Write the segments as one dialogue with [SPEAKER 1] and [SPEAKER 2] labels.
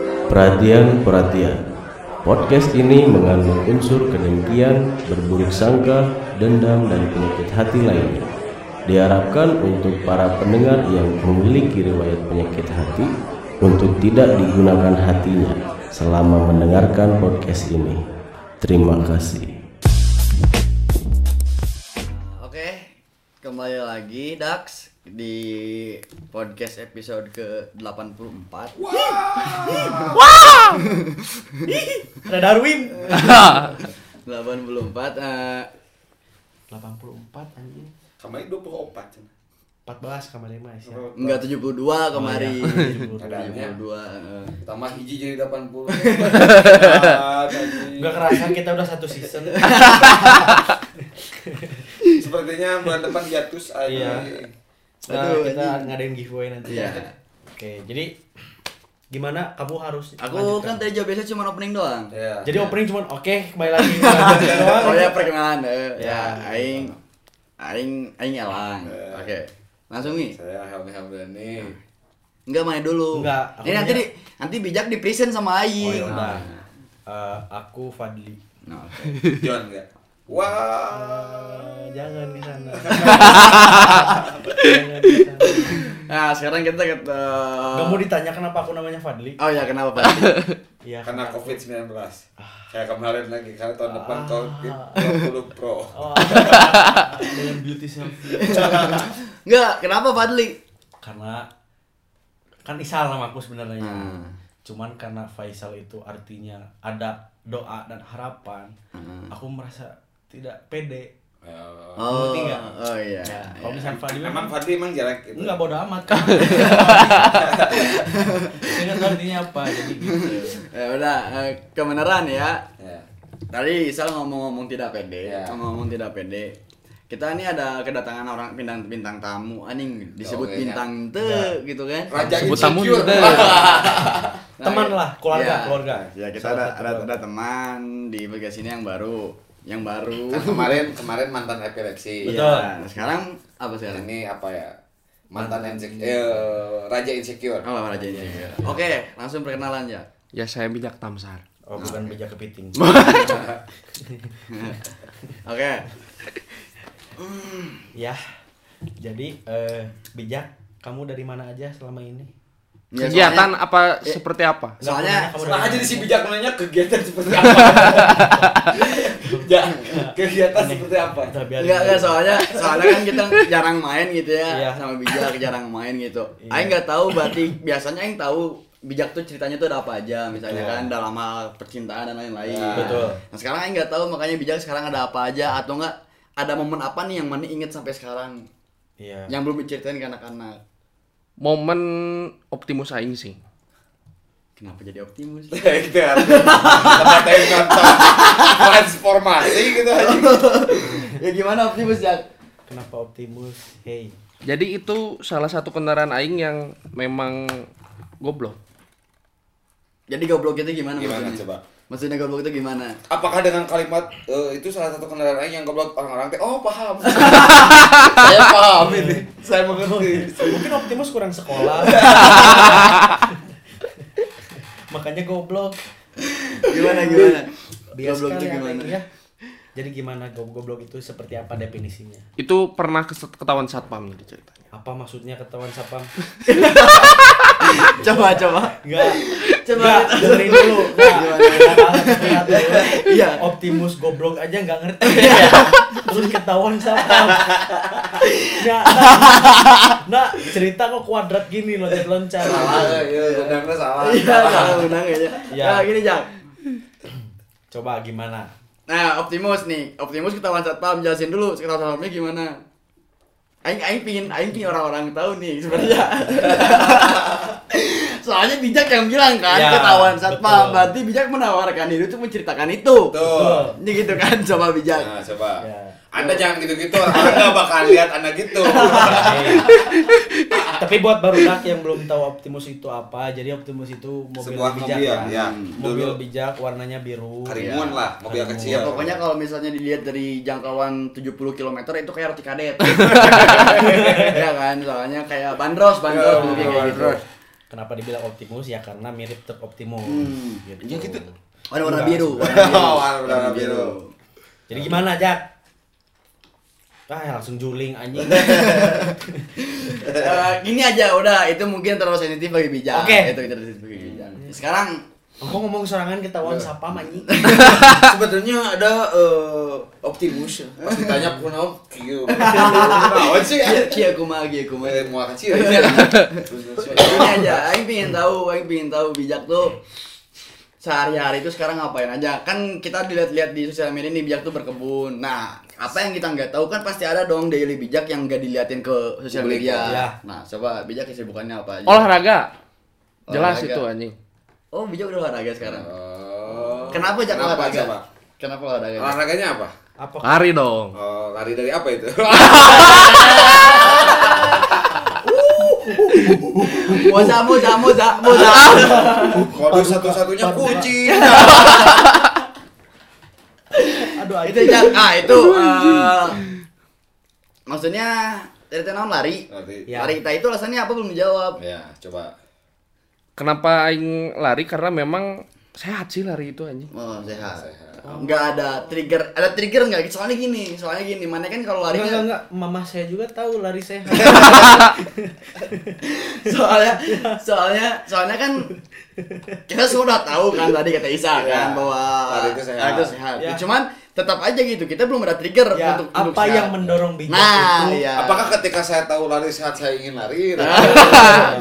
[SPEAKER 1] Perhatian, perhatian. Podcast ini mengandung unsur kedengkian, berburuk sangka, dendam, dan penyakit hati lainnya. Diharapkan untuk para pendengar yang memiliki riwayat penyakit hati untuk tidak digunakan hatinya selama mendengarkan podcast ini. Terima kasih.
[SPEAKER 2] Oke, kembali lagi Dax di podcast episode ke-84.
[SPEAKER 3] Ada Darwin.
[SPEAKER 2] 84 eh,
[SPEAKER 3] 84 anjing.
[SPEAKER 4] Kemarin 24 cen.
[SPEAKER 3] 14 kamar lima sih.
[SPEAKER 2] enggak 72 kemarin.
[SPEAKER 3] Oh, iya.
[SPEAKER 4] Keadaannya
[SPEAKER 2] 72. eh.
[SPEAKER 4] Tambah hiji jadi 80
[SPEAKER 3] Enggak kerasa kita udah satu season. Nah,
[SPEAKER 4] Sepertinya bulan depan hiatus
[SPEAKER 3] Iya.
[SPEAKER 4] aja
[SPEAKER 3] Nah,
[SPEAKER 2] Aduh,
[SPEAKER 3] kita
[SPEAKER 2] anjing.
[SPEAKER 3] ngadain giveaway nanti.
[SPEAKER 2] Iya.
[SPEAKER 3] Oke, jadi gimana kamu harus
[SPEAKER 2] Aku kan
[SPEAKER 3] lanjutkan?
[SPEAKER 2] tadi jawab biasa cuma opening doang.
[SPEAKER 4] Iya
[SPEAKER 3] Jadi opening cuman oke, kembali lagi. Lanjutkan doang.
[SPEAKER 2] Oh ya perkenalan. eh, ya,
[SPEAKER 3] Ya.
[SPEAKER 2] aing aing aing elang.
[SPEAKER 3] Iya.
[SPEAKER 4] Eh.
[SPEAKER 2] Oke. Langsung nih.
[SPEAKER 4] Saya Helmi Hamdani
[SPEAKER 2] Enggak main dulu.
[SPEAKER 3] Enggak, aku
[SPEAKER 2] Ini nanti
[SPEAKER 3] punya-
[SPEAKER 2] di- nanti bijak di present sama
[SPEAKER 3] Oh,
[SPEAKER 2] aing.
[SPEAKER 3] ya udah.
[SPEAKER 2] Nah.
[SPEAKER 3] Eh, aku Fadli.
[SPEAKER 2] Nah, oke.
[SPEAKER 4] John enggak? Wah
[SPEAKER 3] Eh, jangan ke sana. Jangan ke sana.
[SPEAKER 2] Nah, sekarang kita ke
[SPEAKER 3] Nggak mau ditanya kenapa aku namanya Fadli?
[SPEAKER 2] Oh ya, kenapa Pak?
[SPEAKER 3] Iya,
[SPEAKER 4] Karena
[SPEAKER 3] aku-
[SPEAKER 4] COVID-19 Kayak kemarin lagi Karena tahun depan
[SPEAKER 3] Ah.
[SPEAKER 4] COVID 20 Pro
[SPEAKER 3] Oh, dengan beauty selfie.
[SPEAKER 2] Enggak, kenapa Fadli?
[SPEAKER 3] karena kan Isal nama aku sebenarnya
[SPEAKER 2] Hmm.
[SPEAKER 3] cuman karena Faisal itu artinya ada doa dan harapan aku merasa tidak pede
[SPEAKER 4] Eh,
[SPEAKER 2] Oh,
[SPEAKER 3] Ngerti nggak?
[SPEAKER 2] oh iya. iya.
[SPEAKER 3] ya, kalau misalkan Fadli
[SPEAKER 4] Emang
[SPEAKER 3] memang
[SPEAKER 4] Fadli emang jelek gitu?
[SPEAKER 3] enggak bodo amat kan Saya nggak tahu artinya apa jadi gitu
[SPEAKER 2] Ya udah, eh, kebenaran ya.
[SPEAKER 4] Iya
[SPEAKER 2] Tadi Isal ngomong-ngomong tidak pede,
[SPEAKER 4] Ya.
[SPEAKER 2] ngomong-ngomong tidak pede. Kita ini ada kedatangan orang bintang bintang tamu anjing disebut
[SPEAKER 4] Oke, ya.
[SPEAKER 2] bintang te gitu kan.
[SPEAKER 4] Raja
[SPEAKER 5] Sebut tamu
[SPEAKER 4] insecure.
[SPEAKER 5] deh.
[SPEAKER 2] Nah,
[SPEAKER 3] teman
[SPEAKER 2] ya.
[SPEAKER 3] lah keluarga
[SPEAKER 2] Ya.
[SPEAKER 3] keluarga
[SPEAKER 2] Ya kita
[SPEAKER 3] Salah
[SPEAKER 2] ada
[SPEAKER 3] satu
[SPEAKER 2] ada,
[SPEAKER 3] keluarga.
[SPEAKER 2] ada teman di podcast ini yang baru, yang baru.
[SPEAKER 4] Kan kemarin kemarin mantan epilepsi
[SPEAKER 3] Betul.
[SPEAKER 2] Iya. Sekarang apa sekarang?
[SPEAKER 4] Ini apa ya? Mantan insecure eh, Raja insecure
[SPEAKER 2] Oh, raja ini. Oke, langsung perkenalan ya.
[SPEAKER 5] Ya saya minyak tamsar.
[SPEAKER 3] oh bukan meja kepiting
[SPEAKER 2] Oke.
[SPEAKER 3] ya jadi eh, bijak kamu dari mana aja selama ini
[SPEAKER 2] Ya,
[SPEAKER 5] Kegiatan
[SPEAKER 2] soalnya-
[SPEAKER 5] apa
[SPEAKER 2] eh,
[SPEAKER 5] seperti apa?
[SPEAKER 3] Nggak, aku
[SPEAKER 2] Soalnya-
[SPEAKER 3] nanya kamu dari
[SPEAKER 4] Setelah aja
[SPEAKER 3] mana.
[SPEAKER 4] di si bijak nanya kegiatan seperti apa? ya, kegiatan seperti apa?
[SPEAKER 3] Udah, biarin
[SPEAKER 2] Enggak,
[SPEAKER 3] aja.
[SPEAKER 2] enggak soalnya soalnya kan kita jarang main gitu ya
[SPEAKER 3] Iya.
[SPEAKER 2] sama Bijak jarang main gitu.
[SPEAKER 3] Iya.
[SPEAKER 2] Aing nggak tahu berarti biasanya aing tahu Bijak tuh ceritanya tuh ada apa aja misalnya
[SPEAKER 3] Betul.
[SPEAKER 2] kan dalam hal percintaan dan lain-lain.
[SPEAKER 4] Iya.
[SPEAKER 3] Betul.
[SPEAKER 2] Nah, sekarang aing nggak tahu makanya Bijak sekarang ada apa aja atau enggak ada momen apa nih yang mana inget sampai sekarang
[SPEAKER 3] iya
[SPEAKER 2] yang belum diceritain ke anak-anak.
[SPEAKER 5] Momen optimus aing sih.
[SPEAKER 2] Kenapa jadi optimus?
[SPEAKER 4] Ya, gitu ya. Tempat yang nonton transformasi gitu aja.
[SPEAKER 2] ya gimana optimus Jak?
[SPEAKER 3] kenapa optimus hey
[SPEAKER 5] Jadi itu salah satu kendaraan aing yang memang goblok.
[SPEAKER 2] Jadi goblok itu gimana,
[SPEAKER 4] Gimana
[SPEAKER 2] maksudnya?
[SPEAKER 4] coba?
[SPEAKER 2] Maksudnya goblok itu gimana?
[SPEAKER 4] Apakah dengan kalimat eh, itu salah satu kendaraan yang goblok orang-orang teh? Oh paham.
[SPEAKER 2] Saya paham
[SPEAKER 4] ini. Saya mengerti.
[SPEAKER 3] mungkin Optimus kurang sekolah makanya goblok
[SPEAKER 2] Gimana gimana?
[SPEAKER 3] Bias
[SPEAKER 2] goblok itu
[SPEAKER 3] sekali ya.
[SPEAKER 2] gimana?
[SPEAKER 3] anaknya. jadi gimana go- goblok itu seperti apa definisinya
[SPEAKER 5] Itu pernah keset- ketahuan satpam jadi ceritanya.
[SPEAKER 3] apa maksudnya ketahuan sapam
[SPEAKER 2] Coba coba.
[SPEAKER 3] enggak
[SPEAKER 2] Coba.
[SPEAKER 3] enggak dengerin dulu Nggak. Nggak, nggak, nggak, nggak.
[SPEAKER 2] Iya.
[SPEAKER 3] Optimus goblok aja nggak ngerti terus ketahuan sapam nah, nah, cerita kok kuadrat gini loncat-loncat
[SPEAKER 4] Salah, ya, benarnya salah.
[SPEAKER 2] Iya, kalau menang aja.
[SPEAKER 3] Iya.
[SPEAKER 2] Nah, gini, Jang.
[SPEAKER 3] coba gimana
[SPEAKER 2] Nah, Optimus nih. Optimus ketahuan satpam jelasin dulu ketahuan satpamnya gimana. Aing aing pingin aing pingin orang-orang tahu nih sebenarnya. Soalnya bijak yang bilang kan
[SPEAKER 3] Ya,
[SPEAKER 2] ketahuan satpam,
[SPEAKER 3] betul.
[SPEAKER 2] berarti bijak menawarkan diri untuk menceritakan itu.
[SPEAKER 4] Tuh.
[SPEAKER 2] Ini gitu kan coba bijak.
[SPEAKER 4] Nah, coba.
[SPEAKER 3] Ya.
[SPEAKER 4] Anda jangan gitu-gitu, orang nggak bakal lihat Anda gitu.
[SPEAKER 3] Iya. Tapi buat barudak yang belum tahu Optimus itu apa, jadi Optimus itu mobil
[SPEAKER 4] Sebuah
[SPEAKER 3] bijak
[SPEAKER 4] mobil,
[SPEAKER 3] kan?
[SPEAKER 4] ya.
[SPEAKER 3] Mobil
[SPEAKER 4] Dulu.
[SPEAKER 3] bijak warnanya biru.
[SPEAKER 4] Karimun lah, mobil
[SPEAKER 3] Karimun.
[SPEAKER 4] kecil.
[SPEAKER 2] Ya pokoknya kalau misalnya dilihat dari jangkauan 70 km itu kayak roti kadet. ya kan, soalnya kayak bandros, bandros
[SPEAKER 4] Iya,
[SPEAKER 2] mungkin kayak gitu.
[SPEAKER 4] bandros.
[SPEAKER 3] Kenapa dibilang Optimus ya karena mirip truk Optimus.
[SPEAKER 2] Hmm.
[SPEAKER 3] Gitu.
[SPEAKER 4] Ya gitu.
[SPEAKER 2] Warna warna biru.
[SPEAKER 4] Oh, warna-warna biru.
[SPEAKER 3] Jadi gimana, Jak? Ah, langsung juling anjing.
[SPEAKER 2] Eh, gini aja udah itu mungkin terlalu sensitif bagi bijak.
[SPEAKER 3] Oke.
[SPEAKER 2] Itu terlalu sensitif bagi bijak. Sekarang
[SPEAKER 3] Aku ngomong serangan ketahuan
[SPEAKER 4] Iya.
[SPEAKER 3] siapa anjing.
[SPEAKER 4] Sebenarnya ada eh, Optimus. Pas ditanya kuno, kieu. Naon sih?
[SPEAKER 2] kia kumaha kia kumaha.
[SPEAKER 4] Eh, Mual kecil. Terus
[SPEAKER 2] Ini aja, Aing pingin tahu, Aing pingin tahu bijak tuh sehari-hari itu sekarang ngapain aja kan kita dilihat-lihat di sosial media nih bijak tuh berkebun nah apa yang kita nggak tahu kan pasti ada dong daily bijak yang nggak diliatin ke sosial
[SPEAKER 4] Publik,
[SPEAKER 2] media
[SPEAKER 3] ya.
[SPEAKER 2] nah coba bijak kesibukannya apa aja
[SPEAKER 5] Olahraga. Jelas
[SPEAKER 2] Olahraga.
[SPEAKER 5] itu anjing.
[SPEAKER 2] oh bijak udah olahraga sekarang kenapa jak
[SPEAKER 4] Iya. Oh. Kenapa, Ah.
[SPEAKER 2] olahraga
[SPEAKER 4] coba?
[SPEAKER 2] kenapa olahraga Jak?
[SPEAKER 4] Olahraganya apa?
[SPEAKER 3] Apa?
[SPEAKER 5] Lari dong.
[SPEAKER 4] Oh, lari dari apa itu?
[SPEAKER 2] Moza, moza, moza, moza.
[SPEAKER 4] Kode satu-satunya kucing.
[SPEAKER 3] Aduh,
[SPEAKER 2] itu
[SPEAKER 3] anjing.
[SPEAKER 2] Jak. ah itu eh, maksudnya dari tenang lari.
[SPEAKER 4] Nanti.
[SPEAKER 3] Ya.
[SPEAKER 2] Lari kita itu alasannya apa belum dijawab.
[SPEAKER 4] Ya, coba.
[SPEAKER 5] Kenapa aing lari? Karena memang sehat sih lari itu anjing.
[SPEAKER 2] Oh, sehat.
[SPEAKER 4] Sehat.
[SPEAKER 2] Enggak ada trigger, ada trigger enggak? Soalnya gini, soalnya gini, mana kan kalau lari
[SPEAKER 3] Enggak, enggak,
[SPEAKER 2] kan
[SPEAKER 3] enggak. Mama saya juga tahu lari sehat.
[SPEAKER 2] soalnya
[SPEAKER 3] Iya.
[SPEAKER 2] soalnya soalnya kan kita semua udah tahu kan tadi kata Isa
[SPEAKER 4] Iya.
[SPEAKER 2] kan bahwa Ah,
[SPEAKER 4] Lari itu sehat.
[SPEAKER 3] Iya.
[SPEAKER 2] Cuman tetap aja gitu, kita belum ada trigger
[SPEAKER 3] Ya,
[SPEAKER 2] untuk untuk
[SPEAKER 3] apa
[SPEAKER 2] sehat.
[SPEAKER 3] yang mendorong bijak
[SPEAKER 2] Nah,
[SPEAKER 3] itu?
[SPEAKER 2] iya.
[SPEAKER 4] Apakah ketika saya tahu lari sehat saya ingin lari?
[SPEAKER 2] Ya.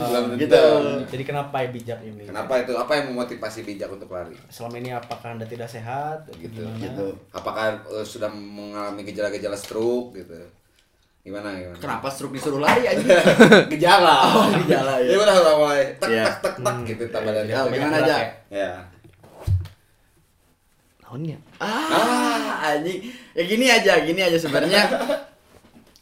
[SPEAKER 4] Belum tentu.
[SPEAKER 2] Gitu.
[SPEAKER 3] Jadi kenapa ya bijak ini?
[SPEAKER 4] Kenapa itu? Apa yang memotivasi bijak untuk lari?
[SPEAKER 3] Selama ini apakah Anda tidak sehat?
[SPEAKER 4] Gitu.
[SPEAKER 3] Gimana?
[SPEAKER 2] Gitu.
[SPEAKER 4] Apakah eh, sudah mengalami gejala-gejala stroke gitu? Gimana gimana?
[SPEAKER 2] Kenapa stroke disuruh lari aja?
[SPEAKER 4] gejala.
[SPEAKER 2] Oh, gejala, ya.
[SPEAKER 4] Ya udah udah mulai tek
[SPEAKER 2] Iya.
[SPEAKER 3] Ya.
[SPEAKER 4] tek tek tek gitu tabarannya.
[SPEAKER 2] Ya,
[SPEAKER 3] Banyak
[SPEAKER 2] gimana
[SPEAKER 3] gerak
[SPEAKER 2] aja?
[SPEAKER 3] ya?
[SPEAKER 4] Ya.
[SPEAKER 5] Naonnya?
[SPEAKER 2] Ah, anjing. Ya gini aja, gini aja sebenarnya.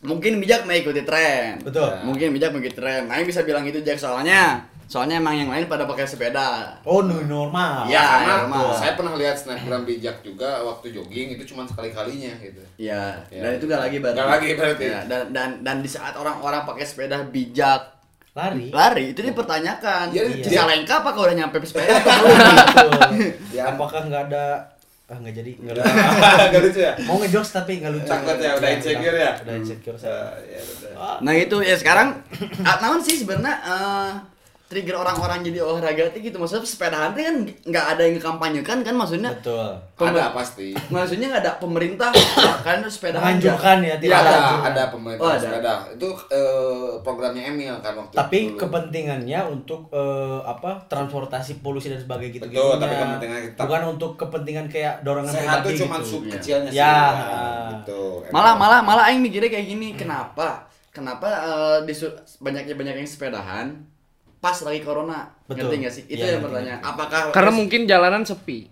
[SPEAKER 2] Mungkin bijak mengikuti tren.
[SPEAKER 3] Betul.
[SPEAKER 2] Mungkin bijak mengikuti tren. Nah, yang bisa bilang gitu Jack soalnya. Soalnya emang yang lain pada pakai sepeda.
[SPEAKER 3] Oh, new normal.
[SPEAKER 2] Ya,
[SPEAKER 4] Karena
[SPEAKER 2] normal.
[SPEAKER 4] saya pernah lihat snapgram bijak juga waktu jogging itu cuma sekali kalinya gitu.
[SPEAKER 2] Ya,
[SPEAKER 4] Ya.
[SPEAKER 2] dan itu gak lagi berarti.
[SPEAKER 4] Nggak lagi berarti.
[SPEAKER 2] Ya, dan dan dan di saat orang-orang pakai sepeda bijak
[SPEAKER 3] Lari.
[SPEAKER 2] lari itu dipertanyakan.
[SPEAKER 4] Iya,
[SPEAKER 2] Iya.
[SPEAKER 4] iya.
[SPEAKER 2] Cicalengka apa kalau udah nyampe sepeda? atau belum?
[SPEAKER 3] Betul.
[SPEAKER 4] Ya.
[SPEAKER 3] Oh, gitu. Apakah nggak ada ah nggak jadi nggak lucu.
[SPEAKER 4] Gak lucu ya?
[SPEAKER 3] mau ngejokes tapi nggak lucu
[SPEAKER 4] Takut ya, udah insecure ya?
[SPEAKER 3] udah insecure saya Ah.
[SPEAKER 4] Ya, ya udah.
[SPEAKER 2] nah, itu ya sekarang ah, naon sih sebenarnya eh, trigger orang-orang jadi olahraga itu gitu maksudnya sepedahan itu kan nggak ada yang dikampanyekan kan maksudnya
[SPEAKER 3] betul
[SPEAKER 4] Ada
[SPEAKER 2] Pemer-
[SPEAKER 4] pasti.
[SPEAKER 2] maksudnya nggak ada pemerintah kalian harus sepeda
[SPEAKER 3] Menganjurkan ya,
[SPEAKER 4] Iya
[SPEAKER 3] tidak
[SPEAKER 4] ada,
[SPEAKER 3] anjuran.
[SPEAKER 4] ada pemerintah
[SPEAKER 2] Oh, ada.
[SPEAKER 4] sepeda. Itu eh, programnya Emil kan waktu
[SPEAKER 3] tapi
[SPEAKER 4] dulu.
[SPEAKER 3] kepentingannya untuk eh, apa transportasi polusi dan sebagainya gitu
[SPEAKER 4] Betul, tapi kepentingan kita-
[SPEAKER 3] bukan untuk kepentingan kayak dorongan
[SPEAKER 4] sehat tuh
[SPEAKER 3] pribadi
[SPEAKER 4] cuma
[SPEAKER 3] gitu.
[SPEAKER 4] sub kecilnya
[SPEAKER 3] Ya.
[SPEAKER 4] Gitu.
[SPEAKER 2] malah malah malah aing mikirnya kayak gini kenapa kenapa eh, disu- banyaknya banyak yang sepedahan pas lagi corona
[SPEAKER 3] Betul.
[SPEAKER 2] ngerti nggak sih itu
[SPEAKER 3] Iya,
[SPEAKER 2] yang
[SPEAKER 3] ngerti,
[SPEAKER 2] pertanyaan apakah
[SPEAKER 5] Karena mungkin jalanan sepi.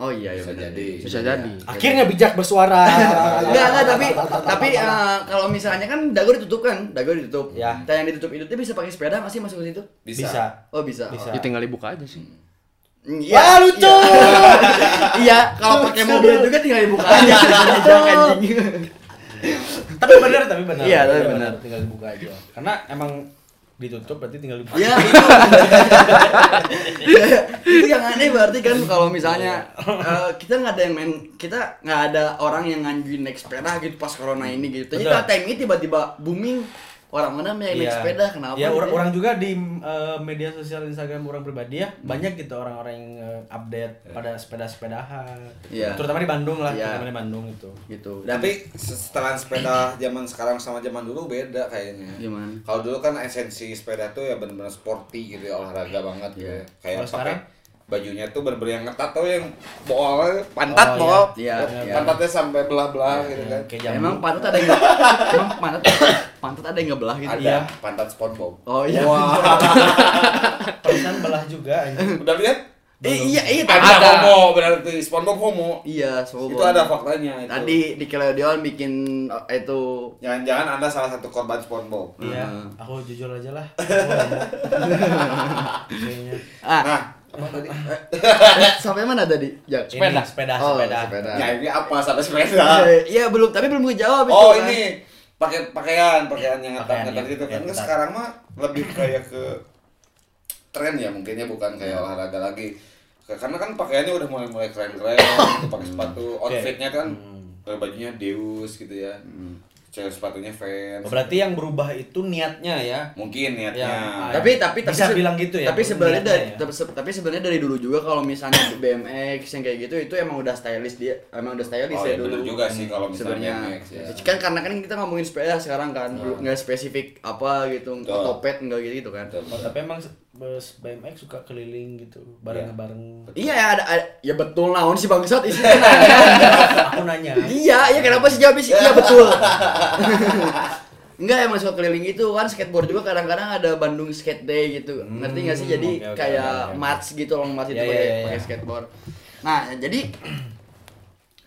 [SPEAKER 2] oh iya iya
[SPEAKER 4] Bisa
[SPEAKER 2] benar.
[SPEAKER 4] jadi. Iya.
[SPEAKER 5] Bisa jadi.
[SPEAKER 3] akhirnya bijak bersuara
[SPEAKER 2] Enggak, enggak, tapi tapi eh, kalau misalnya kan dago ditutup kan, dago ditutup.
[SPEAKER 3] Ya.
[SPEAKER 2] Nah, yang ditutup itu tuh bisa pakai sepeda masih masuk ke situ?
[SPEAKER 4] Bisa.
[SPEAKER 3] bisa
[SPEAKER 2] Oh, bisa.
[SPEAKER 3] Bisa.
[SPEAKER 5] Ya tinggal dibuka aja sih.
[SPEAKER 2] Mm, Iya.
[SPEAKER 3] Wah, lucu!
[SPEAKER 2] Iya, Iya, kalau pakai mobil juga tinggal dibuka
[SPEAKER 3] Iya,
[SPEAKER 2] aja. Jangan anjing.
[SPEAKER 3] tapi benar tapi benar
[SPEAKER 2] Iya, tapi benar.
[SPEAKER 3] tinggal dibuka aja karena emang ditutup berarti tinggal dibuka
[SPEAKER 2] Ya itu. Ya, itu yang aneh berarti kan kalau misalnya eh,
[SPEAKER 4] Iya.
[SPEAKER 2] kita nggak ada yang main kita nggak ada orang yang ngajuin naik sepeda gitu pas corona ini gitu. Jadi
[SPEAKER 3] Betul.
[SPEAKER 2] KTM ini tiba-tiba booming orang mana yang naik
[SPEAKER 3] Iya.
[SPEAKER 2] sepeda kenapa?
[SPEAKER 3] Ya
[SPEAKER 2] gitu
[SPEAKER 3] orang, orang juga di eh, media sosial Instagram orang pribadi ya
[SPEAKER 2] Hmm.
[SPEAKER 3] banyak gitu orang-orang yang eh, update pada sepeda-sepedahan.
[SPEAKER 2] Iya.
[SPEAKER 3] Terutama di Bandung lah,
[SPEAKER 2] Iya.
[SPEAKER 3] terutama di Bandung gitu.
[SPEAKER 2] gitu. Dan
[SPEAKER 4] Tapi setelan sepeda zaman sekarang sama zaman dulu beda kayaknya.
[SPEAKER 2] Gimana?
[SPEAKER 4] Kalau dulu kan esensi sepeda tuh ya benar-benar sporty gitu, ya, olahraga banget
[SPEAKER 2] Iya.
[SPEAKER 4] gitu. ya. Kayak
[SPEAKER 3] Kalau
[SPEAKER 4] pakai
[SPEAKER 3] sekarang?
[SPEAKER 4] bajunya tuh benar-benar yang ketat tuh yang bool pantat
[SPEAKER 3] Oh, iya.
[SPEAKER 4] bool.
[SPEAKER 2] Iya, iya.
[SPEAKER 4] Pantatnya sampai belah-belah gitu kan.
[SPEAKER 3] Kayak jambu.
[SPEAKER 2] Ya, emang pantat ada yang emang pantat pantat ada yang ngebelah gitu.
[SPEAKER 4] Ada
[SPEAKER 3] Iya.
[SPEAKER 4] pantat SpongeBob.
[SPEAKER 2] Oh iya.
[SPEAKER 4] Wah.
[SPEAKER 3] perasaan belah juga anjing.
[SPEAKER 4] Udah lihat?
[SPEAKER 2] Eh, iya iya
[SPEAKER 4] Ada,
[SPEAKER 2] ada.
[SPEAKER 4] homo berarti SpongeBob homo.
[SPEAKER 2] Iya, sobo.
[SPEAKER 4] Itu ada faktanya itu.
[SPEAKER 2] Tadi di Nickelodeon bikin eh, itu
[SPEAKER 4] Jangan-jangan Anda salah satu korban
[SPEAKER 2] Hmm.
[SPEAKER 4] SpongeBob.
[SPEAKER 3] Iya, aku jujur aja lah. Iya. Aku ngomong. Kayaknya.
[SPEAKER 2] ah
[SPEAKER 4] Nah, apa tadi? Eh,
[SPEAKER 2] sampai mana tadi? Jak.
[SPEAKER 3] Ini, sepeda, sepeda,
[SPEAKER 2] Oh,
[SPEAKER 3] sepeda.
[SPEAKER 2] sepeda.
[SPEAKER 4] Ya ini apa sampai sepeda?
[SPEAKER 2] Eh, Iya belum, tapi belum gue jawab itu.
[SPEAKER 4] Ah. Oh
[SPEAKER 2] kan.
[SPEAKER 4] ini pakai pakaian pakaian
[SPEAKER 3] Pakaian
[SPEAKER 4] yang ngetat ngetat
[SPEAKER 3] yang-
[SPEAKER 4] gitu kan
[SPEAKER 3] yang
[SPEAKER 4] Kan
[SPEAKER 3] ketat.
[SPEAKER 4] sekarang mah lebih kayak ke tren ya mungkinnya bukan kayak olahraga lagi Ke- karena kan pakaiannya udah mulai mulai keren keren gitu, pakai sepatu outfitnya kan
[SPEAKER 3] Hmm.
[SPEAKER 4] eh, bajunya Deus gitu ya cewek sepatunya fans
[SPEAKER 3] Oh,
[SPEAKER 6] Berarti yang berubah itu niatnya ya.
[SPEAKER 4] mungkin
[SPEAKER 6] Ya.
[SPEAKER 4] niatnya
[SPEAKER 2] tapi tapi tapi
[SPEAKER 3] Ah, iya. Bisa
[SPEAKER 2] se-
[SPEAKER 3] bilang gitu ya,
[SPEAKER 2] tapi sebenarnya
[SPEAKER 3] niatnya
[SPEAKER 2] dari
[SPEAKER 3] ya.
[SPEAKER 2] tapi se- tapi sebenarnya dari dulu juga kalau misalnya BMX yang kayak gitu itu emang udah stylish dia emang udah stylish
[SPEAKER 4] oh
[SPEAKER 2] ya
[SPEAKER 4] ya
[SPEAKER 2] dulu
[SPEAKER 4] bener juga sih kalau
[SPEAKER 2] sebenarnya
[SPEAKER 4] misalnya BMX ya.
[SPEAKER 2] kan karena kan kita ngomongin sepeda sekarang kan belum nggak spesifik apa gitu
[SPEAKER 4] Nah. Betul.
[SPEAKER 2] otopet nggak gitu gitu kan
[SPEAKER 4] Betul, betul.
[SPEAKER 3] Oh, Tapi emang se- bus BMX suka keliling gitu, bareng-bareng.
[SPEAKER 2] iya ya ada, ada- ya betul naon sih bangsat istilahnya
[SPEAKER 3] Aku nanya.
[SPEAKER 2] iya iya kenapa sih jawabnya sih iya betul Enggak emang suka keliling itu kan skateboard juga kadang-kadang ada Bandung Skate Day gitu. Ngerti nggak sih? Jadi
[SPEAKER 6] Hmm, oke, oke,
[SPEAKER 2] kayak
[SPEAKER 6] oke, oke.
[SPEAKER 2] march gitu long march
[SPEAKER 6] Ya,
[SPEAKER 2] itu
[SPEAKER 6] ya,
[SPEAKER 2] pakai
[SPEAKER 6] ya, ya.
[SPEAKER 2] pakai skateboard. Nah, jadi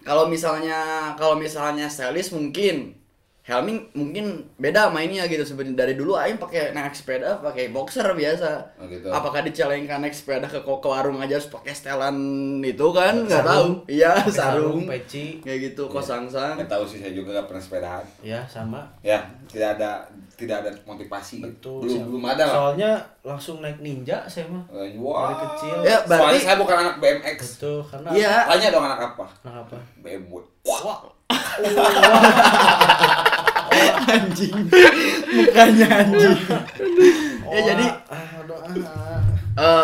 [SPEAKER 2] kalau misalnya kalau misalnya stylish mungkin helming mungkin beda mainnya gitu sebenarnya dari dulu aing pakai naik sepeda pakai boxer biasa.
[SPEAKER 4] Oh, gitu.
[SPEAKER 2] Apakah dicalengkan naik sepeda ke, ke warung aja harus pakai setelan itu kan nggak tahu. Iya,
[SPEAKER 3] Pakai
[SPEAKER 2] sarung,
[SPEAKER 3] peci.
[SPEAKER 2] kayak gitu
[SPEAKER 3] Iya.
[SPEAKER 2] kosang-sang.
[SPEAKER 4] Kan nggak tahu sih saya juga nggak pernah sepedahan
[SPEAKER 3] Ya, sama.
[SPEAKER 4] ya tidak ada tidak ada motivasi
[SPEAKER 3] Betul.
[SPEAKER 4] gitu. belum
[SPEAKER 3] Siap.
[SPEAKER 4] belum ada lah
[SPEAKER 3] Soalnya langsung naik ninja saya mah.
[SPEAKER 4] Eh,
[SPEAKER 3] Dari
[SPEAKER 4] wah.
[SPEAKER 3] kecil.
[SPEAKER 2] Ya,
[SPEAKER 4] soalnya
[SPEAKER 2] berarti
[SPEAKER 4] saya bukan anak BMX
[SPEAKER 3] Betul, karena
[SPEAKER 2] Iya.
[SPEAKER 4] tanya dong anak apa
[SPEAKER 3] Nah, apa?
[SPEAKER 4] BMW
[SPEAKER 2] anjing. Mukanya anjing. ya jadi
[SPEAKER 3] ah, aduh, ah.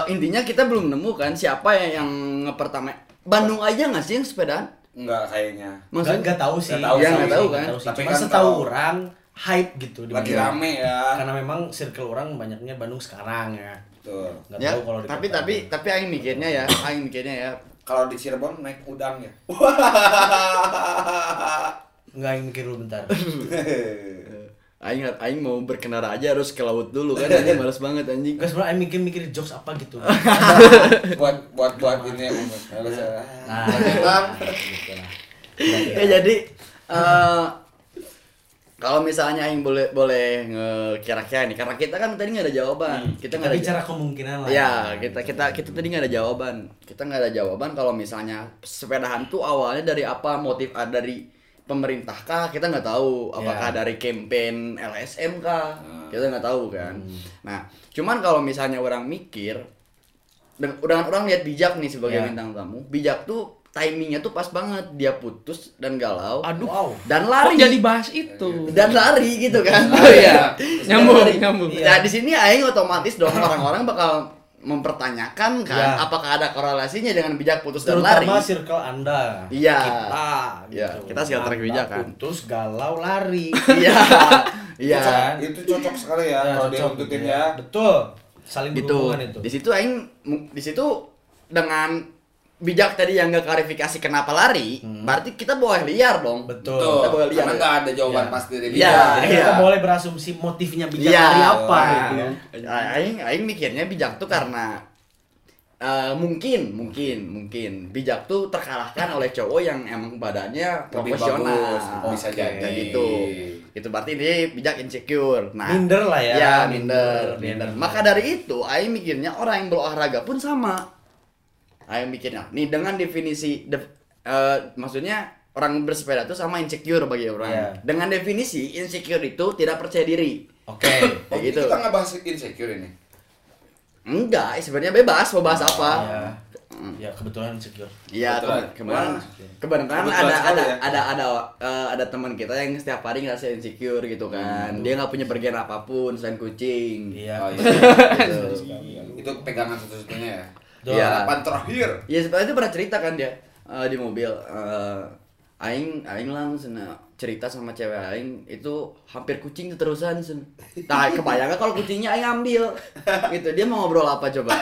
[SPEAKER 2] eh, intinya kita belum nemu kan siapa yang, yang pertama Bandung aja nggak sih yang sepedaan?
[SPEAKER 4] enggak kayaknya
[SPEAKER 2] Maksudnya
[SPEAKER 3] Maksudnya nggak tahu sih.
[SPEAKER 4] Nggak tahu
[SPEAKER 2] sih. Nggak tahu kan.
[SPEAKER 3] sih.
[SPEAKER 4] Tapi
[SPEAKER 3] Cuma
[SPEAKER 4] kan
[SPEAKER 3] setahu
[SPEAKER 4] kalau-
[SPEAKER 3] orang hype gitu di
[SPEAKER 4] lagi
[SPEAKER 3] Bandung.
[SPEAKER 4] rame ya
[SPEAKER 3] Karena memang circle orang banyaknya Bandung sekarang ya.
[SPEAKER 4] Betul.
[SPEAKER 3] Nggak
[SPEAKER 2] ya,
[SPEAKER 3] tahu kalau di
[SPEAKER 2] tapi
[SPEAKER 3] kota.
[SPEAKER 2] tapi tapi aing mikirnya ya, aing mikirnya ya.
[SPEAKER 4] kalau di Cirebon naik udang ya
[SPEAKER 3] nggak yang mikir dulu bentar.
[SPEAKER 2] Aing aing mau berkendara aja harus ke laut dulu kan anjing males banget anjing.
[SPEAKER 3] Enggak sebenarnya aing mikir-mikir jokes apa gitu.
[SPEAKER 4] buat buat buat ini umat harus ya.
[SPEAKER 3] Nah,
[SPEAKER 4] Bang.
[SPEAKER 3] gitu lah.
[SPEAKER 2] ya jadi eh kalau misalnya aing boleh boleh ngekira-kira nih karena kita kan tadi nggak ada jawaban. Kita
[SPEAKER 3] Kita
[SPEAKER 2] nggak ada
[SPEAKER 3] bicara kemungkinan lah.
[SPEAKER 2] Ya, kita kita kita tadi nggak ada jawaban. Kita nggak ada jawaban kalau misalnya sepedahan tuh awalnya dari apa motif ah, dari pemerintah kah? Kita nggak tahu. Apakah
[SPEAKER 3] Ya.
[SPEAKER 2] dari campaign LSM kah? Kita nggak tahu kan. Nah, cuman kalau misalnya orang mikir dengan dengan orang lihat bijak nih sebagai
[SPEAKER 3] Ya.
[SPEAKER 2] bintang tamu, bijak tuh timingnya tuh pas banget dia putus dan galau
[SPEAKER 5] Aduh.
[SPEAKER 3] Wow.
[SPEAKER 2] dan
[SPEAKER 5] Kok
[SPEAKER 2] lari
[SPEAKER 5] jadi bahas itu?
[SPEAKER 2] dan lari gitu kan.
[SPEAKER 4] Oh, iya.
[SPEAKER 5] Nyambung,
[SPEAKER 2] Lari.
[SPEAKER 5] nyambung.
[SPEAKER 2] Nah, di sini aing otomatis dong orang-orang bakal mempertanyakan kan
[SPEAKER 3] Iya.
[SPEAKER 2] apakah ada korelasinya dengan bijak putus dan lari.
[SPEAKER 3] Terutama circle Anda.
[SPEAKER 2] Iya.
[SPEAKER 3] Kita.
[SPEAKER 2] Iya, kita circle
[SPEAKER 3] Anda
[SPEAKER 2] kebijakan.
[SPEAKER 3] Putus galau lari.
[SPEAKER 2] Iya. Iya.
[SPEAKER 4] itu cocok sekali ya
[SPEAKER 3] Nah,
[SPEAKER 4] kalau dia
[SPEAKER 3] cocok
[SPEAKER 4] ngikutin
[SPEAKER 3] gitu
[SPEAKER 4] ya
[SPEAKER 3] Betul. Saling
[SPEAKER 2] Gitu.
[SPEAKER 3] berhubungan itu.
[SPEAKER 2] Di situ aing mu- di situ dengan bijak tadi yang nggak klarifikasi kenapa lari, berarti kita boleh liar dong.
[SPEAKER 3] Hmm. Betul.
[SPEAKER 4] Betul.
[SPEAKER 2] Kita boleh liar.
[SPEAKER 4] ya. karena nggak ada jawaban
[SPEAKER 3] Iya.
[SPEAKER 4] pasti dari
[SPEAKER 2] Iya.
[SPEAKER 4] dia
[SPEAKER 3] Jadi kita
[SPEAKER 2] Iya.
[SPEAKER 3] boleh berasumsi motifnya bijak
[SPEAKER 2] Iya.
[SPEAKER 3] lari apa gitu.
[SPEAKER 2] Aing aing mikirnya bijak tuh karena eh, mungkin mungkin mungkin bijak tuh terkalahkan oleh cowok yang emang badannya
[SPEAKER 4] lebih
[SPEAKER 2] profesional
[SPEAKER 4] bagus bisa
[SPEAKER 3] Oke.
[SPEAKER 4] jadi
[SPEAKER 2] kayak gitu itu berarti dia bijak insecure nah
[SPEAKER 3] Minder lah ya.
[SPEAKER 2] ya minder
[SPEAKER 3] Minder.
[SPEAKER 2] minder maka dari itu Aing mikirnya orang yang berolahraga pun sama Aing mikirnya nih dengan definisi def- eh, maksudnya orang bersepeda itu sama insecure bagi orang
[SPEAKER 3] Iya.
[SPEAKER 2] dengan definisi insecure itu tidak percaya diri
[SPEAKER 3] Oke.
[SPEAKER 4] Oh,
[SPEAKER 2] Kayak gitu.
[SPEAKER 4] kita nggak bahas insecure ini
[SPEAKER 2] Enggak, sebenarnya bebas mau bahas apa.
[SPEAKER 3] Ya. Ya kebetulan secure.
[SPEAKER 2] Iya,
[SPEAKER 4] Kebetulan.
[SPEAKER 2] kema- kemarin
[SPEAKER 4] Wah.
[SPEAKER 2] kemarin kan
[SPEAKER 4] Kebetulan
[SPEAKER 2] ada
[SPEAKER 4] sekali
[SPEAKER 2] ada,
[SPEAKER 4] ya.
[SPEAKER 2] ada ada eh, ada teman kita yang setiap hari ngerasa insecure gitu kan. Dia nggak punya bagian apapun selain kucing.
[SPEAKER 3] Iya.
[SPEAKER 4] Oh,
[SPEAKER 3] kebetulan.
[SPEAKER 4] iya. itu pegangan satu-satunya ya
[SPEAKER 3] Betul.
[SPEAKER 2] Iya.
[SPEAKER 4] harapan terakhir
[SPEAKER 2] Ya sebenarnya itu pernah cerita kan dia eh, di mobil eh, aing aing langsung eh, cerita sama cewek aing itu hampir kucing tuh terusan sen. Nah, kebayang nggak kalau kucingnya aing ambil. Gitu. Dia mau ngobrol apa coba?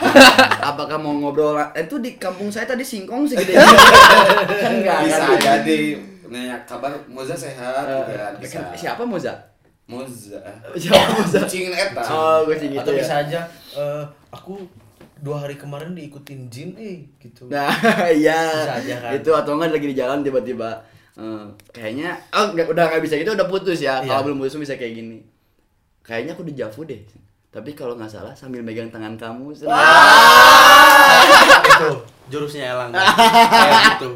[SPEAKER 2] Apakah mau ngobrol eh, itu di kampung saya tadi singkong segede ini. kan enggak
[SPEAKER 4] bisa
[SPEAKER 2] kan?
[SPEAKER 4] jadi nanya kabar Moza sehat juga kan bisa
[SPEAKER 2] Eh, siapa Moza?
[SPEAKER 4] Moza
[SPEAKER 2] Siapa Moza?
[SPEAKER 4] kucing eta
[SPEAKER 2] Oh, kucing gitu
[SPEAKER 3] Atau
[SPEAKER 2] ya.
[SPEAKER 3] bisa aja eh, aku dua hari kemarin diikutin jin eh gitu.
[SPEAKER 2] Nah, iya.
[SPEAKER 3] Bisa aja kan.
[SPEAKER 2] Itu atau enggak lagi di jalan tiba-tiba eh, kayaknya oh nggak- udah nggak bisa gitu udah putus ya.
[SPEAKER 3] Iya.
[SPEAKER 2] Kalau belum putus bisa kayak gini. Kayaknya aku dejavu deh. Tapi kalau nggak salah sambil megang tangan kamu.
[SPEAKER 3] Gitu.
[SPEAKER 6] itu jurusnya Elang. Kayak gitu.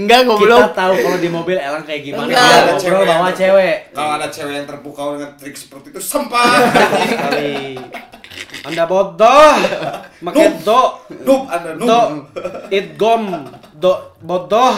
[SPEAKER 2] Enggak,
[SPEAKER 6] Kita
[SPEAKER 2] goblok.
[SPEAKER 6] tahu kalau di mobil Elang kayak gimana.
[SPEAKER 2] Enggak.
[SPEAKER 6] Kalau ngobrol bawa cewek.
[SPEAKER 4] kalau ada cewek yang terpukau dengan trik seperti itu sempat
[SPEAKER 6] Sekali. Anda bodoh.
[SPEAKER 5] Make do
[SPEAKER 4] Noob, anda noob.
[SPEAKER 5] do it gom do bodoh.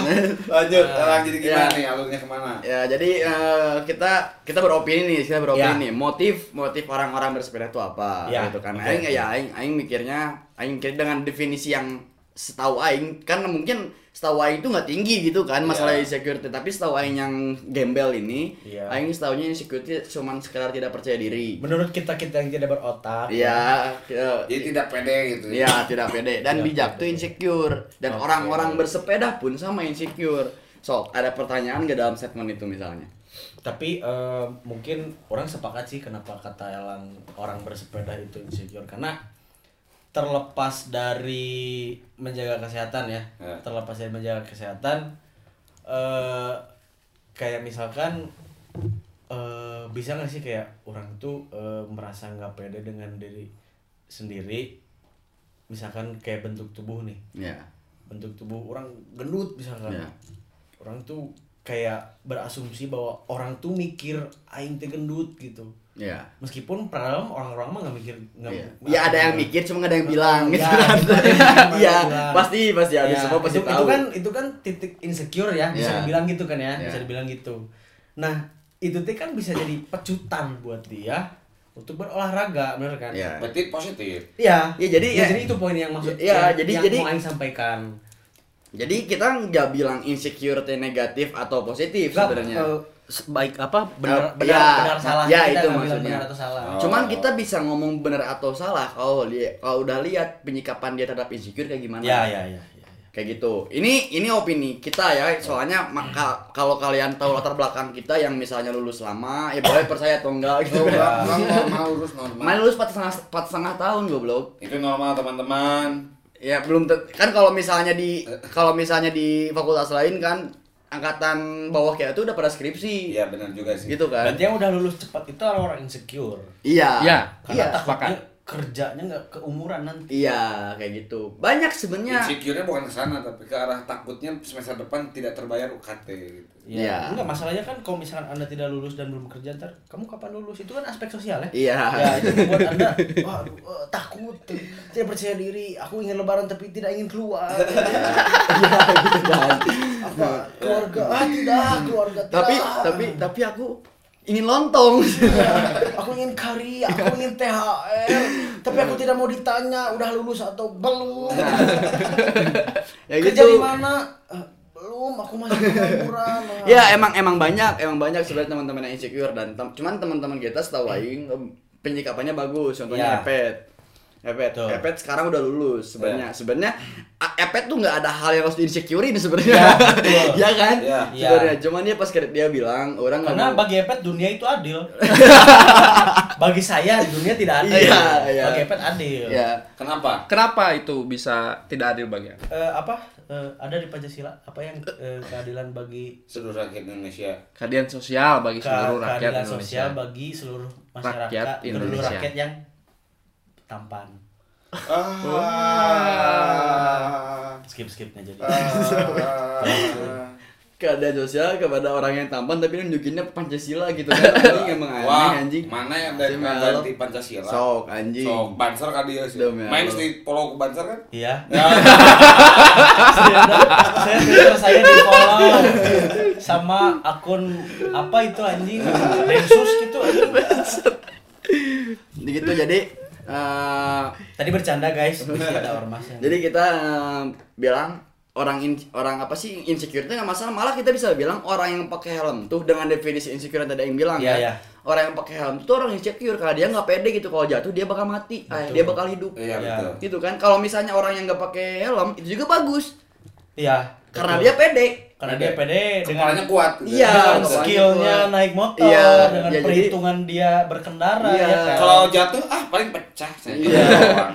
[SPEAKER 4] Lanjut, nah, jadi gimana
[SPEAKER 2] Iya.
[SPEAKER 4] nih alurnya kemana?
[SPEAKER 2] Ya, jadi eh, kita kita beropini nih, kita
[SPEAKER 3] Ya.
[SPEAKER 2] beropini nih. Motif motif orang-orang bersepeda itu apa
[SPEAKER 3] Ya,
[SPEAKER 2] gitu kan.
[SPEAKER 3] oke.
[SPEAKER 2] Aing ya aing aing mikirnya aing mikir dengan definisi yang setahu aing karena mungkin setahu aing itu nggak tinggi gitu kan masalah
[SPEAKER 4] Ya.
[SPEAKER 2] insecurity, tapi setahu aing yang gembel ini
[SPEAKER 3] Iya.
[SPEAKER 2] aing setahunya insecurity cuman sekedar tidak percaya diri.
[SPEAKER 3] Menurut kita kita yang tidak berotak.
[SPEAKER 2] Iya, eh,
[SPEAKER 4] Jadi tidak pede gitu.
[SPEAKER 2] Iya, tidak pede dan bijak tuh insecure dan
[SPEAKER 3] Ya, Oke.
[SPEAKER 2] orang-orang bersepeda pun sama insecure. Sok, ada pertanyaan gak dalam segmen itu misalnya?
[SPEAKER 3] Tapi eh, mungkin orang sepakat sih kenapa kata Elang orang bersepeda itu insecure karena terlepas dari menjaga kesehatan ya,
[SPEAKER 4] Ya.
[SPEAKER 3] terlepas dari menjaga kesehatan eh kayak misalkan eh bisa nggak sih kayak orang tuh eh, merasa nggak pede dengan diri sendiri misalkan kayak bentuk tubuh nih
[SPEAKER 2] Iya.
[SPEAKER 3] bentuk tubuh orang gendut misalkan
[SPEAKER 2] Iya.
[SPEAKER 3] orang tuh kayak berasumsi bahwa orang tuh mikir aing teh gendut gitu
[SPEAKER 2] Iya.
[SPEAKER 3] meskipun padahal orang-orang mah nggak mikir nggak
[SPEAKER 2] Iya. Ya ada yang mikir cuma gak ada yang bilang
[SPEAKER 3] Iya,
[SPEAKER 2] gitu kan.
[SPEAKER 3] ada yang
[SPEAKER 2] Iya,
[SPEAKER 3] bilang.
[SPEAKER 2] pasti pasti ada
[SPEAKER 3] Ya,
[SPEAKER 2] semua
[SPEAKER 3] itu,
[SPEAKER 2] pasti
[SPEAKER 3] itu
[SPEAKER 2] tahu.
[SPEAKER 3] kan itu kan titik insecure ya bisa
[SPEAKER 2] Ya.
[SPEAKER 3] dibilang gitu kan ya
[SPEAKER 2] Ya.
[SPEAKER 3] bisa dibilang gitu nah itu teh kan bisa jadi pecutan buat dia untuk berolahraga bener kan
[SPEAKER 2] Iya.
[SPEAKER 4] Berarti positif.
[SPEAKER 3] Iya.
[SPEAKER 2] Ya, jadi-
[SPEAKER 3] Ya,
[SPEAKER 2] ya.
[SPEAKER 3] jadi itu poin yang maksud
[SPEAKER 2] Ya,
[SPEAKER 3] yang-
[SPEAKER 2] jadi-
[SPEAKER 3] yang
[SPEAKER 2] jadi-
[SPEAKER 3] mau Aing sampaikan.
[SPEAKER 2] Jadi kita nggak bilang insecure teh negatif atau positif
[SPEAKER 3] Enggak,
[SPEAKER 2] sebenarnya.
[SPEAKER 3] eh, baik apa benar
[SPEAKER 2] Eh,
[SPEAKER 3] benar,
[SPEAKER 2] ya.
[SPEAKER 3] benar salah
[SPEAKER 2] Ya,
[SPEAKER 3] kita
[SPEAKER 2] itu
[SPEAKER 3] nggak bilang
[SPEAKER 2] maksudnya.
[SPEAKER 3] benar atau salah
[SPEAKER 4] Oh.
[SPEAKER 2] Cuman kita bisa ngomong benar atau salah kalau li- kalau udah lihat penyikapan dia terhadap insecure kayak gimana.
[SPEAKER 3] ya ya ya ya, ya.
[SPEAKER 2] kayak gitu ini ini opini kita ya soalnya
[SPEAKER 3] Hmm.
[SPEAKER 2] maka kalau kalian tahu latar belakang kita yang misalnya lulus lama ya boleh percaya atau enggak gitu
[SPEAKER 3] Oh,
[SPEAKER 4] Itu
[SPEAKER 3] iya.
[SPEAKER 2] kan
[SPEAKER 4] normal, lurus normal.
[SPEAKER 2] main lulus empat setengah empat setengah tahun goblok
[SPEAKER 4] Itu normal teman-teman.
[SPEAKER 2] ya belum te- kan kalau misalnya di
[SPEAKER 3] Eh.
[SPEAKER 2] kalau misalnya di fakultas lain kan angkatan bawah kayak itu udah pada skripsi
[SPEAKER 4] Iya benar juga sih.
[SPEAKER 2] gitu kan
[SPEAKER 3] berarti yang udah lulus cepat itu orang-orang insecure
[SPEAKER 2] iya
[SPEAKER 5] Ya,
[SPEAKER 2] iya
[SPEAKER 3] karena takutnya kerjanya nggak keumuran nanti
[SPEAKER 2] iya kayak gitu banyak sebenarnya
[SPEAKER 4] Ya. Insecure-nya bukan ke sana tapi ke arah takutnya semester depan tidak terbayar UKT gitu.
[SPEAKER 2] Iya.
[SPEAKER 3] Ya, Enggak, masalahnya kan kalau misalkan Anda tidak lulus dan belum kerja ntar kamu kapan lulus? Itu kan aspek sosial ya.
[SPEAKER 2] iya
[SPEAKER 3] Ya, itu buat Anda wah, aduh, eh, takut, tidak percaya diri, aku ingin lebaran tapi tidak ingin keluar.
[SPEAKER 2] Iya,
[SPEAKER 3] Apa? Keluarga, ah, tidak, keluarga tidak.
[SPEAKER 2] kan. tapi tapi tapi aku ingin lontong
[SPEAKER 3] aku ingin kari, aku ingin THR, tapi aku tidak mau ditanya udah lulus atau belum.
[SPEAKER 2] Nah, ya
[SPEAKER 3] Kerja di mana? Eh, belum, aku masih pengangguran. Ah.
[SPEAKER 2] Ya emang emang banyak, emang banyak sebenarnya teman-teman yang insecure dan tem- cuman teman-teman kita setahu aing em, penyikapannya bagus. Contohnya
[SPEAKER 3] Ya.
[SPEAKER 2] Epet. Epet,
[SPEAKER 3] Betul.
[SPEAKER 2] Epet sekarang udah lulus sebenarnya. Sebenarnya a- Epet tuh nggak ada hal yang harus diinsecurein sebenarnya.
[SPEAKER 3] betul.
[SPEAKER 2] Ya, kan?
[SPEAKER 4] Ya.
[SPEAKER 2] Sebenarnya cuman dia pas kredit dia bilang orang nggak
[SPEAKER 3] Karena
[SPEAKER 2] mau-
[SPEAKER 3] bagi Epet dunia itu adil. bagi saya dunia tidak adil.
[SPEAKER 2] Iya, iya.
[SPEAKER 3] Bagi Epet adil.
[SPEAKER 2] ya.
[SPEAKER 4] Kenapa?
[SPEAKER 5] Kenapa itu bisa tidak adil bagi aku?
[SPEAKER 3] Eh, apa Eh, ada di Pancasila apa yang eh, keadilan bagi
[SPEAKER 4] Seluruh rakyat Indonesia.
[SPEAKER 5] Keadilan sosial bagi
[SPEAKER 3] ke-
[SPEAKER 5] seluruh rakyat
[SPEAKER 3] keadilan
[SPEAKER 5] Indonesia.
[SPEAKER 3] sosial bagi seluruh masyarakat
[SPEAKER 5] Rakyat
[SPEAKER 3] seluruh
[SPEAKER 5] Indonesia.
[SPEAKER 3] rakyat yang tampan
[SPEAKER 4] Ah.
[SPEAKER 3] skip skipnya jadi
[SPEAKER 4] Ah.
[SPEAKER 2] keadaan sosial kepada orang yang tampan tapi nunjukinnya Pancasila gitu kan. Anjing emang
[SPEAKER 4] Wah,
[SPEAKER 2] aneh anjing.
[SPEAKER 4] mana yang dari
[SPEAKER 2] Anjing,
[SPEAKER 4] ganti
[SPEAKER 2] malu.
[SPEAKER 4] Pancasila?
[SPEAKER 2] Sok anjing.
[SPEAKER 4] Sok Banser kan dia sih.
[SPEAKER 2] Demi
[SPEAKER 4] Main
[SPEAKER 2] Allah.
[SPEAKER 4] di Pulau Banser kan?
[SPEAKER 3] iya
[SPEAKER 4] Ya,
[SPEAKER 3] saya saya Twitter saya di follow sama akun apa itu anjing Densus gitu anjing.
[SPEAKER 2] Gitu jadi eh,
[SPEAKER 3] tadi bercanda guys masih ada ormasnya
[SPEAKER 2] Jadi kita eh, bilang orang in- orang apa sih insecure itu nggak masalah malah kita bisa bilang orang yang pakai helm tuh dengan definisi insecure yang tadi yang bilang
[SPEAKER 3] Iya,
[SPEAKER 2] ya
[SPEAKER 3] iya.
[SPEAKER 2] orang yang pakai helm tuh orang insecure karena dia nggak pede gitu kalau jatuh dia bakal mati eh, dia bakal hidup
[SPEAKER 4] iya betul.
[SPEAKER 2] gitu kan kalau misalnya orang yang nggak pakai helm itu juga bagus
[SPEAKER 3] iya
[SPEAKER 2] karena
[SPEAKER 3] betul.
[SPEAKER 2] dia pede
[SPEAKER 3] karena dia pede dengan
[SPEAKER 4] Kepalanya kuat. gitu.
[SPEAKER 2] Iya,
[SPEAKER 3] dengan
[SPEAKER 2] kepalanya
[SPEAKER 3] skillnya
[SPEAKER 2] kuat.
[SPEAKER 3] naik motor
[SPEAKER 2] Iya,
[SPEAKER 3] dengan
[SPEAKER 2] iya, jadi-
[SPEAKER 3] perhitungan dia berkendara
[SPEAKER 2] Iya.
[SPEAKER 3] ya kan?
[SPEAKER 4] Kalau jatuh ah paling pecah saya.
[SPEAKER 2] Iya.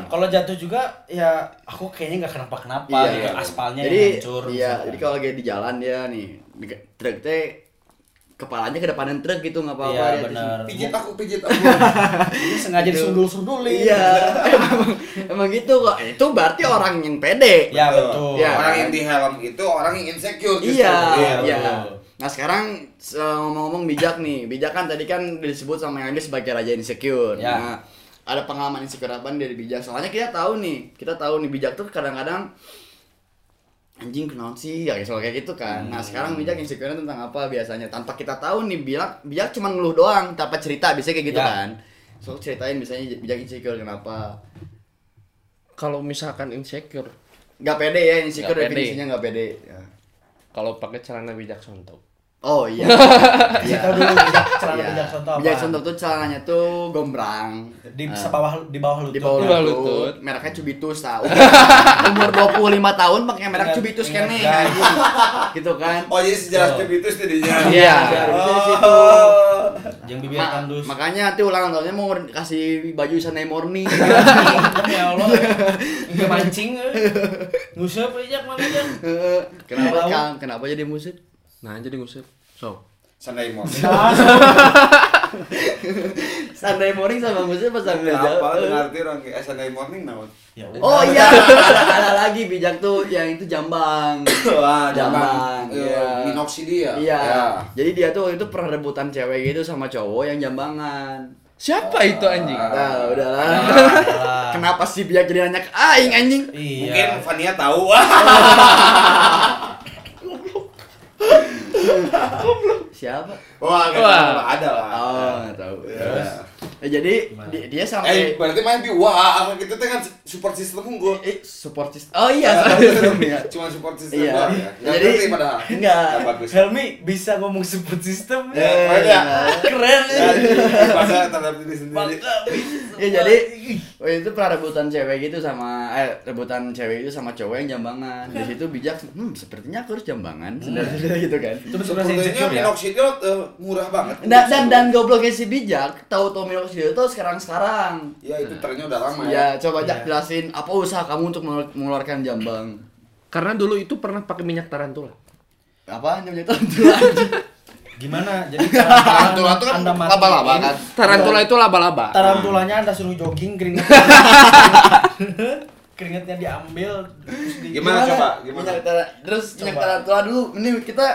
[SPEAKER 3] kalau jatuh juga ya aku kayaknya nggak kenapa kenapa
[SPEAKER 2] Iya.
[SPEAKER 3] gitu aspalnya
[SPEAKER 2] jadi
[SPEAKER 3] yang hancur
[SPEAKER 2] iya
[SPEAKER 3] misalkan.
[SPEAKER 2] jadi kalau kayak di jalan dia nih di- truk teh kepalanya ke depanan truk gitu nggak apa-apa
[SPEAKER 3] iya
[SPEAKER 2] dia tuh- Gitu.
[SPEAKER 3] benar
[SPEAKER 4] Pijit aku, pijit aku.
[SPEAKER 3] Mungkin sengaja disundul sundulin
[SPEAKER 2] Iya, emang, emang gitu kok. Itu berarti orang yang pede.
[SPEAKER 3] ya betul
[SPEAKER 2] Iya.
[SPEAKER 4] Orang yang di helm itu orang yang insecure justru.
[SPEAKER 2] Iya,
[SPEAKER 3] Iya,
[SPEAKER 2] iya.
[SPEAKER 3] betul.
[SPEAKER 2] Nah sekarang se- ngomong-ngomong bijak nih, bijak kan tadi kan disebut sama Yang Anggi sebagai raja insecure.
[SPEAKER 3] Ya.
[SPEAKER 2] Nah, ada pengalaman insecure apa dari bijak soalnya kita tahu nih kita tahu nih bijak tuh kadang-kadang anjing kenal sih ya soal kayak gitu kan nah
[SPEAKER 3] Hmm.
[SPEAKER 2] sekarang bijak insecure tentang apa biasanya tanpa kita tahu nih bijak bijak cuma ngeluh doang tanpa cerita biasanya kayak gitu
[SPEAKER 6] Ya.
[SPEAKER 2] kan so ceritain biasanya bijak insecure kenapa
[SPEAKER 5] Kalau misalkan insecure,
[SPEAKER 2] nggak pede ya insecure
[SPEAKER 5] Nggak pede.
[SPEAKER 2] definisinya nggak pede ya.
[SPEAKER 5] kalau pakai celana bijak sontok.
[SPEAKER 2] Oh iya. Iya.
[SPEAKER 3] Tahu dulu bijak celana
[SPEAKER 2] Iya.
[SPEAKER 3] bijak contoh apa?
[SPEAKER 2] Bijak contoh tuh celananya tuh gombrang.
[SPEAKER 3] di
[SPEAKER 2] Eh,
[SPEAKER 3] bawah di bawah lutut.
[SPEAKER 2] di bawah
[SPEAKER 5] Di bawah
[SPEAKER 2] lutut.
[SPEAKER 5] lutut.
[SPEAKER 2] Mereknya Cubitus tahu. Umur 25 tahun pakai merek
[SPEAKER 3] Ingat-
[SPEAKER 2] Cubitus
[SPEAKER 3] ingat
[SPEAKER 2] kene.
[SPEAKER 3] guys.
[SPEAKER 2] gitu kan.
[SPEAKER 4] Oh jadi sejelas itu jadinya.
[SPEAKER 2] Iya.
[SPEAKER 3] Harusnya sih itu.
[SPEAKER 6] Yang bibir
[SPEAKER 2] Ma-
[SPEAKER 6] tandus.
[SPEAKER 2] makanya nanti ulang tahunnya mau kasih baju Sunday morning.
[SPEAKER 6] Ya Allah. Enggak mancing.
[SPEAKER 3] eh.
[SPEAKER 6] Ngusap aja mana aja.
[SPEAKER 2] Eh, kenapa
[SPEAKER 3] Tahu.
[SPEAKER 2] Kang? Kenapa jadi musik?
[SPEAKER 5] Nah, jadi ngusip. So,
[SPEAKER 4] Sunday morning.
[SPEAKER 2] Sunday morning sama musik pas sambil
[SPEAKER 4] Apa
[SPEAKER 2] jalan.
[SPEAKER 4] lu ngerti orang kayak "Eh, Sunday morning naon?
[SPEAKER 3] Ya
[SPEAKER 2] Oh iya, ada, ada lagi bijak tuh yang itu jambang.
[SPEAKER 4] Wah,
[SPEAKER 2] Jambang,
[SPEAKER 4] jambang.
[SPEAKER 2] iya.
[SPEAKER 4] Eh, Minoxidil ya.
[SPEAKER 2] Iya.
[SPEAKER 4] Ya.
[SPEAKER 2] Jadi dia tuh waktu itu pernah rebutan cewek gitu sama cowok yang jambangan.
[SPEAKER 5] siapa itu anjing?
[SPEAKER 2] Nah, udahlah. Kenapa sih biar jadi nanya ke aing anjing?
[SPEAKER 4] Mungkin
[SPEAKER 6] Iya.
[SPEAKER 4] Fania tahu.
[SPEAKER 2] Siapa?
[SPEAKER 4] Wah, nggak
[SPEAKER 5] Wah.
[SPEAKER 4] tahu. ada lah.
[SPEAKER 2] Oh, nggak tahu.
[SPEAKER 4] Ya.
[SPEAKER 2] Nah, jadi di- dia
[SPEAKER 4] Eh,
[SPEAKER 2] sampai
[SPEAKER 4] berarti main di wah, gitu teh kan support system unggul.
[SPEAKER 2] eh, support system. Oh iya,
[SPEAKER 4] Nah,
[SPEAKER 2] support
[SPEAKER 4] gitu
[SPEAKER 2] system
[SPEAKER 4] dong,
[SPEAKER 2] ya.
[SPEAKER 4] ya. Cuman support system
[SPEAKER 2] Iya.
[SPEAKER 4] doang ya. Nggak
[SPEAKER 2] Jadi-
[SPEAKER 4] ngerti padahal.
[SPEAKER 2] Nggak.
[SPEAKER 4] Nggak bagus.
[SPEAKER 3] Helmi bisa ngomong support system.
[SPEAKER 2] Eh,
[SPEAKER 4] Ya, keren ya.
[SPEAKER 2] iya.
[SPEAKER 6] Keren.
[SPEAKER 4] Ya, Masa terhadap diri sendiri.
[SPEAKER 2] Ya jadi waktu itu pernah rebutan cewek gitu sama eh rebutan cewek itu sama cowok yang jambangan. Di situ bijak, hmm sepertinya aku harus jambangan. Sebenarnya gitu kan.
[SPEAKER 3] Itu sebenarnya
[SPEAKER 4] Sepertinya
[SPEAKER 3] insecure ya.
[SPEAKER 4] minoxidil eh, murah banget.
[SPEAKER 2] Nah, dan dan gobloknya si bijak tahu Tommy Oxio itu sekarang-sekarang.
[SPEAKER 4] Ya itu trennya udah lama ya.
[SPEAKER 2] Ya, coba Jak jelasin apa usaha kamu untuk mengelu- mengeluarkan jambang?
[SPEAKER 5] Karena dulu itu pernah pakai minyak tarantula.
[SPEAKER 2] Apa namanya tarantula? anjing?
[SPEAKER 3] Gimana? Jadi tarantula
[SPEAKER 4] tuh kan
[SPEAKER 3] Anda matiin.
[SPEAKER 4] laba-laba kan.
[SPEAKER 5] Tarantula itu laba-laba.
[SPEAKER 3] Tarantulanya Anda suruh jogging keringetnya. keringetnya diambil terus di-
[SPEAKER 4] Gimana coba? Gimana?
[SPEAKER 2] Minyak tara- terus minyak tarantula dulu. Ini kita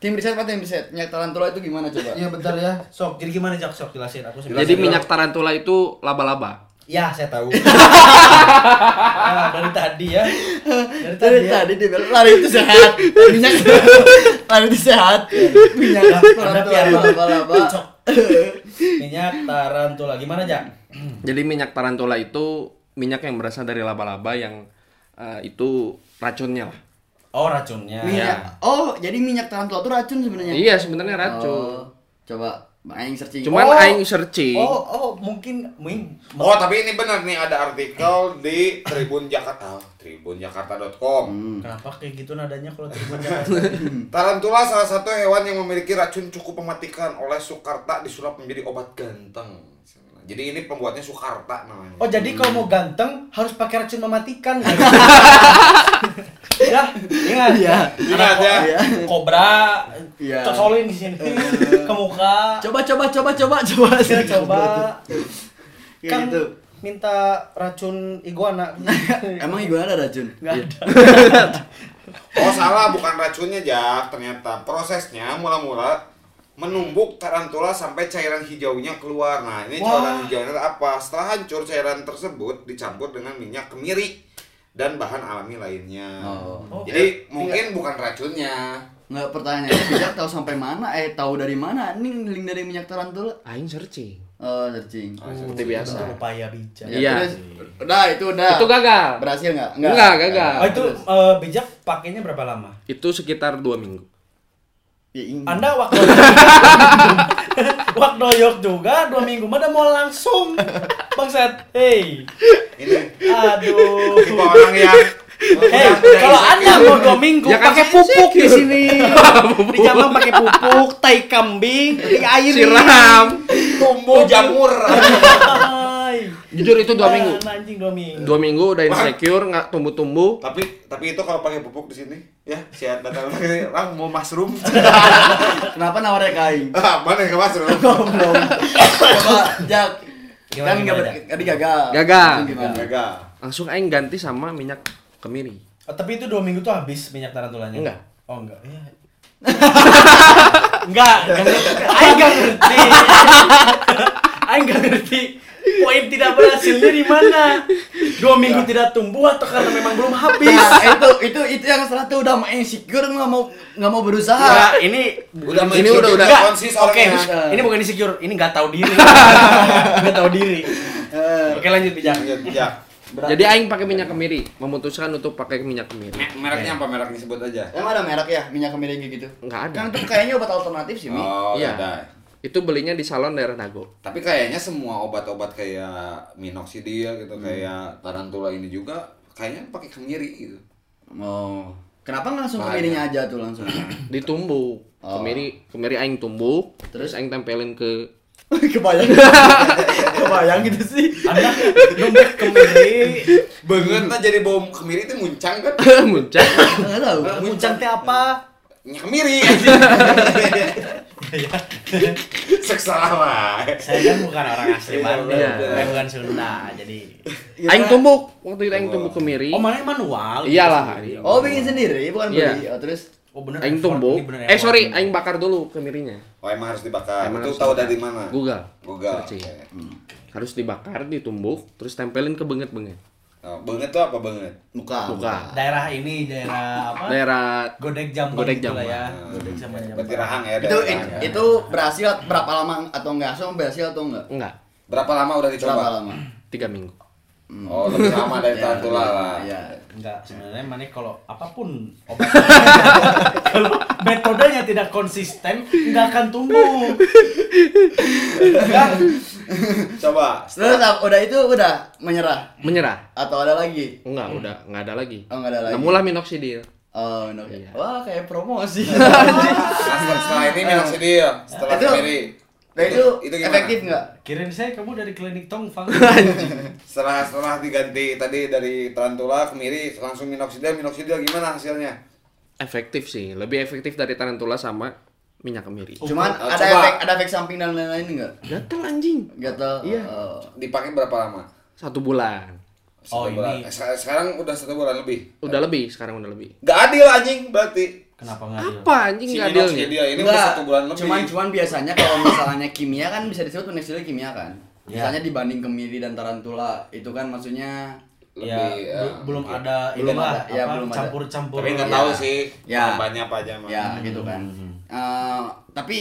[SPEAKER 2] tim riset apa tim riset? Minyak tarantula itu gimana coba?
[SPEAKER 3] Iya bentar ya. Sok, jadi gimana Jak? Sok jelasin aku sebentar.
[SPEAKER 5] Jadi minyak tarantula itu laba-laba.
[SPEAKER 3] Ya, saya tahu. nah, dari tadi ya. Dari
[SPEAKER 2] Tadi
[SPEAKER 3] tadi. ya.
[SPEAKER 2] tadi dia bilang lari itu sehat. Minyak lari itu sehat.
[SPEAKER 5] Iya.
[SPEAKER 2] Minyak
[SPEAKER 3] Ada
[SPEAKER 2] tarantula
[SPEAKER 3] pian, Pak.
[SPEAKER 2] laba-laba.
[SPEAKER 3] Cok. Minyak tarantula. Gimana, Jak?
[SPEAKER 5] Jadi minyak tarantula itu minyak yang berasal dari laba-laba yang eh, itu racunnya lah.
[SPEAKER 3] Oh, racunnya.
[SPEAKER 2] Minyak. Oh, jadi minyak tarantula itu racun sebenarnya.
[SPEAKER 5] Iya sebenarnya
[SPEAKER 2] Oh,
[SPEAKER 5] racun.
[SPEAKER 2] coba aing searching.
[SPEAKER 5] Cuman
[SPEAKER 3] Oh.
[SPEAKER 5] aing searching.
[SPEAKER 3] Oh, oh, mungkin mungkin
[SPEAKER 4] Oh tapi ini benar nih ada artikel di Tribun Jakarta, tribunjakarta.com.
[SPEAKER 3] Kenapa kayak gitu nadanya kalau terima jelasin?
[SPEAKER 2] Hmm.
[SPEAKER 4] Tarantula salah satu hewan yang memiliki racun cukup mematikan oleh Sukarta disulap menjadi obat ganteng. Jadi ini pembuatnya Sukarta namanya.
[SPEAKER 3] Oh, jadi kalau mau ganteng harus pakai racun mematikan. ya? ya, ingat.
[SPEAKER 2] Iya.
[SPEAKER 4] Ingat ya.
[SPEAKER 3] Kobra
[SPEAKER 2] Iya.
[SPEAKER 3] cocolin di sini ke muka.
[SPEAKER 2] Coba coba coba coba coba.
[SPEAKER 3] Coba, coba.
[SPEAKER 2] Kayak
[SPEAKER 3] Iya, Kan
[SPEAKER 2] gitu.
[SPEAKER 3] minta racun iguana.
[SPEAKER 2] Emang iguana ada racun?
[SPEAKER 3] Nggak
[SPEAKER 5] Iya.
[SPEAKER 3] ada.
[SPEAKER 4] Oh salah bukan racunnya Jak ternyata prosesnya mula-mula menumbuk tarantula sampai cairan hijaunya keluar. Nah ini cairan hijaunya apa? Setelah hancur cairan tersebut dicampur dengan minyak kemiri dan bahan alami lainnya.
[SPEAKER 2] Oh.
[SPEAKER 4] Jadi mungkin bukan racunnya.
[SPEAKER 2] Nggak pertanyaannya bijak tahu sampai mana? Eh tahu dari mana? Ini link dari minyak tarantula.
[SPEAKER 5] Aing searching.
[SPEAKER 2] Oh, searching. Ya,
[SPEAKER 5] Hmm, Seperti biasa.
[SPEAKER 3] Itu upaya bijak.
[SPEAKER 5] Iya.
[SPEAKER 2] terus, udah itu udah.
[SPEAKER 5] Itu gagal.
[SPEAKER 2] Berhasil nggak?
[SPEAKER 5] Nggak, gagal.
[SPEAKER 3] Oh, itu
[SPEAKER 2] Terus.
[SPEAKER 3] eh, bijak pakainya berapa lama?
[SPEAKER 5] Itu sekitar dua minggu.
[SPEAKER 2] Ya, ini.
[SPEAKER 3] Anda waktu waktu doyok juga dua minggu mana mau langsung bangsat. Hey,
[SPEAKER 4] Ini
[SPEAKER 3] aduh.
[SPEAKER 4] tipe Oh, gitu, orang ya. yang
[SPEAKER 5] Eh,
[SPEAKER 3] Hey, kalau anda mau dua minggu
[SPEAKER 5] Ya kan
[SPEAKER 3] pakai
[SPEAKER 5] saya
[SPEAKER 3] pupuk di
[SPEAKER 5] insecure.
[SPEAKER 3] sini, di jambang pakai pupuk, tai kambing, tai air,
[SPEAKER 5] Siram.
[SPEAKER 4] tumbuh jamur.
[SPEAKER 5] Jujur itu dua minggu.
[SPEAKER 3] Ah, Anjing dua minggu.
[SPEAKER 5] Dua minggu udah insecure nggak tumbuh-tumbuh.
[SPEAKER 4] tapi tapi itu kalau pakai pupuk di sini ya sehat datang lagi lang mau mushroom
[SPEAKER 2] Kenapa nawarnya kain?
[SPEAKER 4] Ah, mana yang ke mushroom
[SPEAKER 2] Belum. Coba jak.
[SPEAKER 3] Gimana,
[SPEAKER 2] Kan nggak
[SPEAKER 3] gimana,
[SPEAKER 2] ber- tadi gagal.
[SPEAKER 5] Gagal.
[SPEAKER 2] Itu Gimana?
[SPEAKER 4] gagal
[SPEAKER 5] Langsung aing ganti sama minyak kemiri.
[SPEAKER 3] Oh, tapi itu dua minggu tuh habis minyak tarantulanya.
[SPEAKER 5] Enggak.
[SPEAKER 3] Oh enggak. Iya. enggak. Aing enggak ngerti. Aing enggak ngerti. Poin tidak berhasilnya di mana? Dua minggu tidak tumbuh atau karena memang belum habis?
[SPEAKER 2] Nah, itu itu itu yang salah tuh udah mau insecure nggak mau nggak mau berusaha.
[SPEAKER 3] Nah, ini
[SPEAKER 4] Udah
[SPEAKER 5] Ini
[SPEAKER 4] mencium
[SPEAKER 5] udah- udah.
[SPEAKER 4] juga
[SPEAKER 3] Nggak,
[SPEAKER 4] konsis
[SPEAKER 3] Oke,
[SPEAKER 4] orangnya.
[SPEAKER 3] ini bukan insecure, ini nggak tahu diri. Nggak tahu diri.
[SPEAKER 5] Eh.
[SPEAKER 3] Oke lanjut bijak.
[SPEAKER 4] Lanjut, ya. bijak.
[SPEAKER 5] Jadi aing pakai minyak kemiri, memutuskan untuk pakai minyak kemiri.
[SPEAKER 4] Me-
[SPEAKER 2] Eh.
[SPEAKER 4] Mereknya apa merek disebut aja?
[SPEAKER 2] Emang ada merek ya minyak kemiri gitu?
[SPEAKER 5] Enggak ada.
[SPEAKER 2] Kan tuh kayaknya obat alternatif sih, Mi.
[SPEAKER 4] Oh,
[SPEAKER 5] Iya.
[SPEAKER 4] ada.
[SPEAKER 5] Itu belinya di salon daerah Dago.
[SPEAKER 4] Tapi kayaknya semua obat-obat kayak minoxidil gitu,
[SPEAKER 2] Hmm.
[SPEAKER 4] kayak tarantula ini juga kayaknya pakai kemiri gitu.
[SPEAKER 2] Oh. Kenapa nggak langsung
[SPEAKER 4] Bahaya.
[SPEAKER 2] kemirinya aja tuh langsung?
[SPEAKER 5] Ditumbuk. Kemiri, kemiri aing tumbuk, Oh. terus aing tempelin ke
[SPEAKER 2] Kebayang. Kebayang gitu sih.
[SPEAKER 3] Anda dompet kemiri.
[SPEAKER 4] Banget lah jadi bom kemiri itu muncang kan?
[SPEAKER 5] muncak.
[SPEAKER 2] Enggak tahu.
[SPEAKER 3] Muncang teh apa?
[SPEAKER 4] Nya kemiri. Seksara lah.
[SPEAKER 3] Saya kan bukan orang asli Bandung,
[SPEAKER 5] Iya.
[SPEAKER 3] saya bukan Sunda, jadi.
[SPEAKER 5] Aing tumbuk. Waktu itu aing tumbuk kemiri.
[SPEAKER 3] Oh mana yang manual?
[SPEAKER 5] Iyalah.
[SPEAKER 2] Oh, bikin sendiri bukan
[SPEAKER 5] Iya.
[SPEAKER 2] beli. Oh, terus
[SPEAKER 3] Oh bener.
[SPEAKER 5] Aing
[SPEAKER 3] effort,
[SPEAKER 5] tumbuk.
[SPEAKER 3] ini bener
[SPEAKER 5] Eh
[SPEAKER 3] effort.
[SPEAKER 5] sorry, aing bakar dulu kemirinya.
[SPEAKER 4] Oh emang harus dibakar.
[SPEAKER 5] Emang
[SPEAKER 4] itu
[SPEAKER 5] harus
[SPEAKER 4] tahu
[SPEAKER 5] dibakar.
[SPEAKER 4] dari mana?
[SPEAKER 5] Google.
[SPEAKER 4] Google.
[SPEAKER 5] Searching.
[SPEAKER 2] iya.
[SPEAKER 4] Oke. Hmm.
[SPEAKER 5] Harus dibakar, ditumbuk, terus tempelin ke benget-benget.
[SPEAKER 4] Oh, banget tuh apa banget?
[SPEAKER 2] muka.
[SPEAKER 5] Buka.
[SPEAKER 3] Daerah ini daerah apa?
[SPEAKER 5] Daerah
[SPEAKER 3] Godek jam
[SPEAKER 5] Godek
[SPEAKER 3] gitu lah
[SPEAKER 5] Jambon.
[SPEAKER 3] ya.
[SPEAKER 4] Hmm.
[SPEAKER 3] Godek sama jam.
[SPEAKER 4] Berarti rahang ya
[SPEAKER 2] Itu
[SPEAKER 4] dari
[SPEAKER 2] it-
[SPEAKER 4] rahang ya.
[SPEAKER 2] itu berhasil berapa lama atau enggak? Asal berhasil atau enggak?
[SPEAKER 5] enggak,
[SPEAKER 4] Berapa lama udah
[SPEAKER 2] Berapa
[SPEAKER 4] dicoba?
[SPEAKER 2] lama?
[SPEAKER 5] tiga minggu.
[SPEAKER 4] Oh lebih lama
[SPEAKER 2] Ya,
[SPEAKER 4] dari tarantula lah.
[SPEAKER 2] Iya.
[SPEAKER 3] Enggak, sebenarnya mana kalau apapun obat kalau metodenya tidak konsisten nggak akan tumbuh.
[SPEAKER 4] Coba.
[SPEAKER 2] Terus ap- udah itu udah menyerah
[SPEAKER 5] Menyerah?
[SPEAKER 2] atau ada lagi?
[SPEAKER 5] Enggak, udah enggak ada lagi.
[SPEAKER 2] Oh, nggak ada lagi.
[SPEAKER 5] Nemulah minoxidil.
[SPEAKER 2] Oh, no.
[SPEAKER 5] Iya.
[SPEAKER 2] Wah, kayak promosi.
[SPEAKER 4] Nah, setelah- setelah ini minoxidil, setelah
[SPEAKER 2] Eh. Itu-
[SPEAKER 4] kemiri.
[SPEAKER 2] Nah, itu,
[SPEAKER 4] gimana?
[SPEAKER 2] efektif nggak?
[SPEAKER 3] Kirain saya kamu dari klinik Tongfang.
[SPEAKER 4] Setelah setelah diganti tadi dari tarantula kemiri langsung minoxidil, minoxidil gimana hasilnya?
[SPEAKER 5] Efektif sih, lebih efektif dari tarantula sama minyak kemiri.
[SPEAKER 2] Cuman
[SPEAKER 4] Oh,
[SPEAKER 2] ada
[SPEAKER 4] coba.
[SPEAKER 2] efek ada efek samping dan lain-lain nggak?
[SPEAKER 5] Gatel anjing.
[SPEAKER 2] Gatal.
[SPEAKER 5] Iya.
[SPEAKER 2] Oh.
[SPEAKER 4] Dipakai berapa lama?
[SPEAKER 5] Satu bulan.
[SPEAKER 3] Oh,
[SPEAKER 4] Satu bulan.
[SPEAKER 3] ini.
[SPEAKER 4] Eh, se- Sekarang udah satu bulan lebih.
[SPEAKER 5] Udah lebih, sekarang udah lebih.
[SPEAKER 4] Gak adil anjing berarti.
[SPEAKER 3] Kenapa nggak adil?
[SPEAKER 5] Apa anjing enggak adilnya?
[SPEAKER 4] minoxidil ini udah
[SPEAKER 2] Nggak,
[SPEAKER 4] satu bulan lebih.
[SPEAKER 2] Cuman cuman biasanya kalau misalnya kimia kan bisa disebut penicillin kimia kan.
[SPEAKER 3] Iya.
[SPEAKER 2] Misalnya dibanding kemiri dan tarantula itu kan maksudnya
[SPEAKER 4] lebih
[SPEAKER 3] ya,
[SPEAKER 4] ya,
[SPEAKER 3] bel- belum
[SPEAKER 4] mungkin.
[SPEAKER 3] ada
[SPEAKER 2] Belum
[SPEAKER 3] itulah,
[SPEAKER 2] ada, ya,
[SPEAKER 3] apa,
[SPEAKER 2] belum ada.
[SPEAKER 3] campur-campur.
[SPEAKER 4] Tapi nggak
[SPEAKER 2] Iya.
[SPEAKER 4] tahu sih
[SPEAKER 2] Iya.
[SPEAKER 4] banyak apa aja mah.
[SPEAKER 2] ya
[SPEAKER 3] Hmm.
[SPEAKER 2] gitu kan. Eh, tapi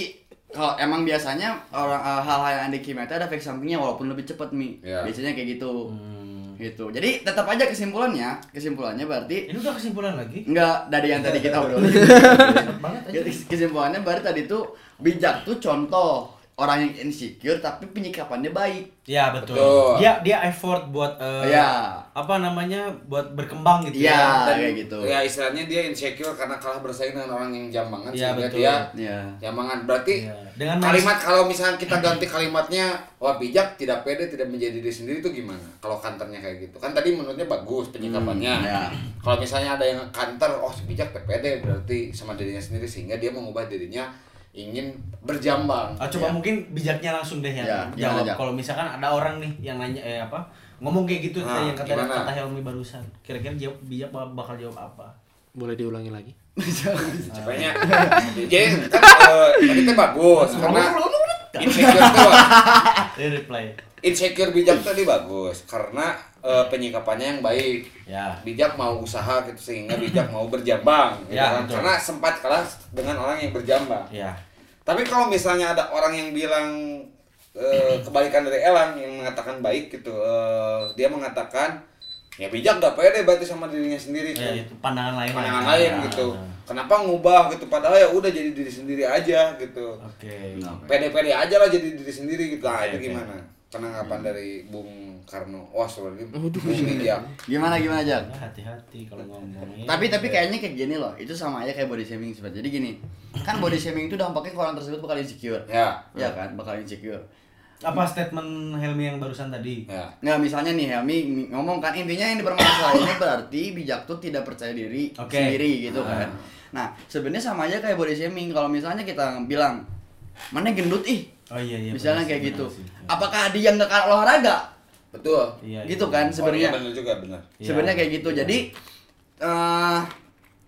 [SPEAKER 2] kalau emang biasanya orang eh, hal-hal yang anti kimia itu ada efek sampingnya walaupun lebih cepat mi.
[SPEAKER 4] Iya.
[SPEAKER 2] Biasanya kayak gitu.
[SPEAKER 3] Ya. Hmm.
[SPEAKER 2] Gitu. Jadi tetap aja kesimpulannya, kesimpulannya berarti
[SPEAKER 3] Ini udah kesimpulan lagi.
[SPEAKER 2] Enggak, dari yang tadi kita obrolin.
[SPEAKER 3] banget aja.
[SPEAKER 2] Jadi Kesimpulannya baru tadi tuh bijak tuh contoh orang yang insecure tapi penyikapannya baik.
[SPEAKER 3] Ya betul.
[SPEAKER 4] Betul.
[SPEAKER 3] Dia dia effort buat eh,
[SPEAKER 2] Ya.
[SPEAKER 3] apa namanya buat berkembang gitu
[SPEAKER 2] Iya,
[SPEAKER 4] Dan,
[SPEAKER 2] kayak gitu.
[SPEAKER 4] Ya istilahnya dia insecure karena kalah bersaing dengan orang yang
[SPEAKER 2] Ya,
[SPEAKER 4] jambangan
[SPEAKER 3] Iya,
[SPEAKER 4] sehingga
[SPEAKER 3] betul.
[SPEAKER 4] dia
[SPEAKER 2] Iya.
[SPEAKER 4] jambangan. Ya, Berarti
[SPEAKER 3] Iya. Dengan
[SPEAKER 4] kalimat kalau misalnya kita ganti kalimatnya wah bijak, tidak pede, tidak menjadi diri sendiri itu gimana? Kalau kantornya kayak gitu. Kan tadi menurutnya bagus
[SPEAKER 2] Hmm,
[SPEAKER 4] penyikapannya.
[SPEAKER 2] iya.
[SPEAKER 4] Kalau misalnya ada yang kantor, oh si bijak teh pede berarti sama dirinya sendiri sehingga dia mengubah dirinya ingin berjambang. Iya.
[SPEAKER 3] Ah, coba
[SPEAKER 2] Ya.
[SPEAKER 3] mungkin bijaknya langsung deh ya.
[SPEAKER 2] Ya, gimana,
[SPEAKER 3] Jawab
[SPEAKER 2] Jak?
[SPEAKER 3] kalau misalkan ada orang nih yang nanya eh apa ngomong kayak gitu
[SPEAKER 4] Nah,
[SPEAKER 3] kayak yang kata
[SPEAKER 4] gimana?
[SPEAKER 3] kata Helmi barusan. Kira-kira jawab bijak bak- bakal jawab apa?
[SPEAKER 5] Boleh diulangi lagi?
[SPEAKER 4] Capeknya. Jadi kan eh, tadi teh bagus karena
[SPEAKER 3] kan?
[SPEAKER 4] insecure tuh
[SPEAKER 2] Ah.
[SPEAKER 3] Dia reply.
[SPEAKER 4] insecure bijak tadi bagus karena eh, penyikapannya yang baik
[SPEAKER 3] Ya.
[SPEAKER 4] Ah, bijak mau usaha gitu sehingga bijak mau berjambang gitu
[SPEAKER 3] Ya,
[SPEAKER 4] kan.
[SPEAKER 3] betul.
[SPEAKER 4] karena sempat kalah dengan orang yang berjambang
[SPEAKER 3] Ya.
[SPEAKER 4] tapi kalau misalnya ada orang yang bilang eh, kebalikan dari Elang yang mengatakan baik gitu eh, dia mengatakan ya bijak gak pede berarti sama dirinya sendiri
[SPEAKER 3] Ya,
[SPEAKER 4] kan
[SPEAKER 3] itu pandangan lain. lah
[SPEAKER 4] pandangan
[SPEAKER 3] ya.
[SPEAKER 4] lain
[SPEAKER 3] Ya,
[SPEAKER 4] gitu
[SPEAKER 3] ya.
[SPEAKER 4] kenapa ngubah gitu padahal ya udah jadi diri sendiri aja gitu
[SPEAKER 3] Oke.
[SPEAKER 4] pede-pede aja lah jadi diri sendiri gitu lah
[SPEAKER 3] Oke, Hmm. oke.
[SPEAKER 4] itu gimana penanggapan dari Bung Karno wah sebenarnya Bung Bijak
[SPEAKER 2] Gimana gimana aja?
[SPEAKER 3] Nah, Hati-hati kalau ngomongin.
[SPEAKER 2] Tapi tapi kayaknya kayak gini loh, itu sama aja kayak body shaming sebenarnya. Jadi gini, kan body shaming itu dampaknya ke orang tersebut bakal insecure.
[SPEAKER 4] ya
[SPEAKER 3] Iya.
[SPEAKER 2] Ya kan, bakal insecure.
[SPEAKER 3] apa statement Helmi yang barusan tadi?
[SPEAKER 4] ya
[SPEAKER 2] Nah, misalnya nih Helmi ngomong kan intinya yang dipermasalahinnya berarti bijak tuh tidak percaya diri
[SPEAKER 3] Oke. Ah.
[SPEAKER 2] sendiri gitu kan. Nah, sebenarnya sama aja kayak body shaming. Kalau misalnya kita bilang, "Mana gendut ih?"
[SPEAKER 3] Oh iya iya.
[SPEAKER 2] misalnya
[SPEAKER 3] benar
[SPEAKER 2] kayak
[SPEAKER 3] sih, benar
[SPEAKER 2] gitu.
[SPEAKER 3] sih.
[SPEAKER 2] Apakah dia nggak kalah olahraga?
[SPEAKER 4] betul
[SPEAKER 3] Iya,
[SPEAKER 2] gitu
[SPEAKER 3] iya.
[SPEAKER 2] kan
[SPEAKER 4] Oh,
[SPEAKER 2] sebenarnya.
[SPEAKER 4] iya, benar juga benar
[SPEAKER 3] Iya.
[SPEAKER 2] Sebenarnya kayak gitu. Jadi eh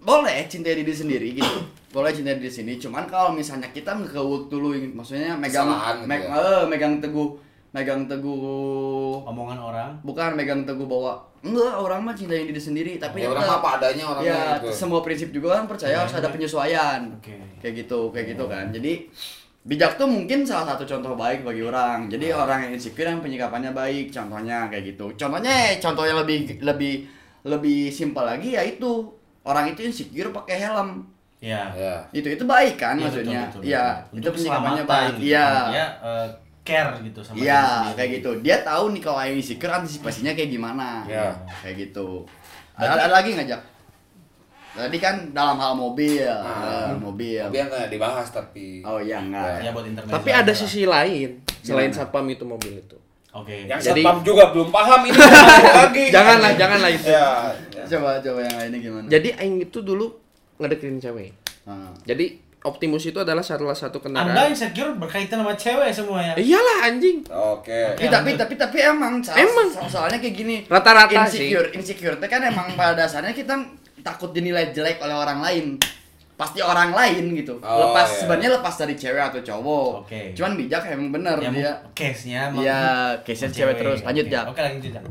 [SPEAKER 2] boleh cintai diri sendiri gitu. boleh cintai diri sendiri. Cuman kalau misalnya kita ngekewut dulu maksudnya megang
[SPEAKER 4] Kesalahan gitu
[SPEAKER 2] meg-
[SPEAKER 4] ya.
[SPEAKER 2] eh, megang teguh megang teguh
[SPEAKER 3] omongan orang
[SPEAKER 2] bukan megang teguh bahwa enggak orang mah cintain diri sendiri tapi
[SPEAKER 4] Ya, orang
[SPEAKER 2] tetap-
[SPEAKER 4] apa adanya orangnya
[SPEAKER 2] ya
[SPEAKER 4] gitu.
[SPEAKER 2] semua prinsip juga kan percaya harus ada penyesuaian
[SPEAKER 3] Iya. Oke. Oh.
[SPEAKER 2] kayak gitu kayak gitu kan jadi bijak tuh mungkin salah satu contoh baik bagi orang jadi
[SPEAKER 3] Ah.
[SPEAKER 2] orang yang insecure yang penyikapannya baik contohnya kayak gitu contohnya contohnya lebih lebih lebih simpel lagi yaitu orang itu insecure pakai helm
[SPEAKER 3] ya
[SPEAKER 4] Ya.
[SPEAKER 2] itu itu baik kan
[SPEAKER 3] Iya,
[SPEAKER 2] maksudnya
[SPEAKER 3] betul, betul,
[SPEAKER 2] Iya,
[SPEAKER 3] betul.
[SPEAKER 2] itu
[SPEAKER 3] Untuk
[SPEAKER 2] penyikapannya
[SPEAKER 3] keselamatan
[SPEAKER 2] baik
[SPEAKER 3] gitu.
[SPEAKER 2] iya
[SPEAKER 3] Dia, eh, care gitu sama
[SPEAKER 2] Iya,
[SPEAKER 3] diri sendiri.
[SPEAKER 2] kayak gitu. Dia tahu nih kalau ayam insecure antisipasinya kayak gimana.
[SPEAKER 4] Iya.
[SPEAKER 2] Kayak gitu. Ada, ada lagi ngajak. Tadi kan dalam hal mobil, eh, mobil.
[SPEAKER 4] Tapi yang nggak dibahas tapi.
[SPEAKER 2] Oh iya enggak.
[SPEAKER 3] Ya, buat intermezzo
[SPEAKER 5] Tapi
[SPEAKER 3] lah.
[SPEAKER 5] ada sisi Ya. lain selain satpam itu mobil itu.
[SPEAKER 3] Oke.
[SPEAKER 4] Yang
[SPEAKER 5] Jadi-
[SPEAKER 4] satpam juga belum paham ini lagi.
[SPEAKER 5] Janganlah, janganlah itu.
[SPEAKER 4] Ya.
[SPEAKER 2] Coba coba yang lainnya gimana?
[SPEAKER 5] Jadi aing itu dulu ngedeketin cewek.
[SPEAKER 2] Ah.
[SPEAKER 5] Jadi Optimus itu adalah salah satu
[SPEAKER 3] Anda
[SPEAKER 5] kendaraan.
[SPEAKER 3] insecure berkaitan sama cewek ya? semuanya.
[SPEAKER 2] Iya,
[SPEAKER 5] Iyalah anjing.
[SPEAKER 4] Oke.
[SPEAKER 2] Tapi, tapi tapi tapi emang so-
[SPEAKER 5] Emang.
[SPEAKER 2] so- soalnya kayak gini.
[SPEAKER 5] Rata-rata sih.
[SPEAKER 2] insecure insecure itu kan emang pada dasarnya kita takut dinilai jelek oleh orang lain pasti orang lain gitu
[SPEAKER 4] Oh,
[SPEAKER 2] lepas
[SPEAKER 4] iya.
[SPEAKER 2] sebenarnya lepas dari cewek atau cowok
[SPEAKER 3] Oke.
[SPEAKER 2] cuman bijak emang bener
[SPEAKER 3] Ya,
[SPEAKER 2] dia
[SPEAKER 3] case-nya emang- Hmm.
[SPEAKER 2] Iya, case-nya cewek terus. Lanjut,
[SPEAKER 3] Oke.
[SPEAKER 2] Jak.
[SPEAKER 3] Oke, lanjut, Jak.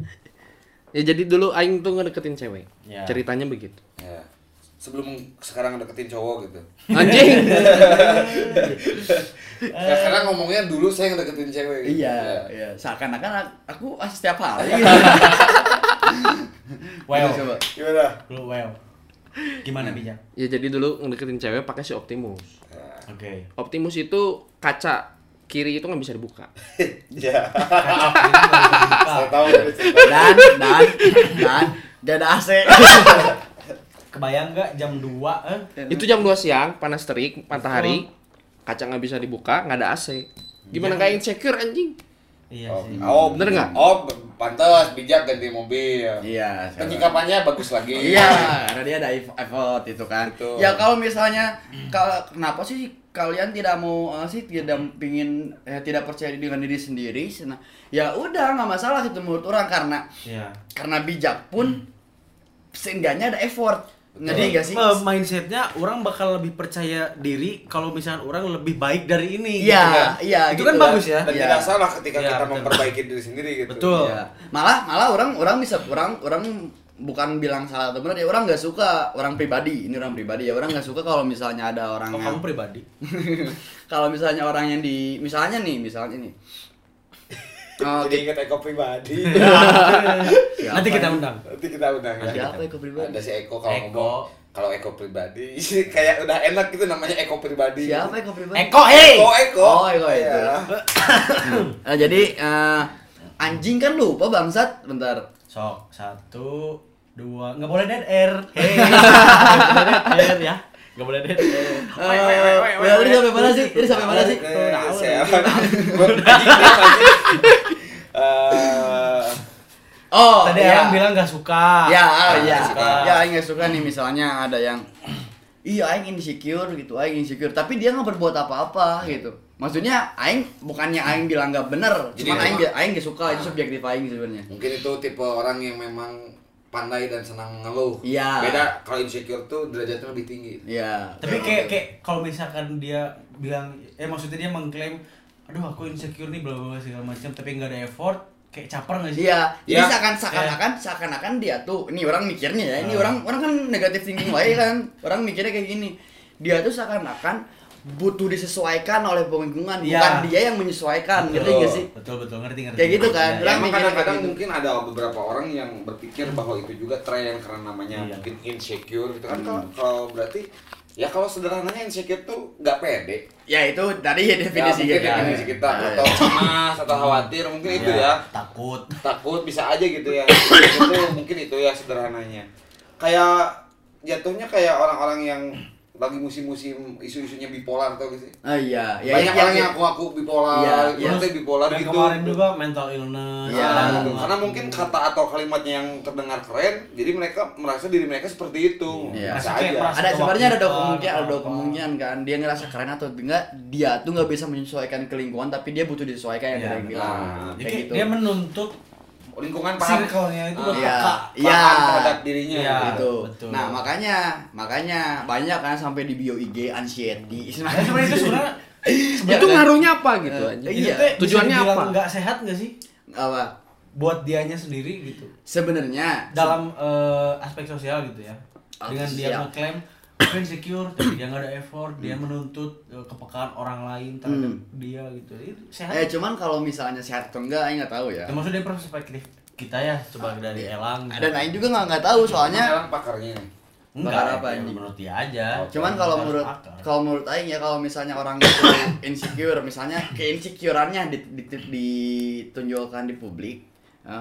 [SPEAKER 5] Ya jadi dulu aing tuh ngedeketin cewek.
[SPEAKER 3] Ya.
[SPEAKER 5] Ceritanya begitu.
[SPEAKER 4] Ya. Sebelum sekarang deketin cowok gitu.
[SPEAKER 5] Anjing.
[SPEAKER 4] Ya, karena ngomongnya dulu saya ngedeketin cewek.
[SPEAKER 2] Eh.
[SPEAKER 4] gitu.
[SPEAKER 2] Iya,
[SPEAKER 4] Ya.
[SPEAKER 2] iya. Seakan-akan aku ah, setiap hari.
[SPEAKER 3] Iya. Well,
[SPEAKER 2] Gitu, coba.
[SPEAKER 4] Gimana?
[SPEAKER 3] lu well. Gimana bijak?
[SPEAKER 5] ya jadi dulu ngedeketin cewek pakai si Optimus.
[SPEAKER 3] Oke.
[SPEAKER 5] Optimus itu kaca kiri itu nggak bisa dibuka.
[SPEAKER 4] Ya. Saya
[SPEAKER 3] Kacau,
[SPEAKER 4] tahu.
[SPEAKER 2] Iya
[SPEAKER 4] saya tahu.
[SPEAKER 2] Dan dan dan gak ada AC.
[SPEAKER 3] Kebayang nggak jam 2 eh?
[SPEAKER 5] Itu jam 2 siang, panas terik, matahari, kaca nggak bisa dibuka, nggak ada AC.
[SPEAKER 3] Ya.
[SPEAKER 5] Gimana kayak insecure anjing?
[SPEAKER 3] Iya
[SPEAKER 4] Oh,
[SPEAKER 3] sih.
[SPEAKER 4] oh,
[SPEAKER 5] Bener nggak?
[SPEAKER 4] Oh, pantas bijak ganti mobil.
[SPEAKER 2] Iya. sekarang.
[SPEAKER 4] Penyikapannya bagus lagi.
[SPEAKER 2] Iya, karena dia ada eff- effort itu kan.
[SPEAKER 4] Betul.
[SPEAKER 2] Ya kalau misalnya kalau kenapa sih kalian tidak mau eh, sih tidak pingin eh, tidak percaya dengan diri sendiri? Nah, ya udah nggak masalah itu menurut orang karena
[SPEAKER 3] Iya.
[SPEAKER 2] karena bijak
[SPEAKER 3] Hmm.
[SPEAKER 2] pun seenggaknya ada effort. Ngerti gak sih?
[SPEAKER 3] Eh, mindsetnya orang bakal lebih percaya diri kalau misalnya orang lebih baik dari
[SPEAKER 2] Iya,
[SPEAKER 3] ini. gitu kan?
[SPEAKER 2] iya,
[SPEAKER 3] Itu
[SPEAKER 2] gitu
[SPEAKER 3] kan
[SPEAKER 2] kan.
[SPEAKER 3] bagus ya.
[SPEAKER 4] Dan
[SPEAKER 2] Iya.
[SPEAKER 4] tidak salah ketika
[SPEAKER 3] Iya,
[SPEAKER 4] kita
[SPEAKER 3] betul.
[SPEAKER 4] memperbaiki diri sendiri gitu.
[SPEAKER 3] Betul.
[SPEAKER 2] Iya. Malah malah orang orang bisa orang orang bukan bilang salah atau benar ya orang nggak suka orang pribadi ini orang pribadi ya orang nggak suka kalau misalnya ada orang
[SPEAKER 3] Kalau
[SPEAKER 2] yang
[SPEAKER 3] kamu pribadi.
[SPEAKER 2] kalau misalnya orang yang di misalnya nih misalnya nih Oh,
[SPEAKER 4] Jadi ingat Eko pribadi.
[SPEAKER 2] Siapa
[SPEAKER 3] Nanti kita
[SPEAKER 2] ini?
[SPEAKER 3] undang.
[SPEAKER 4] Nanti kita undang ya.
[SPEAKER 2] Ada apa Eko pribadi?
[SPEAKER 4] Ada si Eko kalau
[SPEAKER 3] Eko.
[SPEAKER 4] ngomong kalau Eko pribadi kayak udah enak gitu namanya Eko pribadi.
[SPEAKER 2] siapa Eko pribadi?
[SPEAKER 3] Eko, hei.
[SPEAKER 4] Eko Eko.
[SPEAKER 2] Oh, Eko itu.
[SPEAKER 4] Iya.
[SPEAKER 2] Nah, jadi eh, anjing kan lupa bangsat bentar.
[SPEAKER 3] Sok, satu, dua, nggak boleh dead air. Hei, nggak boleh dead air ya. Nggak boleh dead air.
[SPEAKER 2] Eh, ya, ini sampai mana sih? Ini sampai mana sih?
[SPEAKER 4] Eh, siapa? Eh,
[SPEAKER 2] Oh,
[SPEAKER 3] Tadi
[SPEAKER 2] iya.
[SPEAKER 3] orang bilang nggak suka.
[SPEAKER 2] ya ah,
[SPEAKER 3] Nggak
[SPEAKER 2] ya
[SPEAKER 3] suka.
[SPEAKER 2] ya aing nggak suka nih misalnya ada yang iya aing insecure gitu aing insecure tapi dia nggak berbuat apa-apa gitu maksudnya aing bukannya aing bilang nggak bener
[SPEAKER 4] Jadi
[SPEAKER 2] cuman aing
[SPEAKER 4] memang-
[SPEAKER 2] bi- aing nggak suka itu subjektif aing sebenarnya
[SPEAKER 4] Mungkin itu tipe orang yang memang pandai dan senang ngeluh.
[SPEAKER 2] Iya.
[SPEAKER 4] Beda kalau insecure tuh derajatnya lebih tinggi.
[SPEAKER 2] ya
[SPEAKER 3] Tapi kayak kayak kalau misalkan dia bilang eh maksudnya dia mengklaim aduh aku insecure nih bla bla bla segala macam tapi nggak ada effort kayak caper nggak sih?
[SPEAKER 2] Iya, jadi
[SPEAKER 4] Ya.
[SPEAKER 2] seakan seakan-akan seakan-akan dia tuh, ini orang mikirnya ya, ini orang orang kan negatif thinking wae kan, orang mikirnya kayak gini, dia tuh seakan-akan butuh disesuaikan oleh lingkungan,
[SPEAKER 3] Iya.
[SPEAKER 2] bukan dia yang menyesuaikan, ngerti
[SPEAKER 4] Betul.
[SPEAKER 2] gak sih?
[SPEAKER 3] Betul betul ngerti ngerti.
[SPEAKER 2] Kayak gitu kan,
[SPEAKER 3] Ya,
[SPEAKER 4] Ya,
[SPEAKER 2] Orang
[SPEAKER 4] emang
[SPEAKER 2] mikirnya
[SPEAKER 4] kadang-kadang
[SPEAKER 2] kayak gitu.
[SPEAKER 4] mungkin ada beberapa orang yang berpikir bahwa itu juga tren karena namanya
[SPEAKER 3] Iya.
[SPEAKER 4] mungkin insecure gitu kan kalau, kalau berarti ya kalau sederhananya insecure tuh nggak pede
[SPEAKER 2] Ya itu dari
[SPEAKER 4] ya,
[SPEAKER 2] definisi
[SPEAKER 4] mungkin
[SPEAKER 2] gitu.
[SPEAKER 4] definisi kita
[SPEAKER 2] Ya, ya.
[SPEAKER 4] atau cemas atau khawatir mungkin itu
[SPEAKER 2] Iya.
[SPEAKER 4] ya
[SPEAKER 3] Takut.
[SPEAKER 4] takut bisa aja gitu ya itu mungkin itu ya sederhananya kayak jatuhnya kayak orang-orang yang lagi musim-musim isu-isunya bipolar atau gitu
[SPEAKER 2] Oh iya, ya,
[SPEAKER 4] banyak
[SPEAKER 2] ya,
[SPEAKER 4] orang
[SPEAKER 2] ya.
[SPEAKER 4] yang aku-aku bipolar,
[SPEAKER 2] Iya,
[SPEAKER 4] orang
[SPEAKER 2] iya.
[SPEAKER 4] teh bipolar
[SPEAKER 3] Dan
[SPEAKER 4] gitu
[SPEAKER 3] kemarin juga mental illness.
[SPEAKER 2] Iya.
[SPEAKER 3] ada
[SPEAKER 4] Nah,
[SPEAKER 2] Betul.
[SPEAKER 3] juga.
[SPEAKER 4] karena mungkin kata atau kalimatnya yang terdengar keren, jadi mereka merasa diri mereka seperti itu.
[SPEAKER 2] Iya.
[SPEAKER 4] Bisa
[SPEAKER 3] Merasa kayak
[SPEAKER 4] aja.
[SPEAKER 3] merasa-
[SPEAKER 2] ada sebenarnya ada dua
[SPEAKER 3] Waktu
[SPEAKER 2] kemungkinan, ada dua
[SPEAKER 3] apa.
[SPEAKER 2] kemungkinan kan. Dia ngerasa keren atau enggak, dia tuh nggak bisa menyesuaikan ke lingkungan, tapi dia butuh disesuaikan yang
[SPEAKER 3] Iya,
[SPEAKER 2] dari yang bilang.
[SPEAKER 4] betul.
[SPEAKER 3] Jadi
[SPEAKER 2] Kayak gitu.
[SPEAKER 3] dia menuntut
[SPEAKER 4] Lingkungan paham.
[SPEAKER 3] circle-nya itu
[SPEAKER 4] Ah,
[SPEAKER 3] buat
[SPEAKER 2] iya.
[SPEAKER 3] peka.
[SPEAKER 4] Iya.
[SPEAKER 2] Iya.
[SPEAKER 4] terhadap dirinya.
[SPEAKER 3] Iya.
[SPEAKER 4] Gitu.
[SPEAKER 2] gitu.
[SPEAKER 3] betul.
[SPEAKER 2] Nah makanya makanya banyak kan sampai di bio IG anxiety.
[SPEAKER 3] Nah, Ya, sebenarnya itu sebenarnya
[SPEAKER 5] itu ngaruhnya apa gitu
[SPEAKER 3] Eh,
[SPEAKER 5] aja
[SPEAKER 2] kan? Iya.
[SPEAKER 5] Tujuannya apa?
[SPEAKER 3] Nggak sehat nggak sih
[SPEAKER 2] apa
[SPEAKER 3] buat dianya sendiri gitu
[SPEAKER 2] sebenarnya
[SPEAKER 3] dalam eh, aspek sosial gitu ya
[SPEAKER 2] Aspek
[SPEAKER 3] dengan dia
[SPEAKER 2] sosial.
[SPEAKER 3] ngeklaim gue insecure tapi dia nggak ada effort dia
[SPEAKER 2] Hmm.
[SPEAKER 3] menuntut eh, kepekaan orang lain terhadap dia gitu itu sehat
[SPEAKER 2] eh cuman kalau misalnya sehat atau enggak aing nggak tahu ya
[SPEAKER 3] ya, maksudnya perspektif kita ya coba
[SPEAKER 2] Ah,
[SPEAKER 3] dari
[SPEAKER 2] iya.
[SPEAKER 3] Elang gitu.
[SPEAKER 2] dan aing juga nggak nggak tahu soalnya
[SPEAKER 4] Sekarang pakarnya nih.
[SPEAKER 3] enggak
[SPEAKER 2] bakar
[SPEAKER 3] apa
[SPEAKER 2] apa
[SPEAKER 3] yang
[SPEAKER 2] ini?
[SPEAKER 3] menurut dia aja
[SPEAKER 2] Cuman kalau
[SPEAKER 3] Harus
[SPEAKER 2] menurut
[SPEAKER 3] akar.
[SPEAKER 2] kalau menurut aing ya kalau misalnya orang itu insecure, misalnya keinsecureannya di, di, di- ditunjukkan di publik, ya,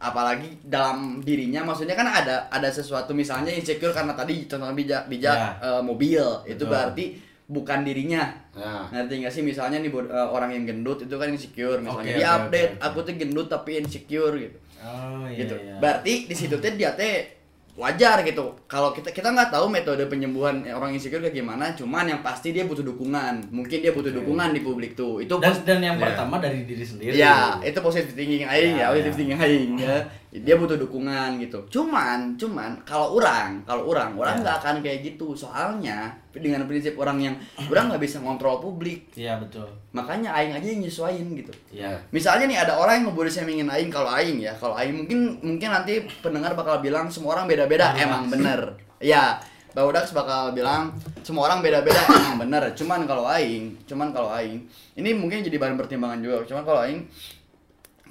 [SPEAKER 2] apalagi dalam dirinya maksudnya kan ada ada sesuatu misalnya insecure karena tadi contoh bijak bijak
[SPEAKER 3] Ya.
[SPEAKER 2] eh, mobil itu
[SPEAKER 3] Betul.
[SPEAKER 2] berarti bukan dirinya
[SPEAKER 4] Nah.
[SPEAKER 2] ngerti nggak sih misalnya nih bod- eh, orang yang gendut itu kan insecure misalnya
[SPEAKER 3] Oke,
[SPEAKER 2] dia
[SPEAKER 3] oke,
[SPEAKER 2] update
[SPEAKER 3] oke, oke.
[SPEAKER 2] aku tuh gendut tapi insecure gitu
[SPEAKER 3] oh, iya,
[SPEAKER 2] gitu.
[SPEAKER 3] iya.
[SPEAKER 2] Berarti di situ teh dia teh wajar gitu. Kalau kita kita nggak tahu metode penyembuhan eh, orang insecure kayak gimana, cuman yang pasti dia butuh dukungan. Mungkin dia butuh dukungan di publik tuh. Itu
[SPEAKER 3] dan
[SPEAKER 2] pos-
[SPEAKER 3] dan
[SPEAKER 2] Ya.
[SPEAKER 3] yang pertama dari diri sendiri
[SPEAKER 2] Ya, itu positif thinking aing ya,
[SPEAKER 3] Ya,
[SPEAKER 2] positif
[SPEAKER 3] ya.
[SPEAKER 2] thinking aing ya. Dia butuh dukungan gitu. Cuman, cuman kalau orang, kalau orang, orang
[SPEAKER 3] Ya.
[SPEAKER 2] nggak akan kayak gitu. Soalnya dengan prinsip orang yang orang nggak bisa ngontrol publik,
[SPEAKER 3] iya betul
[SPEAKER 2] makanya aing aja yang nyesuaiin gitu.
[SPEAKER 3] iya
[SPEAKER 2] Misalnya nih ada orang yang ngebully shamingin aing kalau aing ya, kalau aing mungkin mungkin nanti pendengar bakal bilang semua orang beda-beda emang bener. Ya, Bang Udax bakal bilang semua orang beda-beda emang bener. Cuman kalau aing, cuman kalau aing, ini mungkin jadi bahan pertimbangan juga. Cuman kalau aing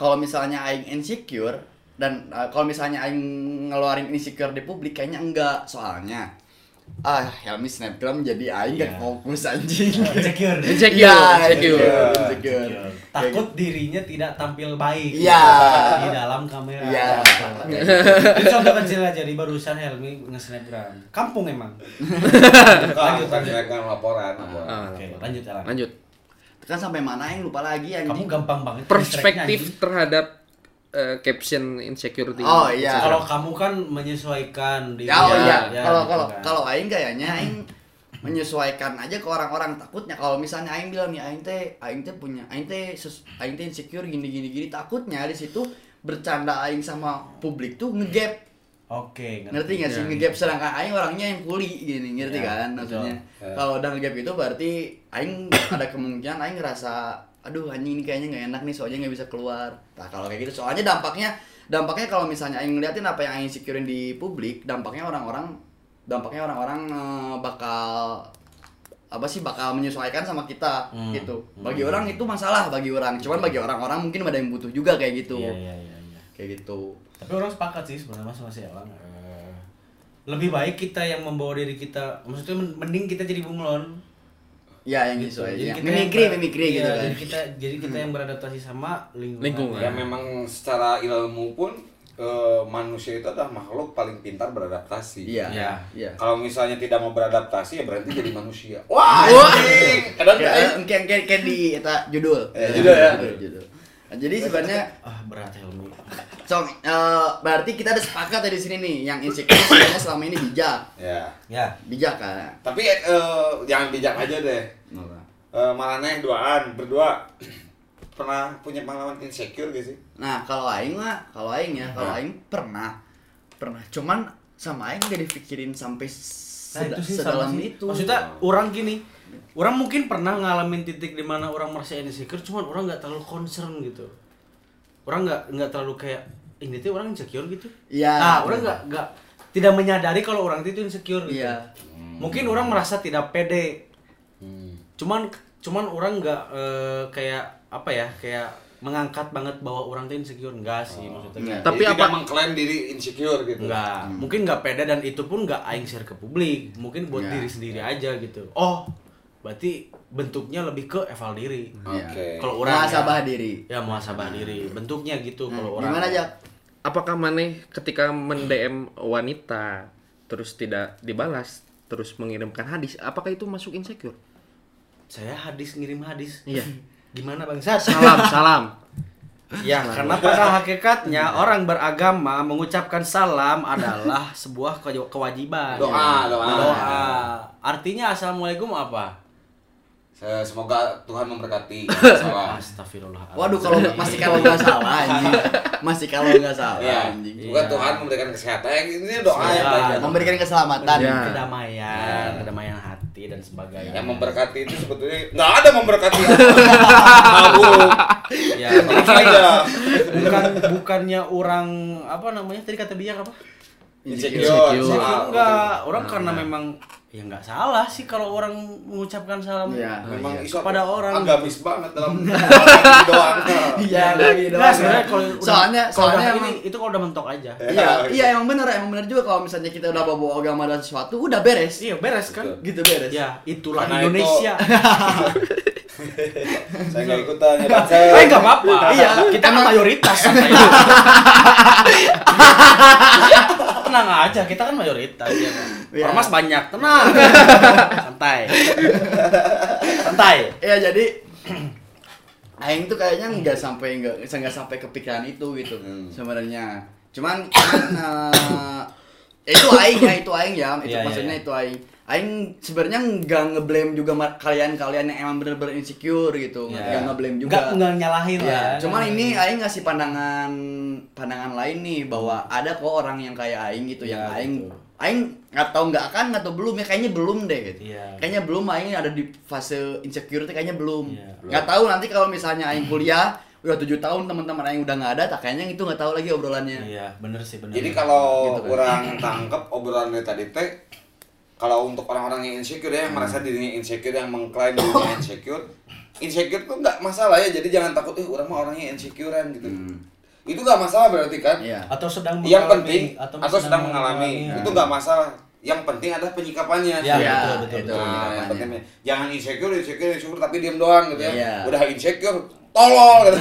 [SPEAKER 2] kalau misalnya aing insecure dan uh, kalau misalnya aing ngeluarin insecure di publik kayaknya enggak soalnya ah Helmi snapgram jadi aing gak
[SPEAKER 3] Iya.
[SPEAKER 2] fokus anjing
[SPEAKER 3] insecure
[SPEAKER 5] Insecure,
[SPEAKER 2] Iya, insecure,
[SPEAKER 5] insecure.
[SPEAKER 2] insecure.
[SPEAKER 3] takut dirinya tidak tampil baik
[SPEAKER 2] Iya.
[SPEAKER 3] di dalam kamera
[SPEAKER 2] Iya.
[SPEAKER 3] itu contoh kecil aja di barusan Helmi nge-snapgram kampung emang
[SPEAKER 4] Lanjut kan laporan. laporan.
[SPEAKER 5] Ah,
[SPEAKER 3] oke lanjut Elang
[SPEAKER 5] lanjut
[SPEAKER 2] kan sampai mana yang lupa lagi anjing
[SPEAKER 3] kamu gampang banget distract-nya,
[SPEAKER 5] perspektif terhadap eh, caption insecurity
[SPEAKER 2] Oh,
[SPEAKER 3] anjing.
[SPEAKER 2] iya.
[SPEAKER 3] kalau kamu kan menyesuaikan diri
[SPEAKER 2] Ya, oh
[SPEAKER 5] Iya,
[SPEAKER 2] iya.
[SPEAKER 3] ya,
[SPEAKER 2] Kalau
[SPEAKER 3] gitu
[SPEAKER 2] kalau
[SPEAKER 3] kan.
[SPEAKER 2] kalau aing kayaknya aing menyesuaikan aja ke orang-orang takutnya kalau misalnya aing bilang nih aing teh aing teh punya aing teh ses- aing teh insecure gini gini gini takutnya di situ bercanda aing sama publik tuh ngegap
[SPEAKER 3] oke
[SPEAKER 2] ngerti nggak sih
[SPEAKER 5] Ya.
[SPEAKER 2] ngegap sedangkan aing orangnya yang kuli gini ngerti
[SPEAKER 3] Ya,
[SPEAKER 2] kan
[SPEAKER 3] betul.
[SPEAKER 2] maksudnya
[SPEAKER 4] Ya.
[SPEAKER 2] kalau udah ngegap itu berarti aing ada kemungkinan aing ngerasa aduh anjing ini kayaknya nggak enak nih soalnya nggak bisa keluar nah kalau kayak gitu soalnya dampaknya dampaknya kalau misalnya aing ngeliatin apa yang aing securein di publik dampaknya orang-orang dampaknya orang-orang eh, bakal apa sih bakal menyesuaikan sama kita
[SPEAKER 3] Hmm.
[SPEAKER 2] gitu
[SPEAKER 3] Hmm.
[SPEAKER 2] bagi orang itu masalah bagi orang cuman bagi orang-orang mungkin ada yang butuh juga kayak gitu
[SPEAKER 3] iya iya iya iya.
[SPEAKER 2] kayak gitu
[SPEAKER 3] tapi orang sepakat sih sebenarnya sama si Elang Eh, lebih baik kita yang membawa diri kita maksudnya men- mending kita jadi bunglon
[SPEAKER 2] ya yang
[SPEAKER 3] gitu.
[SPEAKER 2] sesuai
[SPEAKER 3] Jadi
[SPEAKER 2] ya.
[SPEAKER 3] kita yang
[SPEAKER 2] mimikri
[SPEAKER 3] ber-
[SPEAKER 2] mimikri
[SPEAKER 3] iya,
[SPEAKER 2] gitu kan Hmm.
[SPEAKER 3] jadi kita jadi kita yang beradaptasi sama lingkungan,
[SPEAKER 5] Lingkungan.
[SPEAKER 4] Ya memang secara ilmu pun eh, manusia itu adalah makhluk paling pintar beradaptasi.
[SPEAKER 2] Iya.
[SPEAKER 3] Iya.
[SPEAKER 2] Iya.
[SPEAKER 4] Kalau misalnya tidak mau beradaptasi ya berhenti jadi manusia. Wah, anjing. Kadang
[SPEAKER 2] Kan Kayak
[SPEAKER 3] eh,
[SPEAKER 4] kadang-
[SPEAKER 2] kayak kayak- kayak di eta judul.
[SPEAKER 4] Ya, judul ya.
[SPEAKER 2] judul. Nah, Jadi sebenarnya
[SPEAKER 3] ah berat Helmi
[SPEAKER 2] song eh, berarti kita ada sepakat ya di sini nih yang insecure sebenarnya selama ini bijak.
[SPEAKER 4] Ya.
[SPEAKER 3] ya
[SPEAKER 2] Bijak kan.
[SPEAKER 4] Tapi eh, jangan bijak aja deh. Eh Marana yang duaan, berdua pernah punya pengalaman insecure gak sih?
[SPEAKER 2] Nah, kalau aing mah, kalau aing ya,
[SPEAKER 3] Nah.
[SPEAKER 2] kalau aing pernah pernah cuman sama aing gak dipikirin sampai
[SPEAKER 3] Nah,
[SPEAKER 2] seda-
[SPEAKER 3] itu sih sama
[SPEAKER 2] sedalam
[SPEAKER 3] sih.
[SPEAKER 2] itu.
[SPEAKER 3] Maksudnya orang gini, orang mungkin pernah ngalamin titik di mana orang merasa insecure, cuman orang nggak terlalu concern gitu. Orang nggak nggak terlalu kayak ini tuh orang insecure gitu.
[SPEAKER 2] Iya.
[SPEAKER 3] Nah, orang nggak nggak tidak menyadari kalau orang itu insecure gitu.
[SPEAKER 2] Iya.
[SPEAKER 3] Mungkin orang merasa tidak pede.
[SPEAKER 2] Hmm.
[SPEAKER 3] Cuman cuman orang nggak eh, kayak apa ya kayak mengangkat banget bahwa orang tuh insecure enggak sih maksudnya.
[SPEAKER 2] Enggak.
[SPEAKER 5] Tapi
[SPEAKER 4] Jadi tidak
[SPEAKER 5] apa-
[SPEAKER 4] mengklaim diri insecure gitu.
[SPEAKER 3] Enggak, mungkin nggak pede dan itu pun nggak aing share ke publik. Mungkin buat
[SPEAKER 2] Nggak.
[SPEAKER 3] diri sendiri aja gitu. Oh, berarti bentuknya lebih ke eval diri.
[SPEAKER 4] Oke.
[SPEAKER 3] Kalau
[SPEAKER 2] Orang
[SPEAKER 3] orang ya-
[SPEAKER 2] Iya. sabah diri.
[SPEAKER 3] Ya muasabah diri, bentuknya gitu
[SPEAKER 2] Nah,
[SPEAKER 3] kalau orang.
[SPEAKER 2] gimana aja?
[SPEAKER 5] apakah maneh ketika mendm wanita terus tidak dibalas terus mengirimkan hadis apakah itu masuk insecure
[SPEAKER 3] Saya hadis ngirim hadis.
[SPEAKER 5] iya
[SPEAKER 3] Gimana Bang Sas?
[SPEAKER 5] salam salam
[SPEAKER 3] Ya, karena pada hakikatnya orang beragama mengucapkan salam adalah sebuah kewa- kewajiban.
[SPEAKER 4] Doa, doa.
[SPEAKER 3] Doa. Artinya assalamualaikum apa?
[SPEAKER 4] Se- Semoga Tuhan memberkati. Salah.
[SPEAKER 3] Astagfirullahaladzim.
[SPEAKER 2] Waduh kalau masih kalau nggak salah anjing. Masih kalau nggak salah
[SPEAKER 4] Iya.
[SPEAKER 2] anjing.
[SPEAKER 4] Semoga
[SPEAKER 3] Iya.
[SPEAKER 4] Tuhan memberikan kesehatan. Yang Ini doa yang
[SPEAKER 3] Semoga.
[SPEAKER 4] banyak.
[SPEAKER 3] Iya.
[SPEAKER 2] memberikan keselamatan.
[SPEAKER 5] Ya.
[SPEAKER 3] kedamaian, kedamaian hati dan dan sebagainya.
[SPEAKER 4] yang memberkati itu sebetulnya nggak ada memberkati mabuk
[SPEAKER 3] Ya,
[SPEAKER 4] mabuk saja
[SPEAKER 3] bukan bukannya orang apa namanya tadi kata bijak apa?
[SPEAKER 4] insecure
[SPEAKER 5] Insecure.
[SPEAKER 4] soal
[SPEAKER 3] enggak, orang karena memang ya nggak salah sih kalau orang mengucapkan salam.
[SPEAKER 2] Iya.
[SPEAKER 4] memang
[SPEAKER 5] iya.
[SPEAKER 4] isu
[SPEAKER 3] Kepada orang.
[SPEAKER 4] agamis banget dalam dalam doang
[SPEAKER 2] Iya, lagi
[SPEAKER 3] Nah, sebenarnya kalau udah-
[SPEAKER 2] soalnya
[SPEAKER 3] kalau udah ya.
[SPEAKER 2] soalnya
[SPEAKER 3] ini
[SPEAKER 2] emang-
[SPEAKER 3] itu kalau udah mentok aja.
[SPEAKER 2] Iya, iya emang bener, emang bener juga kalau misalnya kita udah bawa agama dan sesuatu, udah beres.
[SPEAKER 3] Iya, beres kan?
[SPEAKER 2] Gitu beres.
[SPEAKER 3] Ya, itulah
[SPEAKER 4] Karena itu-
[SPEAKER 3] Indonesia.
[SPEAKER 4] saya nggak ikutan ya Pak.
[SPEAKER 3] Eh, nggak apa-apa.
[SPEAKER 2] Iya.
[SPEAKER 3] kita kan
[SPEAKER 2] Emang-
[SPEAKER 3] mayoritas. tenang aja, kita kan mayoritas ya kan.
[SPEAKER 2] Iya.
[SPEAKER 3] Ormas banyak, tenang. Santai. Santai.
[SPEAKER 2] Ya jadi Aing tuh kayaknya nggak sampai nggak nggak sampai kepikiran itu gitu
[SPEAKER 4] Hmm.
[SPEAKER 2] sebenarnya. Cuman cuman, eh, itu Aing ya itu Aing ya itu
[SPEAKER 3] Iya, iya,
[SPEAKER 2] maksudnya
[SPEAKER 3] iya.
[SPEAKER 2] itu Aing. Aing sebenarnya nggak ngeblame juga mar- kalian-kalian yang emang bener-bener insecure gitu.
[SPEAKER 3] Iya.
[SPEAKER 2] Nggak ngeblame juga.
[SPEAKER 3] Nggak nggak nyalahin
[SPEAKER 2] Iya,
[SPEAKER 3] lah.
[SPEAKER 2] cuman ini Aing ngasih pandangan pandangan lain nih bahwa ada kok orang yang kayak Aing gitu yang
[SPEAKER 3] Iya,
[SPEAKER 2] Aing
[SPEAKER 3] betul.
[SPEAKER 2] Aing nggak tahu nggak akan nggak tahu belum ya kayaknya belum deh gitu.
[SPEAKER 3] Iya.
[SPEAKER 2] Kayaknya belum Aing ada di fase insecurity kayaknya belum.
[SPEAKER 3] Iya,
[SPEAKER 2] Nggak tahu nanti kalau misalnya Aing kuliah udah tujuh tahun teman-teman Aing udah nggak ada, tak kayaknya itu nggak tahu lagi obrolannya.
[SPEAKER 3] Iya, bener sih bener.
[SPEAKER 4] Jadi kalau
[SPEAKER 2] Gitu kan.
[SPEAKER 4] orang tangkep obrolannya tadi teh kalau untuk orang-orang yang insecure ya, yang merasa
[SPEAKER 2] Hmm.
[SPEAKER 4] dirinya insecure, yang mengklaim dirinya insecure, insecure tuh nggak masalah ya. Jadi jangan takut, eh orang mah orangnya insecurean gitu. Itu nggak masalah berarti kan?
[SPEAKER 2] Hmm. Iya.
[SPEAKER 3] atau sedang
[SPEAKER 4] Yang
[SPEAKER 3] mengalami,
[SPEAKER 4] penting atau, sedang mengalami, itu nggak masalah. Yang penting adalah penyikapannya.
[SPEAKER 3] Iya,
[SPEAKER 2] Iya,
[SPEAKER 3] betul, betul,
[SPEAKER 2] itu
[SPEAKER 3] betul.
[SPEAKER 4] Nah, yang
[SPEAKER 2] ucapannya.
[SPEAKER 4] penting jangan insecure, insecure, insecure tapi diam doang gitu ya.
[SPEAKER 2] Iya.
[SPEAKER 4] Udah insecure, tolol gitu.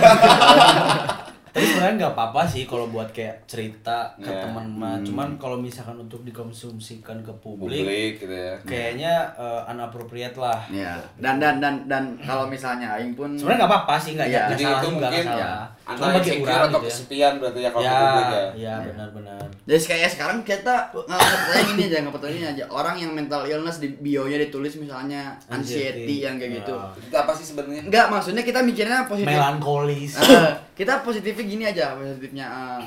[SPEAKER 3] Tapi sebenarnya nggak apa-apa sih kalau buat kayak cerita ke
[SPEAKER 4] Iya.
[SPEAKER 3] teman mah. Cuman kalau misalkan untuk dikonsumsikan ke publik,
[SPEAKER 4] Publik gitu ya.
[SPEAKER 3] kayaknya eh, unappropriate lah.
[SPEAKER 2] Iya. Dan dan dan dan kalau misalnya Aing pun
[SPEAKER 3] Sebenarnya nggak apa-apa sih, nggak
[SPEAKER 2] Iya.
[SPEAKER 3] nggak
[SPEAKER 4] Jadi
[SPEAKER 3] salah
[SPEAKER 4] itu
[SPEAKER 3] juga,
[SPEAKER 4] mungkin
[SPEAKER 3] nggak
[SPEAKER 4] ya,
[SPEAKER 3] salah. Cuma
[SPEAKER 4] antara
[SPEAKER 3] bagi
[SPEAKER 4] insecure
[SPEAKER 3] orang
[SPEAKER 4] atau
[SPEAKER 3] gitu ya.
[SPEAKER 4] kesepian berarti ya kalau
[SPEAKER 3] Ya,
[SPEAKER 4] ke publik ya.
[SPEAKER 3] ya benar-benar.
[SPEAKER 2] Jadi kayak ya sekarang kita ngangkat saya gini aja, ngangkat saya gini aja. Orang yang mental illness di bio-nya ditulis misalnya anxiety
[SPEAKER 3] Anxiety.
[SPEAKER 2] yang kayak gitu.
[SPEAKER 3] Ah.
[SPEAKER 4] Itu apa sih sebenarnya?
[SPEAKER 2] Enggak, maksudnya kita mikirnya positif.
[SPEAKER 3] Melankolis.
[SPEAKER 2] Eh, kita positifnya gini aja, positifnya eh,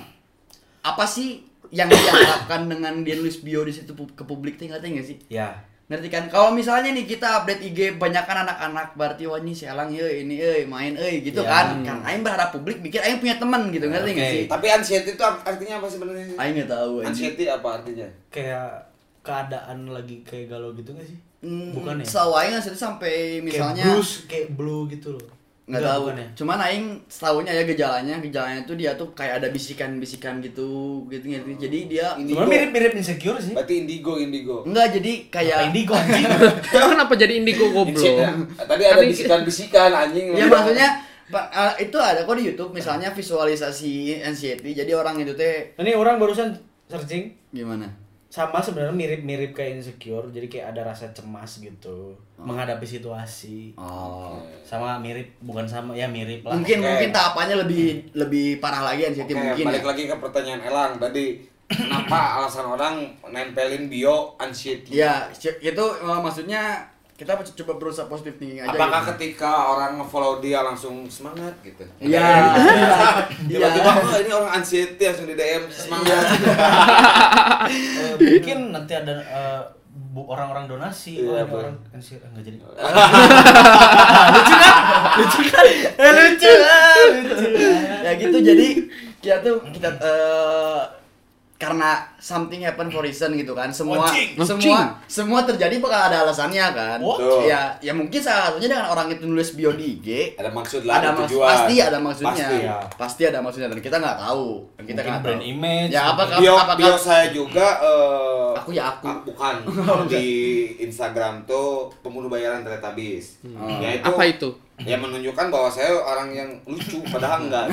[SPEAKER 2] apa sih yang diharapkan dengan dia nulis bio di situ pu- ke publik teh ngerti nggak sih?
[SPEAKER 3] ya.
[SPEAKER 2] Ngerti kan? Kalau misalnya nih kita update IG banyakkan anak-anak berarti wah ini sialang euy, ini euy, main euy gitu
[SPEAKER 3] Iya.
[SPEAKER 2] kan. Kan aing berharap publik mikir aing punya teman gitu, ngerti nggak
[SPEAKER 3] Oke.
[SPEAKER 2] sih?
[SPEAKER 4] Tapi anxiety itu ap- artinya apa sebenarnya? sih?
[SPEAKER 2] Aing nggak tahu anjing.
[SPEAKER 4] Anxiety apa artinya?
[SPEAKER 3] Kayak keadaan lagi kayak galau gitu nggak sih?
[SPEAKER 2] Hmm,
[SPEAKER 3] bukan ya?
[SPEAKER 2] Setahu aing nggak sih, sampai misalnya
[SPEAKER 3] kayak blues, kayak blue gitu loh.
[SPEAKER 2] nggak
[SPEAKER 3] Enggak,
[SPEAKER 2] tahu
[SPEAKER 3] bukan ya?
[SPEAKER 2] cuman aing setahunya ya gejalanya gejalanya tuh dia tuh kayak ada bisikan-bisikan gitu gitu gitu
[SPEAKER 4] Oh.
[SPEAKER 2] jadi dia
[SPEAKER 4] Indigo.
[SPEAKER 3] Cuman mirip-mirip insecure
[SPEAKER 2] Ya.
[SPEAKER 3] sih.
[SPEAKER 4] Berarti indigo, indigo.
[SPEAKER 2] enggak jadi kayak
[SPEAKER 3] Apa indigo anjing?
[SPEAKER 5] Kenapa jadi indigo goblok?
[SPEAKER 4] Insi- Tadi ada
[SPEAKER 5] Tapi-
[SPEAKER 4] bisikan-bisikan anjing.
[SPEAKER 2] ya maksudnya Pak, eh, itu ada kok di YouTube misalnya visualisasi anxiety jadi orang itu teh
[SPEAKER 3] Ini orang barusan searching
[SPEAKER 2] gimana
[SPEAKER 3] sama sebenarnya mirip-mirip kayak insecure, jadi kayak ada rasa cemas gitu menghadapi situasi.
[SPEAKER 2] oh
[SPEAKER 3] Sama mirip, bukan sama ya mirip lah.
[SPEAKER 2] mungkin
[SPEAKER 4] Oke.
[SPEAKER 2] mungkin tahapannya lebih lebih parah lagi anxiety
[SPEAKER 4] Oke,
[SPEAKER 2] mungkin
[SPEAKER 4] balik
[SPEAKER 2] ya.
[SPEAKER 4] lagi ke pertanyaan Elang tadi. Kenapa alasan orang nempelin bio anxiety?
[SPEAKER 2] ya c- itu eh, maksudnya kita c- coba berusaha positif thinking aja
[SPEAKER 4] Apakah
[SPEAKER 2] gitu.
[SPEAKER 4] ketika orang nge-follow dia langsung semangat gitu?
[SPEAKER 2] Iya. Iya.
[SPEAKER 4] Tiba-tiba, "Wah, ini orang anxiety langsung di DM semangat.
[SPEAKER 3] Eh, mungkin nanti ada eh, bu- orang-orang donasi,
[SPEAKER 4] Iya, Eh,
[SPEAKER 3] oh, ada
[SPEAKER 4] boleh.
[SPEAKER 3] orang insecure enggak jadi. lucu kan? Lucu kan? Eh, lucu. ah, lucu.
[SPEAKER 2] ya gitu jadi kita tuh kita eh, karena something happen for reason gitu kan semua
[SPEAKER 3] Watching.
[SPEAKER 2] semua semua terjadi bakal ada alasannya kan
[SPEAKER 4] Betul.
[SPEAKER 2] ya ya mungkin salah satunya dengan orang itu nulis bio di IG
[SPEAKER 4] Ada maksud lah,
[SPEAKER 2] ada maksud
[SPEAKER 4] tujuan.
[SPEAKER 2] pasti ada maksudnya
[SPEAKER 4] Pasti.
[SPEAKER 3] ya.
[SPEAKER 2] Pasti ada maksudnya dan kita nggak tahu Dan kita
[SPEAKER 3] Mungkin
[SPEAKER 2] nggak
[SPEAKER 3] brand
[SPEAKER 2] tahu.
[SPEAKER 3] image,
[SPEAKER 2] ya apa
[SPEAKER 4] bio,
[SPEAKER 2] apa
[SPEAKER 4] bio saya juga eh,
[SPEAKER 2] Aku ya aku.
[SPEAKER 4] ah, bukan di Instagram tuh pembunuh bayaran teletabis
[SPEAKER 2] Hmm.
[SPEAKER 4] ya
[SPEAKER 5] Apa itu?
[SPEAKER 4] ya menunjukkan bahwa saya orang yang lucu padahal enggak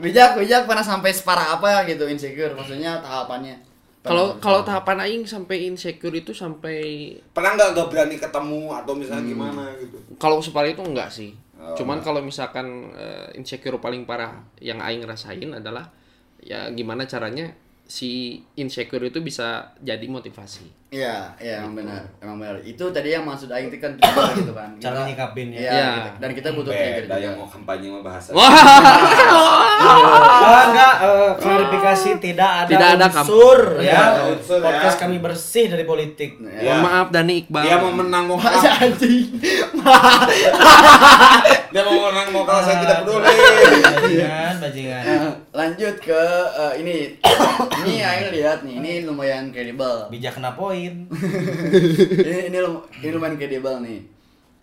[SPEAKER 2] bijak bijak pernah sampai separah apa gitu insecure maksudnya tahapannya
[SPEAKER 5] Kalau kalau tahapan aing sampai insecure itu sampai
[SPEAKER 4] pernah enggak enggak berani ketemu atau misalnya
[SPEAKER 2] Hmm.
[SPEAKER 4] gimana gitu
[SPEAKER 5] kalau separah itu enggak sih.
[SPEAKER 4] Oh.
[SPEAKER 5] Cuman kalau misalkan eh, insecure paling parah yang aing rasain adalah ya gimana caranya si insecure itu bisa jadi motivasi.
[SPEAKER 2] Iya, iya emang benar, emang benar. Itu tadi yang maksud Aing itu kan trigger gitu kan. Kita-
[SPEAKER 3] Cara nyikapinnya.
[SPEAKER 2] Iya.
[SPEAKER 5] Iya.
[SPEAKER 2] gitu. Dan kita butuh trigger
[SPEAKER 4] Beda yang
[SPEAKER 2] juga.
[SPEAKER 4] mau kampanye mah bahasa. Ah.
[SPEAKER 3] Oh, enggak, eh, klarifikasi tidak ada
[SPEAKER 5] Tidak ada kam-
[SPEAKER 3] unsur ya.
[SPEAKER 4] Tidak ada unsur, ya.
[SPEAKER 3] Podcast kami bersih dari politik.
[SPEAKER 4] Ya.
[SPEAKER 5] Mohon maaf Dani Iqbal.
[SPEAKER 4] Dia mau menang mau
[SPEAKER 2] Masa
[SPEAKER 4] kalah.
[SPEAKER 2] anjing.
[SPEAKER 4] Dia mau menang mau kalah saya tidak peduli.
[SPEAKER 3] Nah, Bajingan, bajingan.
[SPEAKER 2] Nah, lanjut ke eh, ini. ini Aing lihat nih, ini lumayan kredibel.
[SPEAKER 3] Bijak kena poin.
[SPEAKER 2] ini ini lum- ini lumayan kredibel nih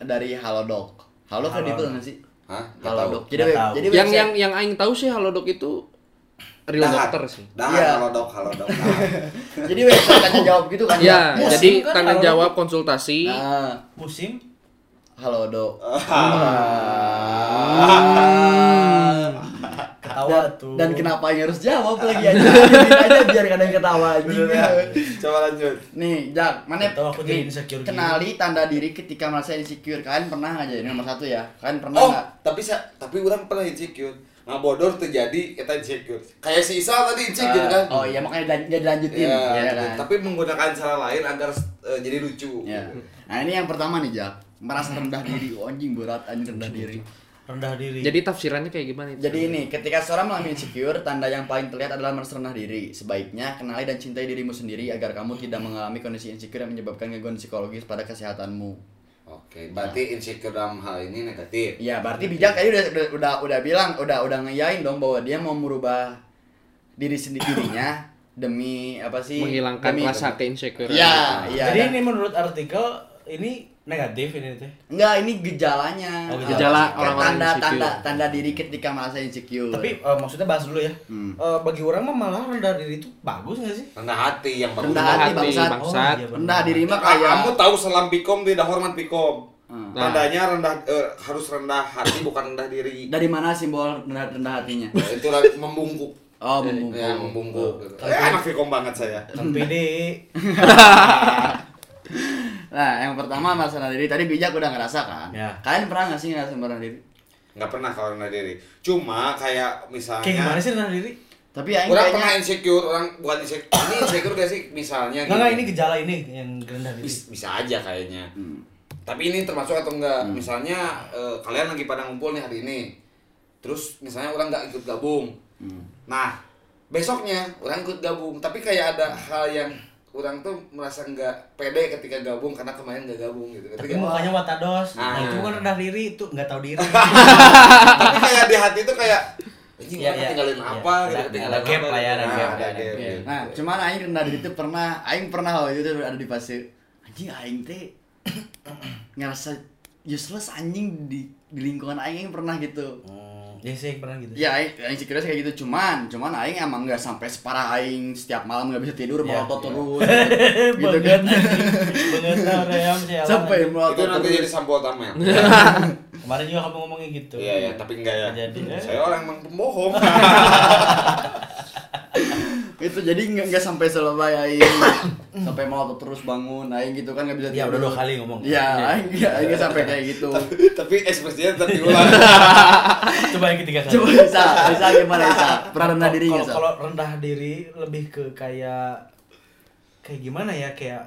[SPEAKER 2] dari Halodoc. Halodoc kredibel nggak sih?
[SPEAKER 4] Hah? Gak tahu.
[SPEAKER 2] Halodoc. Jadi
[SPEAKER 3] Nggak
[SPEAKER 2] web-
[SPEAKER 3] tahu.
[SPEAKER 2] jadi
[SPEAKER 5] yang
[SPEAKER 2] website-
[SPEAKER 5] yang yang aing tahu sih Halodoc itu real
[SPEAKER 4] Dahat.
[SPEAKER 5] dokter sih.
[SPEAKER 4] Dahat
[SPEAKER 2] Iya.
[SPEAKER 4] kalau dok kalau dok.
[SPEAKER 2] jadi website tanya jawab gitu kan
[SPEAKER 5] Ya,
[SPEAKER 2] Nah,
[SPEAKER 5] jadi
[SPEAKER 3] kan
[SPEAKER 5] tanggung
[SPEAKER 3] Halodoc.
[SPEAKER 5] jawab konsultasi.
[SPEAKER 2] Nah,
[SPEAKER 3] Musim
[SPEAKER 2] Halodoc.
[SPEAKER 3] ketawa
[SPEAKER 2] Dan,
[SPEAKER 3] tuh.
[SPEAKER 2] dan kenapa yang harus jawab lagi aja? Biarin aja biar kadang ketawa anjing.
[SPEAKER 4] Iya. Coba lanjut.
[SPEAKER 2] Nih, Jak, mana
[SPEAKER 3] Atau aku jadi
[SPEAKER 2] nih,
[SPEAKER 3] insecure gitu.
[SPEAKER 2] Kenali tanda diri ketika merasa insecure. Kalian pernah aja ini nomor satu ya? Kalian pernah
[SPEAKER 4] Oh,
[SPEAKER 2] nggak?
[SPEAKER 4] tapi saya tapi orang pernah insecure. Nah, Ngabodor terjadi kita insecure. Kayak si Isa tadi
[SPEAKER 2] Eh,
[SPEAKER 4] insecure kan.
[SPEAKER 2] oh iya makanya dan, jadi lanjutin.
[SPEAKER 4] Iya,
[SPEAKER 2] Iya kan?
[SPEAKER 4] tapi menggunakan cara lain agar eh, jadi lucu.
[SPEAKER 2] Iya. Nah, ini yang pertama nih, Jak. Merasa rendah diri. Oh, anjing berat anjing rendah diri.
[SPEAKER 3] rendah diri.
[SPEAKER 5] Jadi tafsirannya kayak gimana itu?
[SPEAKER 2] Jadi ini, ketika seorang mengalami insecure, tanda yang paling terlihat adalah merasa rendah diri. Sebaiknya kenali dan cintai dirimu sendiri agar kamu tidak mengalami kondisi insecure yang menyebabkan gangguan psikologis pada kesehatanmu. Iya.
[SPEAKER 4] Oke, berarti insecure dalam hal ini negatif.
[SPEAKER 2] Ya, berarti bijak tadi udah udah udah, udah bilang, udah udah ngeyain dong bahwa dia mau merubah diri sendirinya demi apa sih?
[SPEAKER 5] menghilangkan
[SPEAKER 2] Demi-
[SPEAKER 5] rasa keinsecurean.
[SPEAKER 2] Ya, iya.
[SPEAKER 3] Jadi
[SPEAKER 2] dan-
[SPEAKER 3] ini menurut artikel ini negatif ini teh.
[SPEAKER 2] enggak ini gejalanya.
[SPEAKER 3] Oh, gejala.
[SPEAKER 5] Gejala
[SPEAKER 2] Kayak
[SPEAKER 5] orang-orang
[SPEAKER 2] tanda,
[SPEAKER 5] insecure.
[SPEAKER 2] tanda tanda diri ketika merasa insecure.
[SPEAKER 3] Tapi eh, maksudnya bahas dulu ya.
[SPEAKER 4] Hmm.
[SPEAKER 3] Eh, bagi orang mah malah rendah diri itu bagus gak sih?
[SPEAKER 4] Rendah hati yang bagus.
[SPEAKER 2] Rendah
[SPEAKER 5] Rendah
[SPEAKER 2] hati,
[SPEAKER 5] hati,
[SPEAKER 2] bangsat.
[SPEAKER 5] bangsat.
[SPEAKER 3] Oh, iya.
[SPEAKER 2] rendah diri mah
[SPEAKER 4] Ah,
[SPEAKER 2] kayak
[SPEAKER 4] Kamu tahu selam pikom tidak hormat pikom.
[SPEAKER 2] Hmm.
[SPEAKER 5] Nah.
[SPEAKER 4] Tandanya rendah eh, harus rendah hati bukan rendah diri.
[SPEAKER 2] dari mana simbol rendah, rendah hatinya?
[SPEAKER 4] Ya, itu lah, membungkuk.
[SPEAKER 2] Oh,
[SPEAKER 5] Iya,
[SPEAKER 2] membungkuk.
[SPEAKER 4] Ya, membungkuk. Eh, anak pikom banget saya.
[SPEAKER 3] Tapi deh
[SPEAKER 2] Nah, yang pertama merasa rendah diri. Tadi bijak udah ngerasa kan?
[SPEAKER 3] Ya.
[SPEAKER 2] Kalian pernah nggak sih ngerasa rendah diri?
[SPEAKER 4] Nggak pernah kalau rendah diri. Cuma kayak
[SPEAKER 3] kayak gimana
[SPEAKER 4] misalnya
[SPEAKER 3] sih rendah diri?
[SPEAKER 2] Tapi aing
[SPEAKER 4] Orang
[SPEAKER 2] kayaknya
[SPEAKER 4] pernah insecure, orang bukan insecure. Ini insecure gak sih
[SPEAKER 3] Enggak
[SPEAKER 4] misalnya?
[SPEAKER 2] gitu.
[SPEAKER 3] enggak
[SPEAKER 4] gini.
[SPEAKER 3] ini gejala ini yang rendah diri.
[SPEAKER 4] Bis- bisa aja kayaknya. Tapi ini termasuk atau enggak? Misalnya eh, kalian lagi pada ngumpul nih hari ini, terus misalnya orang nggak ikut gabung. Nah besoknya orang ikut gabung, tapi kayak ada hal yang orang tuh merasa nggak pede ketika gabung karena kemarin nggak gabung gitu.
[SPEAKER 3] Tapi
[SPEAKER 4] Ketika-
[SPEAKER 3] mukanya
[SPEAKER 2] oh.
[SPEAKER 3] watados.
[SPEAKER 4] Ah.
[SPEAKER 3] Nah, itu kan rendah diri itu nggak tahu diri.
[SPEAKER 4] tapi kayak di hati tuh kayak anjing
[SPEAKER 3] Iya,
[SPEAKER 4] orang
[SPEAKER 3] iya,
[SPEAKER 4] ketinggalin
[SPEAKER 3] iya.
[SPEAKER 4] apa
[SPEAKER 3] Ada-
[SPEAKER 4] gitu,
[SPEAKER 3] ada
[SPEAKER 4] ketinggalin
[SPEAKER 3] gap
[SPEAKER 4] apa,
[SPEAKER 3] lah ya, ada
[SPEAKER 4] gitu.
[SPEAKER 3] gap,
[SPEAKER 4] Nah,
[SPEAKER 3] ada gap.
[SPEAKER 4] gitu.
[SPEAKER 2] Nah, cuman aing rendah diri itu pernah, aing pernah waktu itu ada di fase anjing aing teh ngerasa useless anjing di, di lingkungan aing, aing pernah gitu.
[SPEAKER 3] Ya sih pernah gitu.
[SPEAKER 2] Ya, aing, aing sekiranya kayak gitu cuman, cuman aing emang nggak sampai separah aing setiap malam nggak bisa tidur
[SPEAKER 3] Ya,
[SPEAKER 2] melotot
[SPEAKER 3] ya.
[SPEAKER 2] terus gitu
[SPEAKER 3] Banget Iya,
[SPEAKER 2] kan.
[SPEAKER 3] anjing. banget tau, Ream sih. Alan.
[SPEAKER 2] sampai
[SPEAKER 4] itu
[SPEAKER 2] melotot
[SPEAKER 4] nanti jadi
[SPEAKER 2] terus.
[SPEAKER 4] sampul tamel.
[SPEAKER 3] Kemarin juga kamu ngomongnya gitu.
[SPEAKER 4] Iya ya, tapi enggak ya.
[SPEAKER 3] Jadi, ya.
[SPEAKER 4] Saya orang emang pembohong.
[SPEAKER 2] Itu jadi nggak nggak sampai selesai aing sampai melotot terus bangun aing gitu kan nggak bisa
[SPEAKER 3] Iya,
[SPEAKER 2] tidur.
[SPEAKER 3] udah dua kali ngomong.
[SPEAKER 2] Iya, aing aing nggak sampai kayak gitu.
[SPEAKER 4] tapi ekspresinya tetap diulang.
[SPEAKER 3] Coba yang ketiga kali.
[SPEAKER 2] Coba bisa, bisa gimana bisa? Pernah rendah diri nggak?
[SPEAKER 3] Kalau-
[SPEAKER 2] Sal?
[SPEAKER 3] Kalau rendah diri lebih ke kayak kayak gimana ya kayak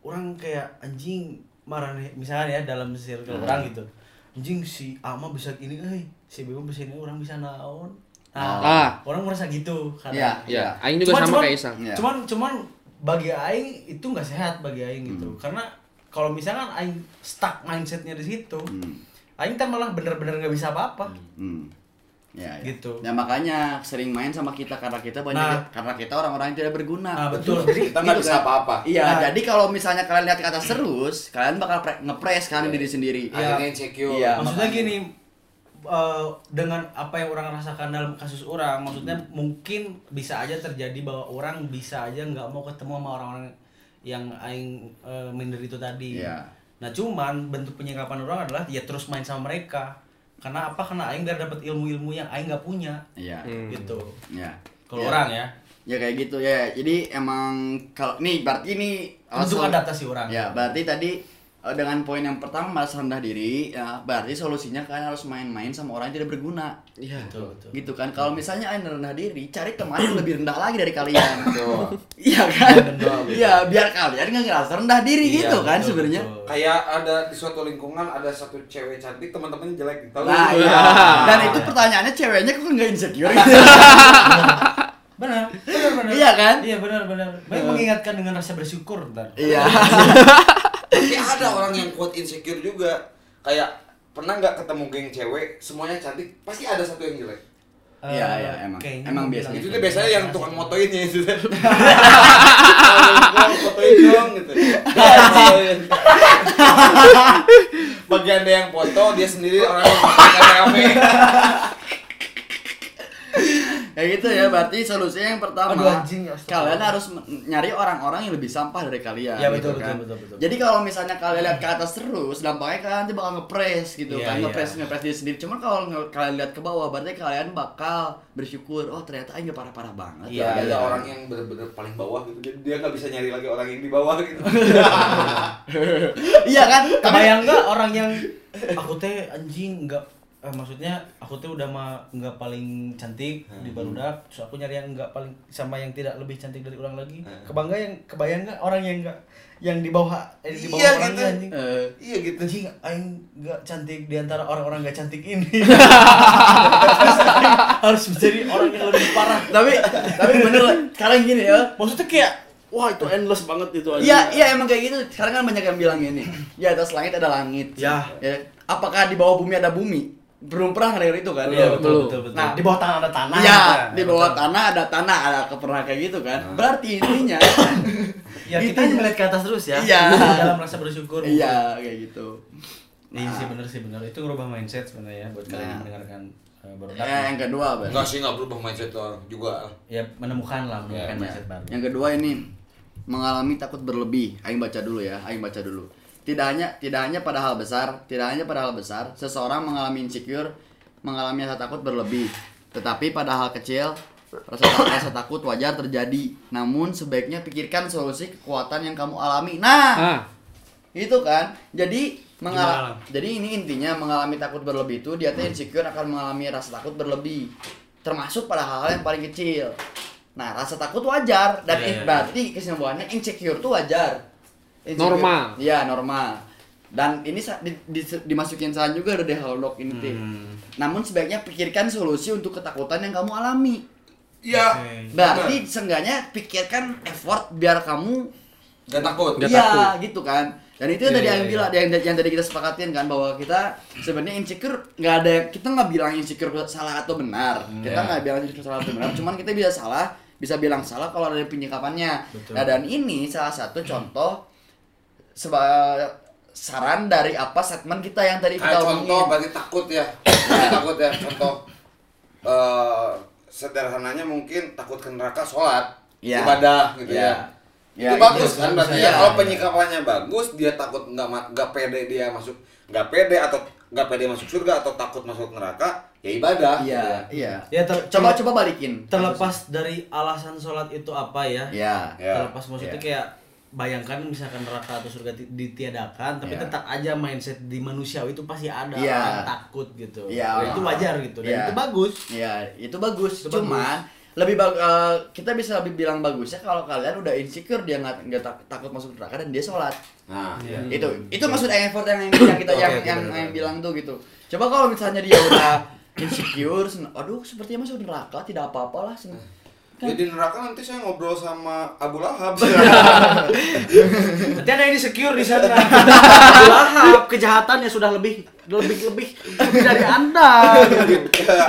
[SPEAKER 3] orang kayak anjing marah nih misalnya ya dalam circle
[SPEAKER 2] Hmm.
[SPEAKER 3] orang gitu anjing si Ama bisa ini eh si Bimo bisa ini orang bisa naon
[SPEAKER 5] Ah.
[SPEAKER 3] nah, orang merasa gitu
[SPEAKER 2] Iya,
[SPEAKER 3] karena
[SPEAKER 5] Ya, aing juga sama kayak Isa.
[SPEAKER 2] Iya.
[SPEAKER 3] cuman cuman bagi aing itu nggak sehat bagi aing gitu
[SPEAKER 2] Hmm.
[SPEAKER 3] karena kalau misalkan aing stuck mindsetnya di situ aing kan malah bener-bener nggak bisa apa-apa
[SPEAKER 2] Hmm. Ya, ya.
[SPEAKER 3] Gitu.
[SPEAKER 2] Nah makanya sering main sama kita karena kita banyak
[SPEAKER 3] Nah.
[SPEAKER 2] karena kita orang-orang yang tidak berguna.
[SPEAKER 3] nah betul jadi
[SPEAKER 4] Kita nggak
[SPEAKER 2] Gitu
[SPEAKER 4] bisa
[SPEAKER 2] kan?
[SPEAKER 4] apa-apa.
[SPEAKER 2] Iya,
[SPEAKER 3] Nah.
[SPEAKER 2] jadi kalau misalnya kalian lihat ke atas terus, kalian bakal pre- ngepres kan diri sendiri.
[SPEAKER 4] Iya. Akhirnya insecure.
[SPEAKER 2] Iya.
[SPEAKER 3] maksudnya
[SPEAKER 2] makanya.
[SPEAKER 3] gitu. gini eh, dengan apa yang orang rasakan dalam kasus orang maksudnya
[SPEAKER 2] Hmm.
[SPEAKER 3] mungkin bisa aja terjadi bahwa orang bisa aja nggak mau ketemu sama orang-orang yang aing eh, minder itu tadi
[SPEAKER 2] Iya.
[SPEAKER 3] nah cuman bentuk penyikapan orang adalah ya terus main sama mereka karena apa karena aing biar dapat ilmu-ilmu yang aing nggak punya
[SPEAKER 2] Iya.
[SPEAKER 3] gitu
[SPEAKER 2] Iya.
[SPEAKER 3] kalau
[SPEAKER 2] Iya.
[SPEAKER 3] orang ya
[SPEAKER 2] Ya kayak gitu ya. Jadi emang kalau nih berarti ini
[SPEAKER 3] bentuk
[SPEAKER 2] also- Iya.
[SPEAKER 3] adaptasi orang
[SPEAKER 2] Ya, berarti tadi eh, dengan poin yang pertama malas rendah diri ya berarti solusinya kalian harus main-main sama orang yang tidak berguna
[SPEAKER 5] Iya.
[SPEAKER 3] Betul, betul.
[SPEAKER 2] gitu kan kalau misalnya kalian rendah diri cari teman yang lebih rendah lagi dari kalian iya kan iya biar kalian nggak ngerasa rendah diri
[SPEAKER 3] Iya,
[SPEAKER 2] gitu kan
[SPEAKER 3] betul,
[SPEAKER 2] sebenarnya
[SPEAKER 3] betul.
[SPEAKER 4] Kayak ada di suatu lingkungan ada satu cewek cantik teman-temannya jelek gitu.
[SPEAKER 2] nah
[SPEAKER 4] Lu-
[SPEAKER 2] iya
[SPEAKER 4] Ah.
[SPEAKER 2] dan itu pertanyaannya ceweknya kok nggak insecure gitu?
[SPEAKER 3] Benar, benar, benar.
[SPEAKER 2] Iya kan?
[SPEAKER 3] Iya, benar, benar. Baik mengingatkan dengan rasa bersyukur ntar.
[SPEAKER 2] iya
[SPEAKER 4] Tapi ada orang yang kuat insecure juga. Kayak pernah nggak ketemu geng cewek semuanya cantik pasti ada satu yang jelek.
[SPEAKER 2] Iya,
[SPEAKER 3] Eh,
[SPEAKER 2] iya, emang.
[SPEAKER 3] kayaknya
[SPEAKER 2] Emang
[SPEAKER 3] bilang
[SPEAKER 2] biasanya.
[SPEAKER 4] Itu
[SPEAKER 3] gitu.
[SPEAKER 4] tuh biasanya yang tukang motoin ya itu. teh. Tolong, fotoin dong gitu. Dia
[SPEAKER 2] iya,
[SPEAKER 4] fotoin. Bagian dia yang foto dia sendiri orang yang rame-rame.
[SPEAKER 2] ya gitu ya berarti solusinya yang pertama
[SPEAKER 3] Aduh, anjing, ya, astaga.
[SPEAKER 2] kalian harus men- nyari orang-orang yang lebih sampah dari kalian
[SPEAKER 3] Ya,
[SPEAKER 2] gitu
[SPEAKER 3] betul,
[SPEAKER 2] kan.
[SPEAKER 3] betul, betul, betul.
[SPEAKER 2] jadi kalau misalnya kalian lihat ke atas terus dampaknya kalian nanti bakal ngepres gitu
[SPEAKER 3] Iya,
[SPEAKER 2] kan
[SPEAKER 3] iya.
[SPEAKER 2] ngepres ngepres diri sendiri cuman kalau nge- kalian lihat ke bawah berarti kalian bakal bersyukur oh ternyata aja parah-parah banget
[SPEAKER 4] Iya,
[SPEAKER 2] ya,
[SPEAKER 4] ada
[SPEAKER 2] gitu.
[SPEAKER 4] orang yang bener-bener paling bawah gitu. Jadi dia nggak bisa nyari lagi orang yang di bawah gitu.
[SPEAKER 2] iya kan tapi
[SPEAKER 3] Kebayang nggak orang yang aku teh anjing nggak eh, maksudnya aku teh udah mah nggak paling cantik
[SPEAKER 2] Hmm.
[SPEAKER 3] di barudak terus aku nyari yang nggak paling sama yang tidak lebih cantik dari orang lagi
[SPEAKER 2] Hmm.
[SPEAKER 3] kebangga yang kebayang nggak orang yang nggak yang di bawah eh, di bawah
[SPEAKER 4] Iya,
[SPEAKER 3] orang
[SPEAKER 4] gitu.
[SPEAKER 3] gitu. anjing
[SPEAKER 2] Eh,
[SPEAKER 4] iya gitu.
[SPEAKER 3] anjing aing nggak cantik di antara orang-orang nggak cantik ini Terus aing harus menjadi orang yang lebih parah
[SPEAKER 2] tapi tapi bener lah. sekarang gini ya
[SPEAKER 6] Maksudnya kayak wah itu endless banget itu aja.
[SPEAKER 2] Iya, iya emang kayak gitu. Sekarang kan banyak yang bilang ini, di atas langit ada langit.
[SPEAKER 3] Ya.
[SPEAKER 2] Apakah di bawah bumi ada bumi? Belum pernah dengar itu kan?
[SPEAKER 3] Iya, betul,
[SPEAKER 5] Belum.
[SPEAKER 3] betul, betul.
[SPEAKER 2] Nah,
[SPEAKER 3] di bawah tanah ada tanah
[SPEAKER 2] Iya,
[SPEAKER 3] gitu.
[SPEAKER 2] di bawah tanah ada tanah, ada pernah kayak gitu kan? Berarti intinya
[SPEAKER 3] Nah. ya kita
[SPEAKER 2] Itu-
[SPEAKER 3] hanya melihat ke atas terus ya
[SPEAKER 2] Iya.
[SPEAKER 3] dalam rasa bersyukur
[SPEAKER 2] Iya, kayak gitu.
[SPEAKER 3] Iya sih bener sih bener itu ngerubah mindset sebenarnya buat kalian yang
[SPEAKER 2] Nah.
[SPEAKER 3] mendengarkan uh, baru
[SPEAKER 2] Ya, yang kedua, Bang.
[SPEAKER 4] Enggak sih nggak berubah mindset orang juga.
[SPEAKER 3] ya menemukan lah menemukan
[SPEAKER 2] Ya.
[SPEAKER 3] mindset baru.
[SPEAKER 2] Yang kedua ini mengalami takut berlebih. Aing baca dulu ya, aing baca dulu. Tidak hanya tidak hanya pada hal besar, tidak hanya pada hal besar, seseorang mengalami insecure, mengalami rasa takut berlebih. Tetapi pada hal kecil, rasa, rasa takut wajar terjadi. Namun sebaiknya pikirkan solusi kekuatan yang kamu alami. Nah,
[SPEAKER 5] Ah,
[SPEAKER 2] itu kan. Jadi
[SPEAKER 3] Gimana, Lam?
[SPEAKER 2] mengalami jadi ini intinya mengalami takut berlebih itu dia tuh insecure akan mengalami rasa takut berlebih termasuk pada hal-hal yang paling kecil nah rasa takut wajar dan
[SPEAKER 3] Iya,
[SPEAKER 2] in-
[SPEAKER 3] iya,
[SPEAKER 2] berarti kesimpulannya insecure itu wajar
[SPEAKER 5] Normal.
[SPEAKER 2] iya normal dan ini sa- di- di- dimasukin saran juga udah deh halodoc ini teh.
[SPEAKER 3] Hmm.
[SPEAKER 2] namun sebaiknya pikirkan solusi untuk ketakutan yang kamu alami
[SPEAKER 3] Hmm.
[SPEAKER 4] Iya.
[SPEAKER 3] Oke.
[SPEAKER 2] berarti seenggaknya pikirkan effort biar kamu
[SPEAKER 4] Gak takut.
[SPEAKER 5] Nggak
[SPEAKER 2] iya
[SPEAKER 5] takut.
[SPEAKER 2] gitu kan dan itu yang
[SPEAKER 3] Iya,
[SPEAKER 2] tadi
[SPEAKER 3] iya,
[SPEAKER 2] yang
[SPEAKER 3] iya.
[SPEAKER 2] bilang yang, yang tadi kita sepakatin kan bahwa kita sebenarnya insecure nggak ada kita nggak bilang insecure salah atau benar kita
[SPEAKER 3] iya.
[SPEAKER 2] nggak bilang insecure salah atau benar cuman kita bisa salah bisa bilang salah kalau ada penyikapannya
[SPEAKER 3] Betul.
[SPEAKER 2] nah dan ini salah satu contoh seba saran dari apa segmen kita yang tadi kita
[SPEAKER 4] Kayak Ah, contoh
[SPEAKER 2] omongin.
[SPEAKER 4] berarti takut ya. Berarti takut ya contoh. eh sederhananya mungkin takut ke neraka sholat
[SPEAKER 2] Iya.
[SPEAKER 4] ibadah gitu
[SPEAKER 2] Iya.
[SPEAKER 4] ya.
[SPEAKER 2] Ya,
[SPEAKER 4] itu bagus kan berarti
[SPEAKER 2] Iya.
[SPEAKER 4] ya kalau penyikapannya bagus dia takut nggak ma- nggak pede dia masuk nggak pede atau nggak pede masuk surga atau takut masuk neraka ya ibadah
[SPEAKER 2] iya
[SPEAKER 4] gitu
[SPEAKER 2] iya
[SPEAKER 3] Ya, ter-
[SPEAKER 2] coba coba balikin
[SPEAKER 3] terlepas dari alasan sholat itu apa ya,
[SPEAKER 2] ya
[SPEAKER 4] Ya.
[SPEAKER 3] terlepas maksudnya kayak bayangkan misalkan neraka atau surga ti- ditiadakan tapi
[SPEAKER 2] Iya.
[SPEAKER 3] tetap aja mindset di manusia itu pasti ada
[SPEAKER 2] Iya.
[SPEAKER 3] orang takut gitu
[SPEAKER 2] Iya.
[SPEAKER 3] Dan itu wajar gitu dan
[SPEAKER 2] Iya.
[SPEAKER 3] itu bagus
[SPEAKER 2] Ya, itu bagus.
[SPEAKER 3] Itu
[SPEAKER 2] Cuman lebih bag- eh, kita bisa lebih bilang bagusnya kalau kalian udah insecure dia nggak nggak tak- takut masuk neraka dan dia sholat.
[SPEAKER 4] nah
[SPEAKER 2] Itu itu maksud effort yang yang kita yang
[SPEAKER 3] Hmm. Oke, oke,
[SPEAKER 2] yang, yang
[SPEAKER 3] benar, benar.
[SPEAKER 2] bilang tuh gitu. Coba kalau misalnya dia udah insecure, sen- aduh sepertinya masuk neraka tidak apa-apalah. sen-
[SPEAKER 4] jadi Ya di neraka nanti saya ngobrol sama Abu Lahab
[SPEAKER 3] nanti ada yang insecure di sana Abu Lahab kejahatannya sudah lebih lebih lebih lebih dari anda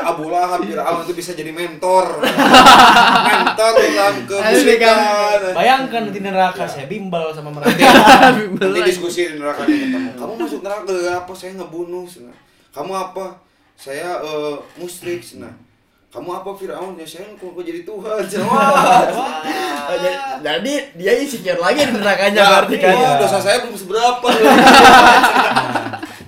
[SPEAKER 4] Abu Lahab Fir'aun itu bisa jadi mentor mentor dalam kemusyrikan
[SPEAKER 2] Asli,
[SPEAKER 3] Bayangkan nanti neraka
[SPEAKER 2] Iya.
[SPEAKER 3] saya bimbel sama mereka.
[SPEAKER 4] nanti diskusi di neraka nih ketemu kamu masuk neraka gara-gara apa saya ngebunuh sana kamu apa saya eh, musyrik sana kamu apa Firaun ya saya kok jadi Tuhan sana wah
[SPEAKER 2] Eh, jadi, jadi dia insecure lagi di nerakanya
[SPEAKER 4] ya,
[SPEAKER 2] berarti kan.
[SPEAKER 4] wah, dosa saya belum seberapa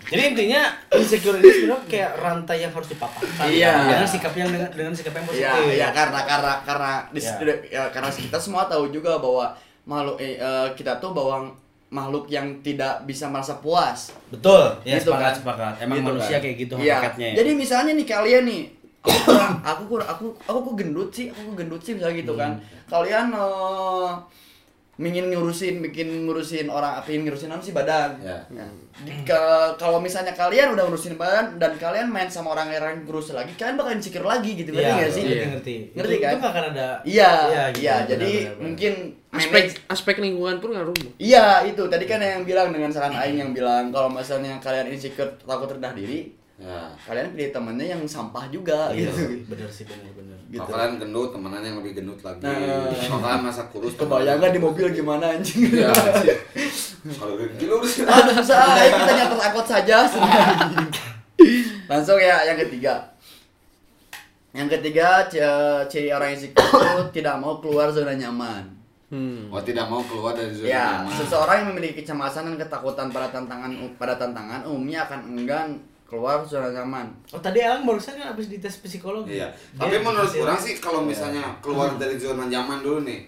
[SPEAKER 3] Jadi intinya insecure ini sebenarnya kayak rantai yang harus dipatahkan.
[SPEAKER 2] Iya.
[SPEAKER 3] Dengan sikap yang dengan, dengan sikap yang positif.
[SPEAKER 2] Iya, iya karena karena karena di
[SPEAKER 3] Ya.
[SPEAKER 2] ya, karena kita semua tahu juga bahwa malu eh, eh, kita tuh bahwa makhluk yang tidak bisa merasa puas.
[SPEAKER 3] Betul, ya
[SPEAKER 2] Gitu
[SPEAKER 3] sepakat
[SPEAKER 2] kan?
[SPEAKER 3] sepakat. Emang
[SPEAKER 2] Gitu
[SPEAKER 3] manusia
[SPEAKER 2] kan?
[SPEAKER 3] kayak gitu
[SPEAKER 2] Iya.
[SPEAKER 3] hakikatnya. ya.
[SPEAKER 2] Jadi misalnya nih kalian nih aku kurang, aku kurang, aku aku kok gendut sih, aku kok gendut sih misalnya gitu
[SPEAKER 3] Hmm.
[SPEAKER 2] kan. Kalian eh, ingin ngurusin, bikin ngurusin orang, ingin ngurusin apa sih badan.
[SPEAKER 3] Iya.
[SPEAKER 4] Ya.
[SPEAKER 2] Nah, di- ke- kalau misalnya kalian udah ngurusin badan dan kalian main sama orang yang ngurus lagi, kalian bakal insecure lagi gitu,
[SPEAKER 3] Iya,
[SPEAKER 2] berarti nggak sih?
[SPEAKER 3] ngerti, ngerti.
[SPEAKER 2] Ngerti
[SPEAKER 3] Itu-
[SPEAKER 2] kan?
[SPEAKER 3] Itu nggak akan ada.
[SPEAKER 2] Iya,
[SPEAKER 3] gitu,
[SPEAKER 2] iya.
[SPEAKER 3] benar,
[SPEAKER 2] Jadi
[SPEAKER 3] benar, benar.
[SPEAKER 2] mungkin
[SPEAKER 5] aspek
[SPEAKER 2] manage-
[SPEAKER 5] aspek lingkungan pun ngaruh Bu.
[SPEAKER 2] Iya itu tadi kan yang bilang dengan saran Aing yang bilang kalau misalnya kalian insecure takut rendah diri
[SPEAKER 4] Ya.
[SPEAKER 2] kalian pilih temannya yang sampah juga
[SPEAKER 3] Iya,
[SPEAKER 2] gitu.
[SPEAKER 3] benar sih benar-benar.
[SPEAKER 4] Kalau kalian Gitu. gendut, temenan yang lebih gendut lagi.
[SPEAKER 2] Nah.
[SPEAKER 4] Kalau kalian masa kurus,
[SPEAKER 2] Kebayang nggak di mobil gimana anjing?
[SPEAKER 4] Iya. anjir. Kalau udah gila udah sih.
[SPEAKER 2] Aduh susah, ayo kita nyatet angkot saja. Langsung ya yang ketiga. Yang ketiga c- ciri orang insecure itu tidak mau keluar zona nyaman.
[SPEAKER 5] hmm.
[SPEAKER 4] Oh tidak mau keluar dari zona
[SPEAKER 2] Ya,
[SPEAKER 4] nyaman.
[SPEAKER 2] seseorang yang memiliki kecemasan dan ketakutan pada tantangan pada tantangan umumnya akan enggan keluar zona nyaman.
[SPEAKER 6] Oh tadi Alang barusan kan abis dites psikologi.
[SPEAKER 4] Iya. Tapi
[SPEAKER 6] Dia
[SPEAKER 4] menurut
[SPEAKER 6] hasil
[SPEAKER 4] orang sih kalau misalnya keluar dari zona nyaman dulu nih,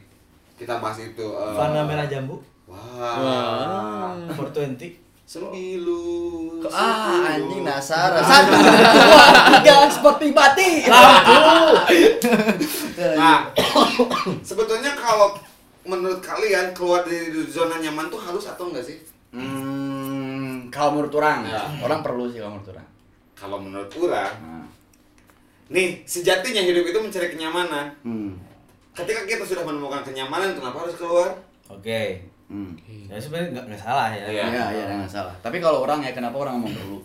[SPEAKER 4] kita bahas itu. eh,
[SPEAKER 6] Warna merah jambu.
[SPEAKER 4] Wah.
[SPEAKER 6] 420.
[SPEAKER 4] Sembilu.
[SPEAKER 2] Ah,
[SPEAKER 4] sembilu.
[SPEAKER 2] anjing nasar. Satu, dua, tiga, seperti mati.
[SPEAKER 4] Nah, sebetulnya kalau menurut kalian keluar dari zona nyaman tuh halus atau enggak sih?
[SPEAKER 2] Hmm, kalau menurut orang,
[SPEAKER 4] Ya.
[SPEAKER 2] orang perlu sih kalau menurut orang.
[SPEAKER 4] Kalau menurut orang,
[SPEAKER 2] Nah.
[SPEAKER 4] nih sejatinya hidup itu mencari kenyamanan.
[SPEAKER 2] Hmm.
[SPEAKER 4] Ketika kita sudah menemukan kenyamanan, kenapa harus keluar?
[SPEAKER 3] Oke.
[SPEAKER 2] Hmm.
[SPEAKER 3] Ya sebenarnya nggak- nggak salah ya.
[SPEAKER 4] Iya.
[SPEAKER 2] Iya, iya, nggak salah. Tapi kalau orang ya kenapa orang ngomong perlu?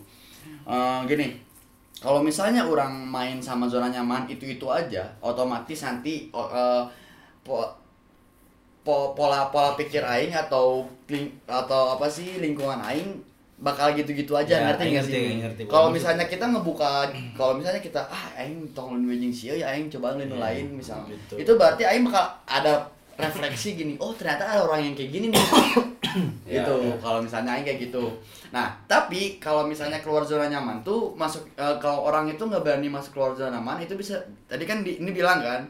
[SPEAKER 2] Eh, gini, kalau misalnya orang main sama zona nyaman itu itu aja, otomatis nanti o- eh, po- po- pola pola pikir aing atau ling- atau apa sih lingkungan aing bakal gitu-gitu aja
[SPEAKER 3] Ya,
[SPEAKER 2] ngerti
[SPEAKER 3] aing
[SPEAKER 2] nggak
[SPEAKER 3] ngerti,
[SPEAKER 2] sih?
[SPEAKER 3] aing ngerti.
[SPEAKER 2] Kalau
[SPEAKER 3] Maksud-
[SPEAKER 2] misalnya kita ngebuka kalau misalnya kita ah aing tong leuwih jeung sieu ya aing coba leuwih nu
[SPEAKER 3] Iya,
[SPEAKER 2] lain misalnya.
[SPEAKER 3] gitu.
[SPEAKER 2] Itu berarti aing bakal ada refleksi gini. Oh, ternyata ada orang yang kayak gini nih. gitu. Kalau misalnya aing kayak gitu. Nah, tapi kalau misalnya keluar zona nyaman tuh masuk eh, kalau orang itu nggak berani masuk keluar zona nyaman itu bisa tadi kan di- ini bilang kan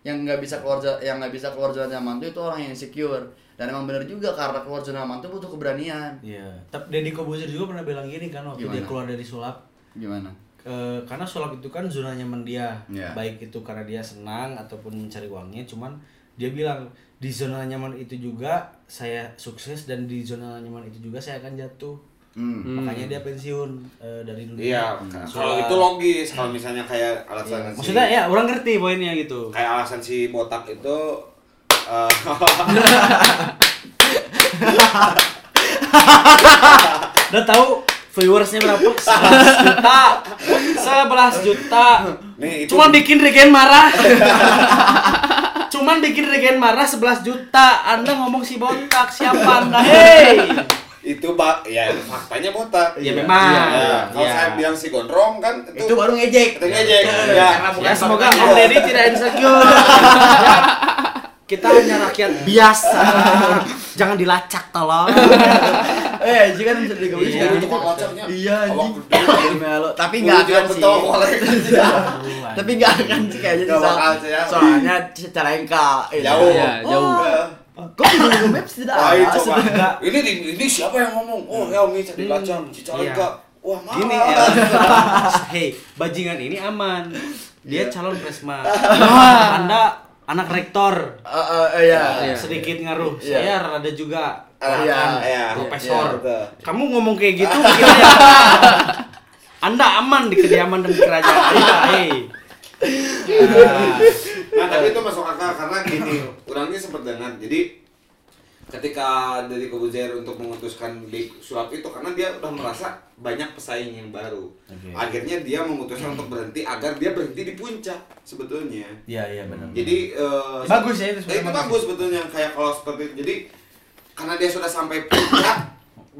[SPEAKER 2] yang nggak bisa keluar zo- yang nggak bisa keluar zona nyaman tuh itu orang yang insecure dan emang bener juga karena keluar zona nyaman tuh butuh keberanian
[SPEAKER 3] Iya. Tapi Deddy Kobuzer juga pernah bilang gini kan waktu dia
[SPEAKER 2] Gimana?
[SPEAKER 3] keluar dari sulap.
[SPEAKER 2] gimana
[SPEAKER 3] Eh, karena sulap itu kan zona nyaman dia
[SPEAKER 2] Iya.
[SPEAKER 3] baik itu karena dia senang ataupun mencari uangnya cuman dia bilang di zona nyaman itu juga saya sukses dan di zona nyaman itu juga saya akan jatuh
[SPEAKER 2] hmm.
[SPEAKER 3] makanya dia pensiun eh, dari dunia
[SPEAKER 4] Iya. Kalau
[SPEAKER 3] Sulap.
[SPEAKER 4] itu logis. Kalau misalnya kayak alasan si,
[SPEAKER 3] maksudnya ya orang ngerti poinnya gitu
[SPEAKER 4] kayak alasan si botak itu eh,
[SPEAKER 3] udah tahu viewersnya berapa 11 juta 11 juta
[SPEAKER 4] nih itu
[SPEAKER 3] cuman bikin Regen marah cuman bikin Regen marah 11 juta anda ngomong si Nah, botak siapa anda hei
[SPEAKER 4] itu bak ya faktanya botak.
[SPEAKER 3] Ya, memang.
[SPEAKER 4] Ya, Kalau
[SPEAKER 3] Ya.
[SPEAKER 4] saya bilang si gondrong kan itu,
[SPEAKER 2] itu baru ngejek
[SPEAKER 4] itu ngejek. Ya.
[SPEAKER 2] Karena bukan
[SPEAKER 3] Ya semoga
[SPEAKER 2] fakta.
[SPEAKER 3] Om Deddy tidak insecure. Kita hanya rakyat biasa. Jangan dilacak tolong.
[SPEAKER 2] eh sih kan bisa dikebukin
[SPEAKER 4] Iya,
[SPEAKER 2] sekarang.
[SPEAKER 4] itu tukang kocoknya.
[SPEAKER 2] iya
[SPEAKER 4] Awak
[SPEAKER 2] anjing
[SPEAKER 4] gede,
[SPEAKER 2] Jadi melo. tapi nggak
[SPEAKER 4] Gua juga
[SPEAKER 2] akan sih
[SPEAKER 4] betul, kolek.
[SPEAKER 2] tapi nggak akan sih kayaknya sih
[SPEAKER 4] Nggak
[SPEAKER 2] Sal.
[SPEAKER 4] bakal sih, ya.
[SPEAKER 2] soalnya secara engka eh,
[SPEAKER 4] Jauh.
[SPEAKER 5] Iya, jauh.
[SPEAKER 4] Ya.
[SPEAKER 2] kok di Google Maps tidak
[SPEAKER 4] Lain
[SPEAKER 2] ada
[SPEAKER 4] coba.
[SPEAKER 2] sebenarnya
[SPEAKER 4] Ini di- ini siapa yang ngomong? Oh, Helmi jadi lacang, Cicalengka. Wah, mahal.
[SPEAKER 3] Gini ya. Hei, bajingan ini aman. Dia calon presma. Anda anak rektor.
[SPEAKER 2] Eh, eh, eh, ya
[SPEAKER 5] Iya.
[SPEAKER 3] Sedikit ngaruh.
[SPEAKER 2] Iya.
[SPEAKER 3] Saya rada juga
[SPEAKER 4] Ah,
[SPEAKER 2] Iya,
[SPEAKER 4] iya.
[SPEAKER 3] profesor.
[SPEAKER 4] Iya,
[SPEAKER 3] Kamu ngomong kayak gitu kira Anda aman di kediaman dan kerajaan. Iya, Hei. Iya.
[SPEAKER 4] Nah, tapi itu masuk akal karena gini, orangnya sempat dengar. Jadi ketika dari Kobuzer untuk memutuskan di sulap itu karena dia udah merasa banyak pesaing yang baru. Akhirnya dia memutuskan untuk berhenti agar dia berhenti di puncak sebetulnya.
[SPEAKER 3] Iya, iya benar.
[SPEAKER 4] Jadi eh,
[SPEAKER 3] Bagus ya, itu
[SPEAKER 4] eh,
[SPEAKER 3] sebenarnya
[SPEAKER 4] itu
[SPEAKER 3] bagus.
[SPEAKER 4] bagus sebetulnya kayak kalau seperti itu. Jadi karena dia sudah sampai puncak,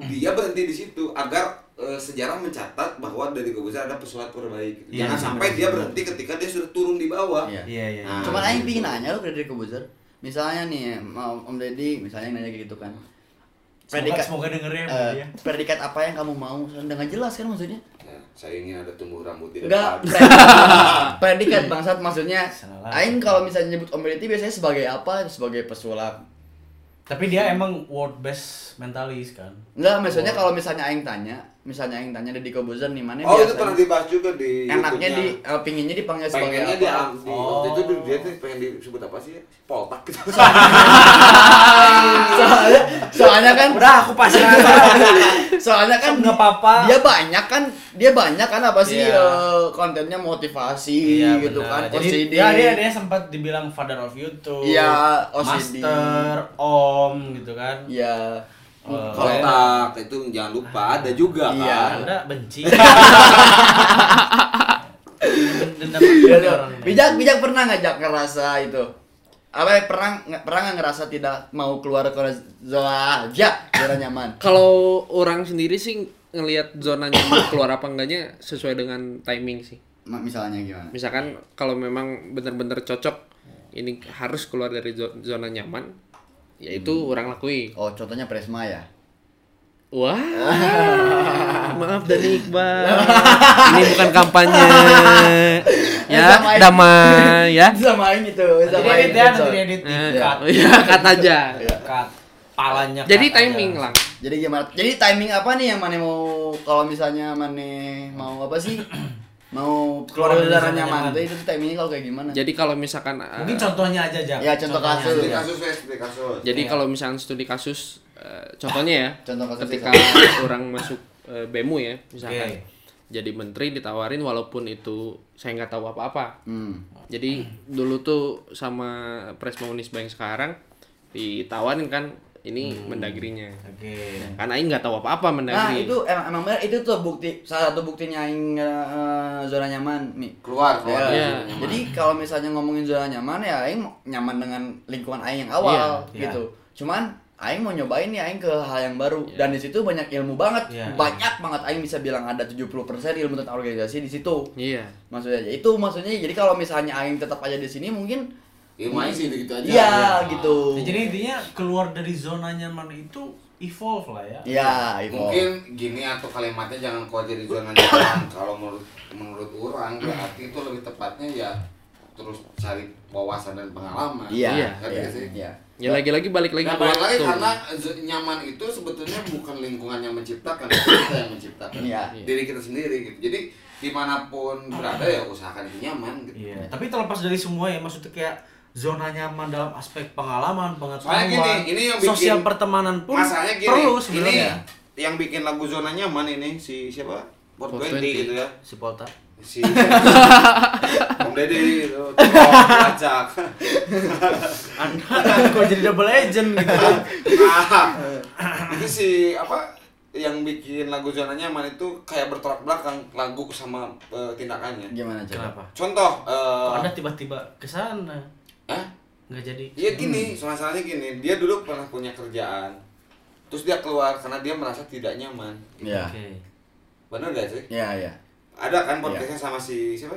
[SPEAKER 4] dia berhenti di situ agar eh, sejarah mencatat bahwa dari Kobuzer ada pesulap terbaik.
[SPEAKER 3] Iya,
[SPEAKER 4] Jangan
[SPEAKER 3] iya,
[SPEAKER 4] sampai
[SPEAKER 3] benar.
[SPEAKER 4] dia berhenti ketika dia sudah turun di bawah.
[SPEAKER 2] Iya.
[SPEAKER 3] Iya, iya.
[SPEAKER 4] Nah,
[SPEAKER 2] Cuman Aing pingin nanya lu Frederick Kobuzer Misalnya nih Om Om Deddy misalnya nanya kayak gitu kan
[SPEAKER 3] Semoga,
[SPEAKER 2] Predikat
[SPEAKER 3] semoga dengerin
[SPEAKER 2] eh,
[SPEAKER 3] ya.
[SPEAKER 2] predikat apa yang kamu mau dengan jelas kan maksudnya
[SPEAKER 4] Nah, saya ingin ada tumbuh rambut di
[SPEAKER 2] Enggak,
[SPEAKER 4] depan.
[SPEAKER 2] predikat- predikat bangsat maksudnya
[SPEAKER 3] Salah.
[SPEAKER 2] Aing kalau misalnya nyebut Om Deddy biasanya sebagai apa? Sebagai pesulap
[SPEAKER 3] Tapi dia emang world best mentalis kan.
[SPEAKER 2] Enggak, maksudnya kalau misalnya aing tanya, misalnya aing tanya Deddy Kobuzer nih mana
[SPEAKER 4] Oh itu
[SPEAKER 2] biasanya
[SPEAKER 4] pernah dibahas juga di
[SPEAKER 2] enaknya di
[SPEAKER 4] YouTube-nya.
[SPEAKER 2] eh, pinginnya dipanggil sebagai
[SPEAKER 4] pengennya dia
[SPEAKER 2] apa? Oh.
[SPEAKER 4] di, waktu itu tuh dia tuh pengen disebut apa sih? ya? Poltak gitu.
[SPEAKER 2] soalnya soalnya kan
[SPEAKER 6] Udah aku pasrah.
[SPEAKER 2] soalnya kan
[SPEAKER 6] Nggak apa-apa.
[SPEAKER 2] dia banyak kan dia banyak kan apa sih
[SPEAKER 3] Iya.
[SPEAKER 2] eh, kontennya motivasi
[SPEAKER 3] Iya,
[SPEAKER 2] gitu
[SPEAKER 3] benar.
[SPEAKER 2] kan
[SPEAKER 3] Jadi
[SPEAKER 2] OCD.
[SPEAKER 3] ya, dia dia sempat dibilang father of YouTube.
[SPEAKER 2] Iya, OCD.
[SPEAKER 3] Master, om gitu kan.
[SPEAKER 2] Iya.
[SPEAKER 4] Oh.
[SPEAKER 3] Eh,
[SPEAKER 4] Poltak itu jangan lupa ada juga
[SPEAKER 2] Iya.
[SPEAKER 4] kan.
[SPEAKER 3] Anda benci. Dendam
[SPEAKER 2] Iya,
[SPEAKER 3] banget
[SPEAKER 2] tuh.
[SPEAKER 3] orang ini.
[SPEAKER 2] bijak bijak pernah ngajak ngerasa itu apa ya, pernah nggak- pernah nggak ngerasa tidak mau keluar ke zona aja zona nyaman
[SPEAKER 5] Kalau orang sendiri sih ngelihat zonanya mau keluar apa enggaknya sesuai dengan timing sih.
[SPEAKER 2] Ma- misalnya gimana
[SPEAKER 5] Misalkan kalau memang benar-benar cocok ini harus keluar dari zo- zona nyaman, yaitu
[SPEAKER 3] Hmm.
[SPEAKER 5] orang lakuin.
[SPEAKER 2] oh contohnya Presma ya
[SPEAKER 5] Wah. Maaf Dani Iqbal. Ini bukan kampanye. Ya,
[SPEAKER 2] Damai.
[SPEAKER 5] damai ya.
[SPEAKER 2] sama ini tuh
[SPEAKER 3] Nanti
[SPEAKER 2] sama Iya.
[SPEAKER 3] edit
[SPEAKER 2] ini
[SPEAKER 3] ya,
[SPEAKER 2] tuh.
[SPEAKER 3] nanti edit.
[SPEAKER 5] Eh,
[SPEAKER 3] Cut.
[SPEAKER 5] ya, kata aja.
[SPEAKER 3] Cut. Palanya. Iya.
[SPEAKER 5] Jadi
[SPEAKER 3] cut aja
[SPEAKER 5] timing
[SPEAKER 3] langsung.
[SPEAKER 5] lah.
[SPEAKER 2] jadi gimana jadi timing apa nih yang mana mau kalau misalnya mana mau apa sih mau keluar dari zona nyaman tuh itu tuh timingnya kalau kayak gimana
[SPEAKER 5] Jadi kalau misalkan eh,
[SPEAKER 3] Mungkin contohnya aja aja.
[SPEAKER 2] Ya, contoh kasus.
[SPEAKER 4] Studi kasus wes, studi kasus.
[SPEAKER 2] Iya.
[SPEAKER 3] ya.
[SPEAKER 5] Jadi kalau misalkan studi kasus eh, contohnya ya,
[SPEAKER 2] Contoh kasus
[SPEAKER 5] ketika orang masuk eh, BEMU ya, misalkan
[SPEAKER 3] Oke.
[SPEAKER 5] jadi menteri ditawarin walaupun itu saya nggak tahu apa-apa.
[SPEAKER 2] hmm.
[SPEAKER 5] Jadi dulu tuh sama Presma Unisba yang sekarang ditawarin kan ini mendagrinya.
[SPEAKER 3] Oke.
[SPEAKER 5] Karena Aing nggak tahu apa-apa
[SPEAKER 2] nah
[SPEAKER 5] mendagri.
[SPEAKER 2] itu emang emang bener, itu tuh bukti salah satu buktinya yang eh, zona nyaman nih
[SPEAKER 4] Keluar keluar.
[SPEAKER 2] Ya.
[SPEAKER 5] Iya.
[SPEAKER 2] Jadi kalau misalnya ngomongin zona nyaman ya aing nyaman dengan lingkungan aing yang awal
[SPEAKER 3] Iya, iya.
[SPEAKER 2] gitu. Cuman aing mau nyobain nih aing ke hal yang baru dan di situ banyak ilmu banget.
[SPEAKER 3] Iya, iya.
[SPEAKER 2] banyak banget aing bisa bilang ada 70% ilmu tentang organisasi di situ.
[SPEAKER 5] Iya.
[SPEAKER 2] Maksudnya ya itu maksudnya jadi kalau misalnya aing tetap aja di sini mungkin
[SPEAKER 4] Ilmu aja sih gitu aja.
[SPEAKER 2] Iya, gitu.
[SPEAKER 3] Nah, jadi intinya keluar dari zona nyaman itu evolve lah ya.
[SPEAKER 2] ya itu.
[SPEAKER 4] Mungkin gini atau kalimatnya jangan keluar dari zona nyaman. Kalau menurut menurut orang berarti itu lebih tepatnya ya terus cari wawasan dan pengalaman.
[SPEAKER 2] Iya.
[SPEAKER 5] Iya,
[SPEAKER 4] Kan
[SPEAKER 2] iya,
[SPEAKER 4] gitu sih?
[SPEAKER 2] iya.
[SPEAKER 5] Ya lagi-lagi balik
[SPEAKER 4] Nah,
[SPEAKER 5] lagi ke
[SPEAKER 4] balik lagi
[SPEAKER 5] waktu.
[SPEAKER 4] karena z- nyaman itu sebetulnya bukan lingkungan yang menciptakan, tapi kita yang menciptakan
[SPEAKER 2] Iya.
[SPEAKER 4] diri kita sendiri gitu. Jadi dimanapun berada ya usahakan itu nyaman gitu.
[SPEAKER 3] Iya. Tapi terlepas dari semua ya maksudnya kayak zona nyaman dalam aspek pengalaman, pengetahuan,
[SPEAKER 4] Soalnya gini, ini yang bikin-
[SPEAKER 3] sosial pertemanan pun
[SPEAKER 4] Masalahnya gini,
[SPEAKER 3] perlu
[SPEAKER 4] ini
[SPEAKER 3] sebenarnya.
[SPEAKER 4] yang bikin lagu zona nyaman ini si siapa? Port
[SPEAKER 5] Port
[SPEAKER 4] 20
[SPEAKER 5] 20.
[SPEAKER 4] gitu ya.
[SPEAKER 3] Si Polta.
[SPEAKER 4] Si Om Deddy gitu, tolong acak.
[SPEAKER 3] Anda kok jadi double agent gitu.
[SPEAKER 4] Nah, itu si apa yang bikin lagu zona nyaman itu kayak bertolak belakang lagu sama eh, tindakannya.
[SPEAKER 3] Iya.
[SPEAKER 2] Gimana coba?
[SPEAKER 3] Kenapa?
[SPEAKER 4] Contoh,
[SPEAKER 3] Kok
[SPEAKER 4] eh,
[SPEAKER 3] Anda tiba-tiba ke sana?
[SPEAKER 4] Hah?
[SPEAKER 3] Enggak jadi.
[SPEAKER 4] Iya gini, masalahnya gini, dia dulu pernah punya kerjaan, terus dia keluar karena dia merasa tidak nyaman.
[SPEAKER 2] Iya.
[SPEAKER 3] Oke.
[SPEAKER 4] Bener gak sih?
[SPEAKER 2] Iya, iya.
[SPEAKER 4] Ada kan podcastnya sama si siapa?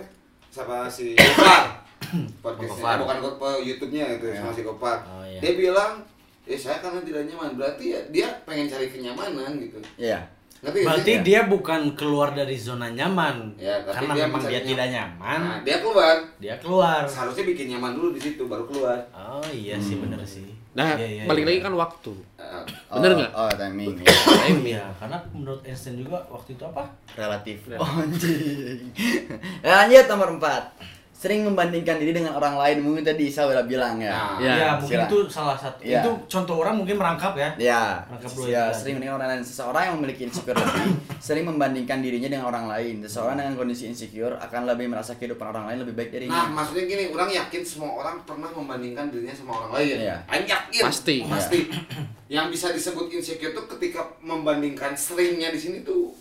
[SPEAKER 4] Sama si Gopar. podcastnya, bukan Gopar, YouTube-nya gitu, sama si Gopar.
[SPEAKER 3] Oh, iya.
[SPEAKER 4] Dia bilang, ya saya karena tidak nyaman, berarti ya dia pengen cari kenyamanan gitu.
[SPEAKER 2] Iya.
[SPEAKER 4] Ngerti gak
[SPEAKER 3] Berarti
[SPEAKER 4] sih? Nah,
[SPEAKER 3] dia bukan keluar dari zona nyaman.
[SPEAKER 4] Ya, tapi
[SPEAKER 3] karena
[SPEAKER 4] dia
[SPEAKER 3] memang dia
[SPEAKER 4] mencari-
[SPEAKER 3] tidak nyaman,
[SPEAKER 4] Nah, dia keluar,
[SPEAKER 3] dia keluar.
[SPEAKER 4] seharusnya bikin nyaman dulu di situ, baru keluar.
[SPEAKER 3] Oh iya sih bener sih.
[SPEAKER 5] Nah,
[SPEAKER 3] Iya, iya,
[SPEAKER 5] balik
[SPEAKER 3] iya.
[SPEAKER 5] lagi kan waktu.
[SPEAKER 4] Eh,
[SPEAKER 2] Oh,
[SPEAKER 5] Bener nggak?
[SPEAKER 2] Oh, timing. iya.
[SPEAKER 3] Iya, karena menurut Einstein juga waktu itu apa?
[SPEAKER 2] relatif Oh, anjing Eh, lanjut nomor 4 sering membandingkan diri dengan orang lain mungkin tadi Isa udah bilang ya
[SPEAKER 4] Nah,
[SPEAKER 5] Ya,
[SPEAKER 3] Iya, mungkin
[SPEAKER 2] silakan.
[SPEAKER 3] itu salah satu.
[SPEAKER 2] Iya.
[SPEAKER 3] Itu contoh orang mungkin merangkap ya.
[SPEAKER 2] ya
[SPEAKER 3] Rangkap dua
[SPEAKER 2] ya
[SPEAKER 3] juga.
[SPEAKER 2] sering dengan orang lain seseorang yang memiliki insecure lebih sering membandingkan dirinya dengan orang lain seseorang dengan kondisi insecure akan lebih merasa kehidupan orang lain lebih baik
[SPEAKER 4] Nah,
[SPEAKER 2] darinya
[SPEAKER 4] maksudnya gini, orang yakin semua orang pernah membandingkan dirinya sama orang lain.
[SPEAKER 2] Iya.
[SPEAKER 4] Aing yakin.
[SPEAKER 5] Pasti.
[SPEAKER 4] Pasti. Yang bisa disebut insecure tuh ketika membandingkan seringnya di sini tuh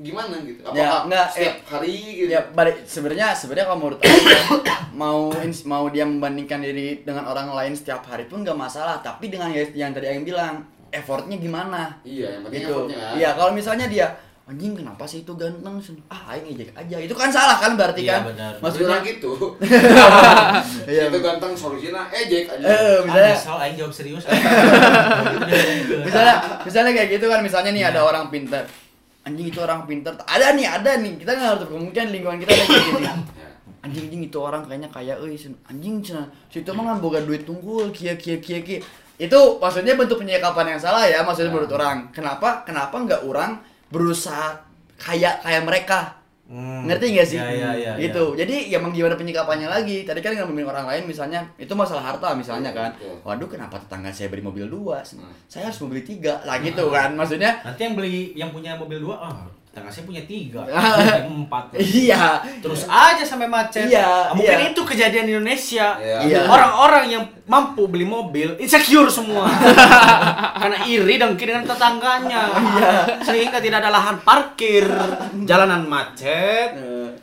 [SPEAKER 4] gimana gitu. Apakah
[SPEAKER 2] Ya, enggak,
[SPEAKER 4] setiap
[SPEAKER 2] eh,
[SPEAKER 4] hari gitu.
[SPEAKER 2] ya balik sebenarnya sebenarnya kalau menurut aku ya, mau ins- mau dia membandingkan diri dengan orang lain setiap hari pun nggak masalah tapi dengan yang- yang tadi yang bilang effortnya gimana
[SPEAKER 4] Iya, yang penting
[SPEAKER 2] gitu.
[SPEAKER 4] effortnya kan.
[SPEAKER 2] Iya, kalau misalnya dia anjing kenapa sih itu ganteng Sen- ah aing ngejek aja itu kan salah kan berarti
[SPEAKER 3] Iya,
[SPEAKER 2] kan
[SPEAKER 3] benar.
[SPEAKER 4] Maksudnya
[SPEAKER 2] maksudnya
[SPEAKER 4] gitu.
[SPEAKER 2] Iya.
[SPEAKER 4] Itu ganteng solusinya ejek aja.
[SPEAKER 2] eh
[SPEAKER 5] Iya,
[SPEAKER 3] Misalnya,
[SPEAKER 2] misalnya
[SPEAKER 3] misal Ah, aing jawab serius.
[SPEAKER 2] misalnya misalnya kayak gitu kan misalnya nih
[SPEAKER 3] Iya.
[SPEAKER 2] ada orang pintar anjing itu orang pintar ada nih ada nih kita nggak harus kemungkinan lingkungan kita kayak gitu
[SPEAKER 4] Ya.
[SPEAKER 2] anjing anjing itu orang kayaknya kaya euy Sen. anjing cina situ mah kan boga duit tunggul kia kia kia kia itu maksudnya bentuk penyikapan yang salah ya
[SPEAKER 3] Iya.
[SPEAKER 2] maksudnya menurut orang kenapa kenapa nggak orang berusaha kayak kayak mereka
[SPEAKER 3] Hmm.
[SPEAKER 2] ngerti nggak sih
[SPEAKER 3] Ya, ya, ya,
[SPEAKER 2] gitu jadi ya emang gimana penyikapannya lagi tadi kan ngomongin orang lain misalnya itu masalah harta misalnya kan
[SPEAKER 4] Betul.
[SPEAKER 2] waduh kenapa tetangga saya beli mobil dua
[SPEAKER 3] Hmm.
[SPEAKER 2] saya harus beli tiga lah gitu kan maksudnya
[SPEAKER 3] Nanti yang beli yang punya mobil dua, ah, tetangga saya punya tiga,
[SPEAKER 2] Ah.
[SPEAKER 3] punya empat.
[SPEAKER 2] iya
[SPEAKER 3] Terus aja sampai macet.
[SPEAKER 2] Iya,
[SPEAKER 3] Ah, Mungkin
[SPEAKER 2] iya.
[SPEAKER 3] itu kejadian di Indonesia.
[SPEAKER 2] Iya.
[SPEAKER 3] Orang-orang yang mampu beli mobil insecure semua. Karena iri dengki dengan tetangganya.
[SPEAKER 2] Iya.
[SPEAKER 3] Sehingga tidak ada lahan parkir, jalanan macet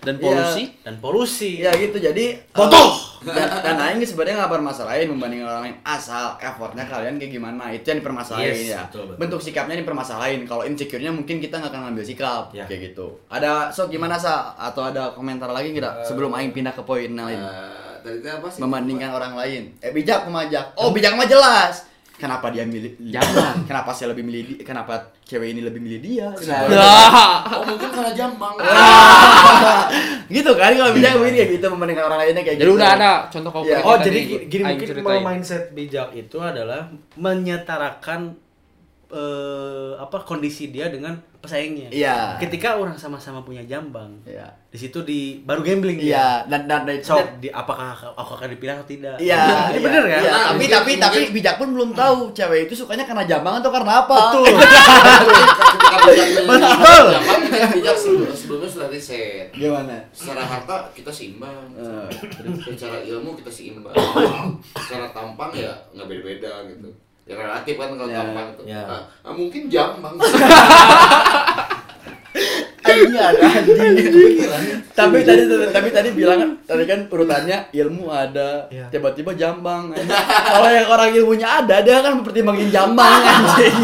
[SPEAKER 5] Dan
[SPEAKER 2] Iya.
[SPEAKER 5] polusi?
[SPEAKER 3] Eh, dan polusi.
[SPEAKER 2] Ya gitu jadi foto dan, dan aing sebenarnya nggak permasalahin membanding orang lain asal effortnya kalian kayak gimana itu yang dipermasalahin
[SPEAKER 3] Yes,
[SPEAKER 2] ya
[SPEAKER 3] betul, betul.
[SPEAKER 2] bentuk sikapnya dipermasalahin kalau insecure-nya mungkin kita nggak akan ngambil sikap
[SPEAKER 3] Ya.
[SPEAKER 2] kayak gitu ada so gimana sa atau ada komentar lagi
[SPEAKER 3] Eh,
[SPEAKER 2] nggak sebelum aing pindah ke poin lain
[SPEAKER 4] Eh, tadi itu apa sih?
[SPEAKER 2] membandingkan orang lain eh bijak pemajak oh bijak mah jelas kenapa dia milih jangan kenapa saya lebih milih di- kenapa cewek ini lebih milih dia
[SPEAKER 4] Oh, mungkin karena jambang.
[SPEAKER 2] Ah. gitu kan kalau bijak begini kayak gitu membandingkan orang lainnya kayak
[SPEAKER 5] Jadi
[SPEAKER 2] gitu
[SPEAKER 5] udah ada contoh konkret.
[SPEAKER 3] Oh,
[SPEAKER 5] tadi
[SPEAKER 3] jadi
[SPEAKER 5] yang
[SPEAKER 3] gini, gini
[SPEAKER 5] Aing
[SPEAKER 3] mungkin
[SPEAKER 5] ceritain. Iya.
[SPEAKER 3] kalau mindset bijak itu adalah menyetarakan eh, apa kondisi dia dengan pesaingnya.
[SPEAKER 2] Iya.
[SPEAKER 3] Ketika orang sama-sama punya jambang,
[SPEAKER 2] Iya.
[SPEAKER 3] di situ di baru gambling dia.
[SPEAKER 2] Iya, dan dan dan
[SPEAKER 3] So, di, apakah aku- aku akan dipilih atau tidak?
[SPEAKER 2] Iya, iya,
[SPEAKER 3] Ini bener
[SPEAKER 2] iya.
[SPEAKER 3] ya?
[SPEAKER 4] Nah,
[SPEAKER 2] tapi
[SPEAKER 4] mungkin-
[SPEAKER 2] tapi tapi
[SPEAKER 4] mungkin-
[SPEAKER 2] bijak pun belum tahu cewek itu sukanya karena jambangan atau karena apa.
[SPEAKER 3] Betul.
[SPEAKER 4] Ketika bijak milih
[SPEAKER 2] Betul.
[SPEAKER 4] jambang, kita bijak sebelum- sebelumnya sudah riset.
[SPEAKER 2] Gimana?
[SPEAKER 4] Secara harta kita seimbang.
[SPEAKER 2] Eh,
[SPEAKER 4] Secara ilmu kita seimbang. Secara tampang ya nggak beda-beda gitu. Ya relatif kan kalau
[SPEAKER 2] Ya,
[SPEAKER 4] tampang tuh.
[SPEAKER 3] ya.
[SPEAKER 4] Ah, ah, mungkin jambang.
[SPEAKER 2] Anjing ada anjing. tapi tadi tapi tadi bilang kan tadi kan urutannya ilmu ada,
[SPEAKER 3] Iya.
[SPEAKER 2] tiba-tiba jambang. anjing. Kalau yang orang ilmunya ada, dia kan mempertimbangin jambang anjing.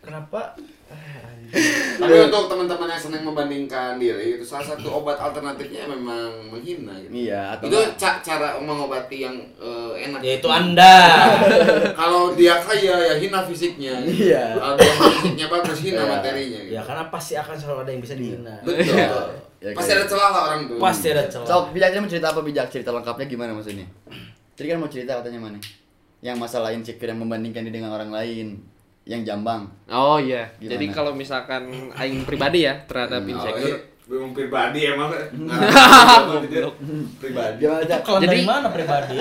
[SPEAKER 3] Kenapa?
[SPEAKER 4] Tapi untuk teman-teman yang senang membandingkan diri, itu salah satu obat alternatifnya memang menghina gitu.
[SPEAKER 2] Iya, atau Ya,
[SPEAKER 4] itu ca- cara mengobati yang eh, enak
[SPEAKER 3] Yaitu Anda.
[SPEAKER 4] kalau dia kaya ya hina fisiknya
[SPEAKER 2] Iya.
[SPEAKER 4] kalau dia fisiknya bagus hina
[SPEAKER 2] Iya.
[SPEAKER 4] materinya gitu.
[SPEAKER 3] ya karena pasti akan selalu ada yang bisa dihina.
[SPEAKER 4] betul
[SPEAKER 2] Iya. Iya,
[SPEAKER 4] pasti
[SPEAKER 2] kayak-
[SPEAKER 4] ada celah lah orang tuh
[SPEAKER 3] Pasti ada celah.
[SPEAKER 2] Sok, bijaknya mau cerita apa bijak? Cerita lengkapnya gimana maksudnya? Tadi kan mau cerita katanya mana? Yang masalah insecure yang membandingkan diri dengan orang lain, yang jambang.
[SPEAKER 5] Oh iya.
[SPEAKER 2] Gimana?
[SPEAKER 5] Jadi kalau misalkan aing pribadi ya
[SPEAKER 4] Hmm.
[SPEAKER 5] terhadap
[SPEAKER 4] Oh, iya.
[SPEAKER 5] insecure.
[SPEAKER 4] belum pribadi ya, Nah, emang pribadi
[SPEAKER 2] Gimana
[SPEAKER 3] Itu
[SPEAKER 2] Jak?
[SPEAKER 3] kalau dari
[SPEAKER 5] Jadi-
[SPEAKER 3] mana pribadi?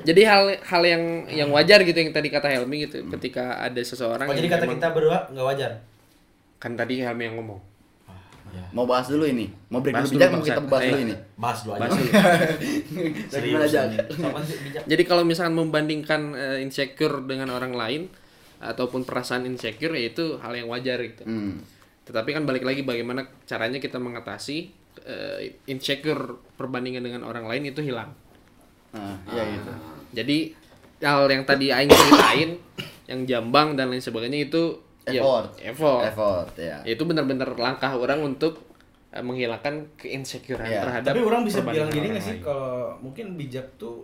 [SPEAKER 5] Jadi hal hal yang yang wajar gitu yang tadi kata Helmi gitu ketika ada seseorang
[SPEAKER 3] Hmm. Oh, jadi
[SPEAKER 5] yang
[SPEAKER 3] kata
[SPEAKER 5] memang-
[SPEAKER 3] kita berdua nggak wajar.
[SPEAKER 5] kan tadi Helmi yang ngomong.
[SPEAKER 2] Mau bahas dulu ini. Mau break
[SPEAKER 5] Bahas
[SPEAKER 2] dulu
[SPEAKER 5] dulu,
[SPEAKER 2] bijak, mau
[SPEAKER 5] Bang
[SPEAKER 2] kita
[SPEAKER 5] Sat.
[SPEAKER 2] bahas
[SPEAKER 5] Ayo.
[SPEAKER 2] dulu ini.
[SPEAKER 3] Bahas dulu aja.
[SPEAKER 5] Bahas dulu.
[SPEAKER 2] Dan Gimana Jak?
[SPEAKER 3] Sopan sih, bijak.
[SPEAKER 5] Jadi kalau misalkan membandingkan eh, insecure dengan orang lain ataupun perasaan insecure ya itu hal yang wajar gitu.
[SPEAKER 2] Hmm.
[SPEAKER 5] Tetapi kan balik lagi bagaimana caranya kita mengatasi eh, insecure perbandingan dengan orang lain itu hilang. Ya,
[SPEAKER 2] Nah,
[SPEAKER 3] Ah.
[SPEAKER 2] iya gitu.
[SPEAKER 5] Jadi hal yang tadi aing ceritain yang jambang dan lain sebagainya itu ya,
[SPEAKER 2] Effort.
[SPEAKER 5] effort.
[SPEAKER 2] Effort ya.
[SPEAKER 5] Itu benar-benar langkah orang untuk eh, menghilangkan keinsecurean
[SPEAKER 2] Iya.
[SPEAKER 5] terhadap
[SPEAKER 3] Tapi orang bisa bilang
[SPEAKER 5] perbandingan
[SPEAKER 3] gini nggak
[SPEAKER 5] orang
[SPEAKER 3] sih
[SPEAKER 5] lain.
[SPEAKER 3] kalau mungkin bijak tuh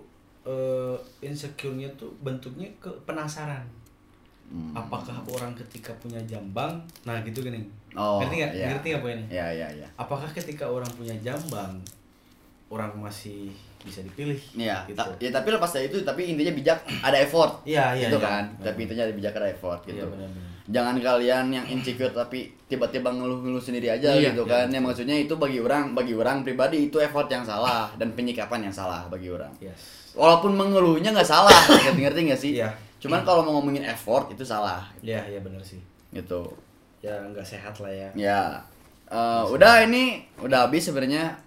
[SPEAKER 3] eh, insecure-nya tuh bentuknya ke penasaran.
[SPEAKER 2] Hmm.
[SPEAKER 3] Apakah orang ketika punya jambang, nah gitu gini.
[SPEAKER 2] Oh,
[SPEAKER 3] ngerti nggak?
[SPEAKER 2] iya.
[SPEAKER 3] Ngerti nggak poinnya?
[SPEAKER 2] Iya, iya, iya.
[SPEAKER 3] Apakah ketika orang punya jambang, orang masih bisa dipilih?
[SPEAKER 2] Iya,
[SPEAKER 3] gitu.
[SPEAKER 2] ta- ya tapi lepas dari itu, tapi intinya bijak ada effort.
[SPEAKER 3] Iya, iya,
[SPEAKER 2] Gitu
[SPEAKER 3] iya.
[SPEAKER 2] kan?
[SPEAKER 3] Benar.
[SPEAKER 2] Tapi intinya ada bijak ada effort gitu.
[SPEAKER 3] Iya, benar-benar.
[SPEAKER 2] Jangan kalian yang insecure tapi tiba-tiba ngeluh-ngeluh sendiri aja
[SPEAKER 5] Iya,
[SPEAKER 2] gitu kan. Yang maksudnya itu bagi orang, bagi orang pribadi itu effort yang salah dan penyikapan yang salah bagi orang.
[SPEAKER 3] Yes.
[SPEAKER 2] Walaupun mengeluhnya nggak salah, ngerti ngerti nggak sih?
[SPEAKER 3] Iya.
[SPEAKER 2] Cuman kalau mau ngomongin effort itu salah
[SPEAKER 3] Iya, iya benar sih.
[SPEAKER 2] gitu.
[SPEAKER 3] Ya nggak sehat lah ya.
[SPEAKER 2] Ya. Eh, udah ini udah habis sebenarnya.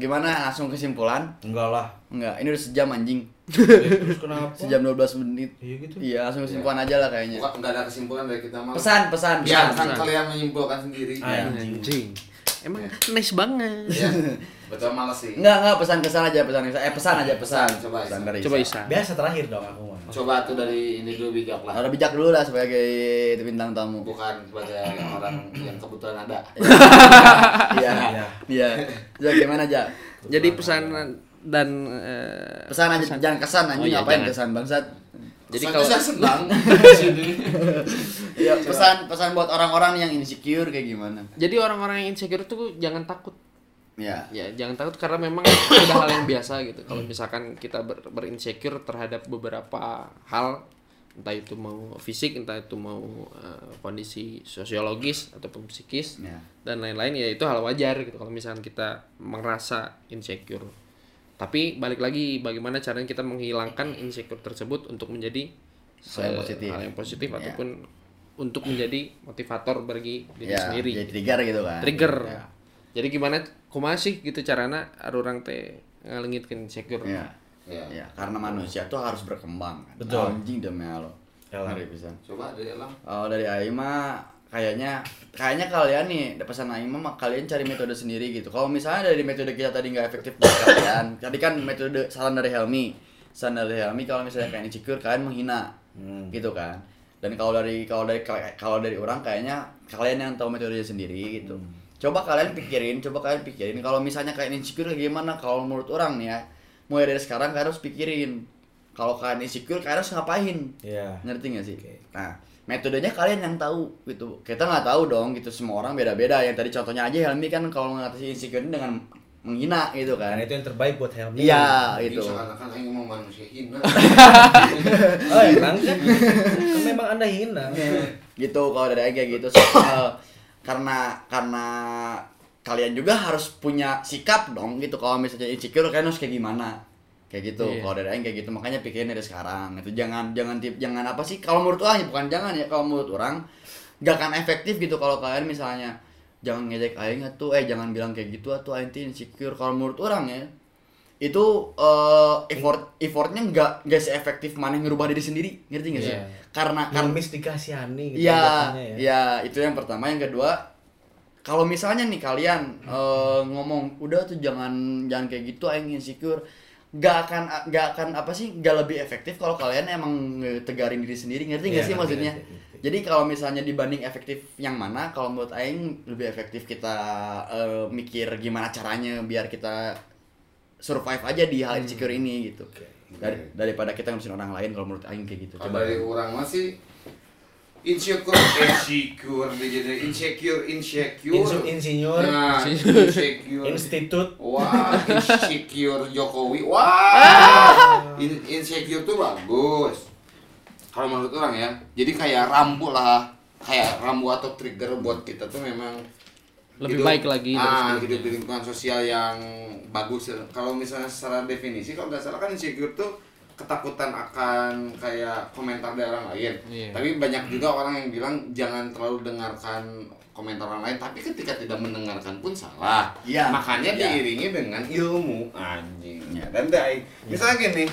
[SPEAKER 2] Gimana langsung kesimpulan?
[SPEAKER 3] Enggak lah.
[SPEAKER 2] Enggak, ini udah sejam anjing.
[SPEAKER 3] Terus kenapa?
[SPEAKER 2] Sejam 12 menit.
[SPEAKER 3] Iya gitu.
[SPEAKER 2] Iya, langsung kesimpulan aja lah kayaknya.
[SPEAKER 4] Bukan, nggak ada kesimpulan dari kita malah
[SPEAKER 2] Pesan, pesan,
[SPEAKER 4] biarkan
[SPEAKER 2] Iya, pesan.
[SPEAKER 4] kalian menyimpulkan sendiri
[SPEAKER 3] Ah,
[SPEAKER 5] iya.
[SPEAKER 4] ya.
[SPEAKER 5] anjing. Emang nice banget.
[SPEAKER 4] Ya, betul malas sih
[SPEAKER 2] Enggak, enggak pesan kesan aja, pesan kesan. Eh, pesan aja, pesan.
[SPEAKER 4] Coba,
[SPEAKER 2] pesan
[SPEAKER 4] Isa.
[SPEAKER 2] dari
[SPEAKER 5] Coba
[SPEAKER 2] Isa.
[SPEAKER 5] Isa.
[SPEAKER 3] Biasa terakhir dong aku mah.
[SPEAKER 4] coba tuh dari ini dulu bijak lah
[SPEAKER 2] Harus bijak dulu lah sebagai bintang tamu.
[SPEAKER 4] bukan sebagai orang yang kebetulan ada
[SPEAKER 2] Iya.
[SPEAKER 3] Iya.
[SPEAKER 2] Iya. Ja, gimana, Ja?
[SPEAKER 5] Jadi pesan dan eh,
[SPEAKER 2] Pesan aja, jangan kesan anjing,
[SPEAKER 5] Oh, iya,
[SPEAKER 2] ngapain
[SPEAKER 5] jangan.
[SPEAKER 2] kesan bangsat.
[SPEAKER 5] Jadi
[SPEAKER 4] Soalnya
[SPEAKER 5] kalau-
[SPEAKER 4] saya senang di sini
[SPEAKER 2] Iya, pesan pesan buat orang-orang yang insecure kayak gimana?
[SPEAKER 5] jadi orang-orang yang insecure tuh jangan takut.
[SPEAKER 2] Iya.
[SPEAKER 5] Ya, jangan takut karena memang udah
[SPEAKER 2] Hmm.
[SPEAKER 5] hal yang biasa gitu. Kalau misalkan kita ber- berinsecure terhadap beberapa hal entah itu mau fisik entah itu mau eh, kondisi sosiologis ataupun psikis
[SPEAKER 2] Ya.
[SPEAKER 5] dan lain-lain ya itu hal wajar gitu kalau misalkan kita merasa insecure tapi balik lagi bagaimana caranya kita menghilangkan insecure tersebut untuk menjadi
[SPEAKER 2] Hal yang
[SPEAKER 5] se-
[SPEAKER 2] positif.
[SPEAKER 5] hal yang positif
[SPEAKER 2] Ya.
[SPEAKER 5] ataupun untuk menjadi motivator bagi diri
[SPEAKER 2] Ya,
[SPEAKER 5] sendiri
[SPEAKER 2] jadi trigger gitu kan.
[SPEAKER 5] trigger
[SPEAKER 2] Ya.
[SPEAKER 5] Nah, iya. jadi gimana kumaha sih gitu carana orang teh ngalengitkeun insecure
[SPEAKER 2] Iya.
[SPEAKER 4] Ya.
[SPEAKER 2] Iya, karena manusia tuh harus berkembang kan.
[SPEAKER 3] Betul.
[SPEAKER 2] Anjing demi Allah.
[SPEAKER 3] Elah.
[SPEAKER 2] Ngeri pisan.
[SPEAKER 4] Coba dari Elang.
[SPEAKER 2] Oh, dari Aing mah kayaknya kayaknya kalian nih ada pesan Aing mah mah kalian cari metode sendiri gitu. Kalau misalnya dari metode kita tadi nggak efektif buat kalian, tadi kan metode saran dari Helmi, saran dari Helmi kalau misalnya kalian insecure kalian menghina, gitu kan. Dan kalau dari kalau dari kalau dari orang kayaknya kalian yang tahu metodenya sendiri gitu. Coba kalian pikirin, coba kalian pikirin kalau misalnya kalian insecure gimana kalau menurut orang nih ya. Mulai dari sekarang kalian harus pikirin kalau kalian insecure kalian harus ngapain
[SPEAKER 3] Iya.
[SPEAKER 2] ngerti nggak sih? Nah, metodenya kalian yang tahu gitu. Kita nggak tahu dong gitu. Semua orang beda-beda. Yang tadi contohnya aja Helmi kan kalau mengatasi insecure dengan menghina gitu kan.
[SPEAKER 3] Karena Nah, itu yang terbaik buat Helmi.
[SPEAKER 2] Iya,
[SPEAKER 4] Jadi
[SPEAKER 2] itu.
[SPEAKER 4] seakan-akan aing mau manusia hina.
[SPEAKER 3] Oh, emang kan? Kan memang Anda hina.
[SPEAKER 2] gitu kalau dari Aing kayak gitu soal karena karena kalian juga harus punya sikap dong gitu kalau misalnya insecure kalian harus kayak gimana kayak gitu
[SPEAKER 5] Iya.
[SPEAKER 2] kalau dari Aing kayak gitu makanya pikirin dari sekarang itu jangan jangan tip jangan apa sih kalau menurut orang ya, bukan jangan ya kalau menurut orang gak akan efektif gitu kalau kalian misalnya jangan ngejek Aing tuh eh jangan bilang kayak gitu atau Aing tuh insecure kalau menurut orang ya itu eh, effort effortnya nggak nggak seefektif mana ngerubah diri sendiri ngerti nggak sih
[SPEAKER 5] Iya.
[SPEAKER 2] karena karena
[SPEAKER 3] Ngemis dikasihani gitu
[SPEAKER 2] Iya,
[SPEAKER 3] jatuhnya ya.
[SPEAKER 2] iya itu yang pertama. Yang kedua, kalau misalnya nih kalian eh, ngomong udah tuh jangan jangan kayak gitu, aing insecure, gak akan gak akan apa sih gak lebih efektif kalau kalian emang tegarin diri sendiri ngerti nggak
[SPEAKER 3] Iya,
[SPEAKER 2] sih
[SPEAKER 3] ngerti,
[SPEAKER 2] maksudnya?
[SPEAKER 3] ngerti, ngerti.
[SPEAKER 2] Jadi kalau misalnya dibanding efektif yang mana, kalau menurut Aing lebih efektif kita eh, mikir gimana caranya biar kita survive aja di
[SPEAKER 3] Hmm.
[SPEAKER 2] hal insecure ini gitu. Dari- daripada kita ngurusin orang lain kalau menurut Aing kayak gitu.
[SPEAKER 4] Kalau
[SPEAKER 2] Coba.
[SPEAKER 4] dari orang masih insecure, insecure, dia jadi insecure, insecure.
[SPEAKER 2] Iya.
[SPEAKER 3] Insu- insinyur.
[SPEAKER 4] Nah, insecure.
[SPEAKER 3] Institut.
[SPEAKER 4] Wah, insecure Jokowi.
[SPEAKER 5] Ah.
[SPEAKER 4] Wah, In- insecure tuh bagus. Kalau menurut orang ya, jadi kayak rambu lah, kayak rambu atau trigger buat kita tuh memang
[SPEAKER 5] Lebih baik lagi dari
[SPEAKER 4] Ah,
[SPEAKER 5] sebelumnya.
[SPEAKER 4] hidup di lingkungan sosial yang bagus. Kalau misalnya secara definisi, kalau nggak salah kan insecure tuh ketakutan akan kayak komentar dari orang lain.
[SPEAKER 5] Iya.
[SPEAKER 4] Tapi banyak juga orang yang bilang jangan terlalu dengarkan komentar orang lain. Tapi ketika tidak mendengarkan pun salah.
[SPEAKER 2] Iya. Iya.
[SPEAKER 4] Makanya diiringi dengan ilmu anjingnya. Dan dai, misalnya gini,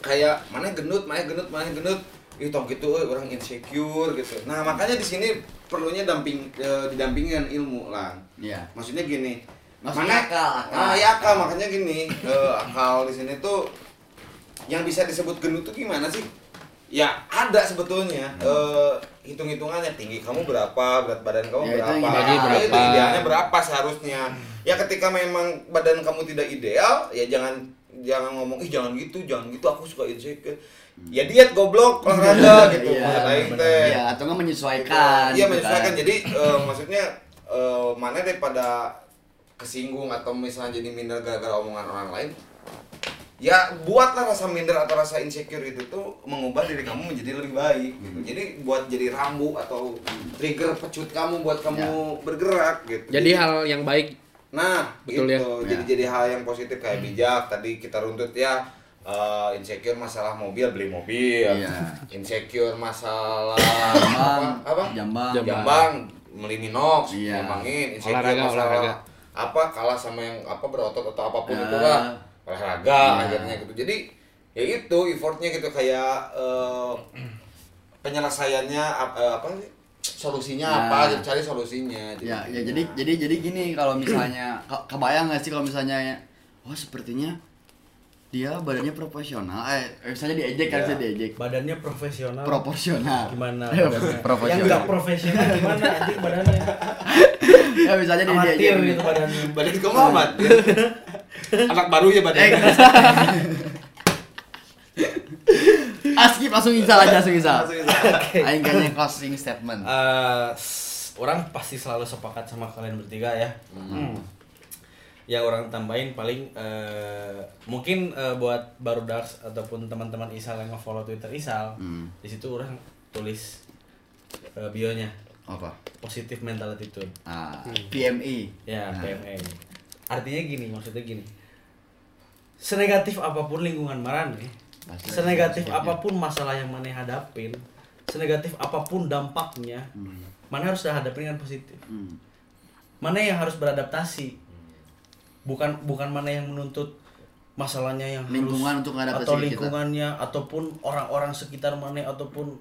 [SPEAKER 4] kayak mana gendut, mana gendut, mana gendut, itu gitu, eh, orang insecure gitu. Nah makanya di sini perlunya damping, eh, didampingi dengan ilmu lah.
[SPEAKER 2] Iya.
[SPEAKER 4] Maksudnya gini,
[SPEAKER 2] Maksudnya akal, akal.
[SPEAKER 4] Ah, ya akal, makanya gini, eh, akal di sini tuh yang bisa disebut gendut tuh gimana sih? Ya ada sebetulnya
[SPEAKER 2] Hmm.
[SPEAKER 4] eh, hitung-hitungannya tinggi kamu berapa, berat badan kamu
[SPEAKER 2] Ya, itu
[SPEAKER 4] berapa,
[SPEAKER 2] yang
[SPEAKER 5] ideal.
[SPEAKER 4] Nah, itu
[SPEAKER 5] Berapa.
[SPEAKER 4] idealnya berapa seharusnya. Ya ketika memang badan kamu tidak ideal, ya jangan jangan ngomong ih jangan gitu, jangan gitu aku suka insecure. Ya diet goblok olahraga gitu.
[SPEAKER 2] Hmm. Iya,
[SPEAKER 4] maksud aing
[SPEAKER 2] benar-benar.
[SPEAKER 4] teh.
[SPEAKER 2] Iya, atau nggak menyesuaikan.
[SPEAKER 4] Iya
[SPEAKER 2] gitu
[SPEAKER 4] menyesuaikan.
[SPEAKER 2] kan.
[SPEAKER 4] Jadi eh, maksudnya eh, mana daripada kesinggung atau misalnya jadi minder gara-gara omongan orang lain. Ya buatlah rasa minder atau rasa insecure itu tuh mengubah diri kamu menjadi lebih baik. Gitu. Jadi buat jadi rambu atau trigger pecut kamu buat kamu bergerak gitu.
[SPEAKER 5] jadi hal yang baik
[SPEAKER 4] Nah,
[SPEAKER 5] Betul ya?
[SPEAKER 4] gitu. Jadi jadi hal yang positif kayak bijak tadi kita runtut ya eh, insecure masalah mobil beli mobil.
[SPEAKER 2] Iya.
[SPEAKER 4] Insecure masalah
[SPEAKER 2] Jambang,
[SPEAKER 4] apa? apa?
[SPEAKER 2] jambang.
[SPEAKER 4] Jambang, jambang beli Minox,
[SPEAKER 2] Iya.
[SPEAKER 4] ngembangin. insecure
[SPEAKER 5] Olahraga,
[SPEAKER 4] masalah
[SPEAKER 5] olahraga.
[SPEAKER 4] apa kalah sama yang apa berotot atau apapun
[SPEAKER 2] Ya.
[SPEAKER 4] itu lah olahraga
[SPEAKER 2] Iya.
[SPEAKER 4] akhirnya gitu. Jadi ya itu effortnya gitu kayak eh, penyelesaiannya ap- eh, apa sih? solusinya
[SPEAKER 2] Ya.
[SPEAKER 4] apa gitu, cari solusinya gitu.
[SPEAKER 2] Ya, ya jadi jadi jadi gini kalau misalnya ke- kebayang nggak sih kalau misalnya oh sepertinya dia badannya proporsional eh eh, misalnya diejek kan
[SPEAKER 4] Iya.
[SPEAKER 2] saya diejek
[SPEAKER 3] Badannya profesional.
[SPEAKER 2] proporsional
[SPEAKER 3] Gimana?
[SPEAKER 2] Eh,
[SPEAKER 3] badannya? Yang
[SPEAKER 2] proporsional
[SPEAKER 3] nggak profesional gimana anjing badannya?
[SPEAKER 2] ya misalnya dia diejek
[SPEAKER 3] Amatir gitu badannya.
[SPEAKER 4] Badan kamu amat. Anak baru ya
[SPEAKER 2] Eh,
[SPEAKER 4] badannya.
[SPEAKER 2] ah, skip langsung insal aja langsung insal
[SPEAKER 4] Langsung insal.
[SPEAKER 2] aing kayaknya closing statement
[SPEAKER 3] Eh, s- orang pasti selalu sepakat sama kalian bertiga ya. Hmm. yang orang tambahin paling eh, mungkin eh, buat baru darks ataupun teman-teman Isal yang nge-follow Twitter Isal, di situ orang tulis eh, bionya
[SPEAKER 2] apa
[SPEAKER 3] positif mental attitude.
[SPEAKER 2] ah
[SPEAKER 4] Hmm.
[SPEAKER 2] PMI
[SPEAKER 3] Ya, PMA. Artinya gini, maksudnya gini. Senegatif apapun lingkungan marane,
[SPEAKER 2] Pasti
[SPEAKER 3] senegatif
[SPEAKER 2] ada sebabnya.
[SPEAKER 3] apapun masalah yang maneh hadapin, senegatif apapun dampaknya,
[SPEAKER 2] Hmm.
[SPEAKER 3] mana harus hadapin dengan positif. Mana yang harus beradaptasi. Bukan bukan mana yang menuntut masalahnya yang harus-
[SPEAKER 2] Lingkungan untuk ngadaptasi
[SPEAKER 3] atau
[SPEAKER 2] kita.
[SPEAKER 3] lingkungannya ataupun orang-orang sekitar mana ataupun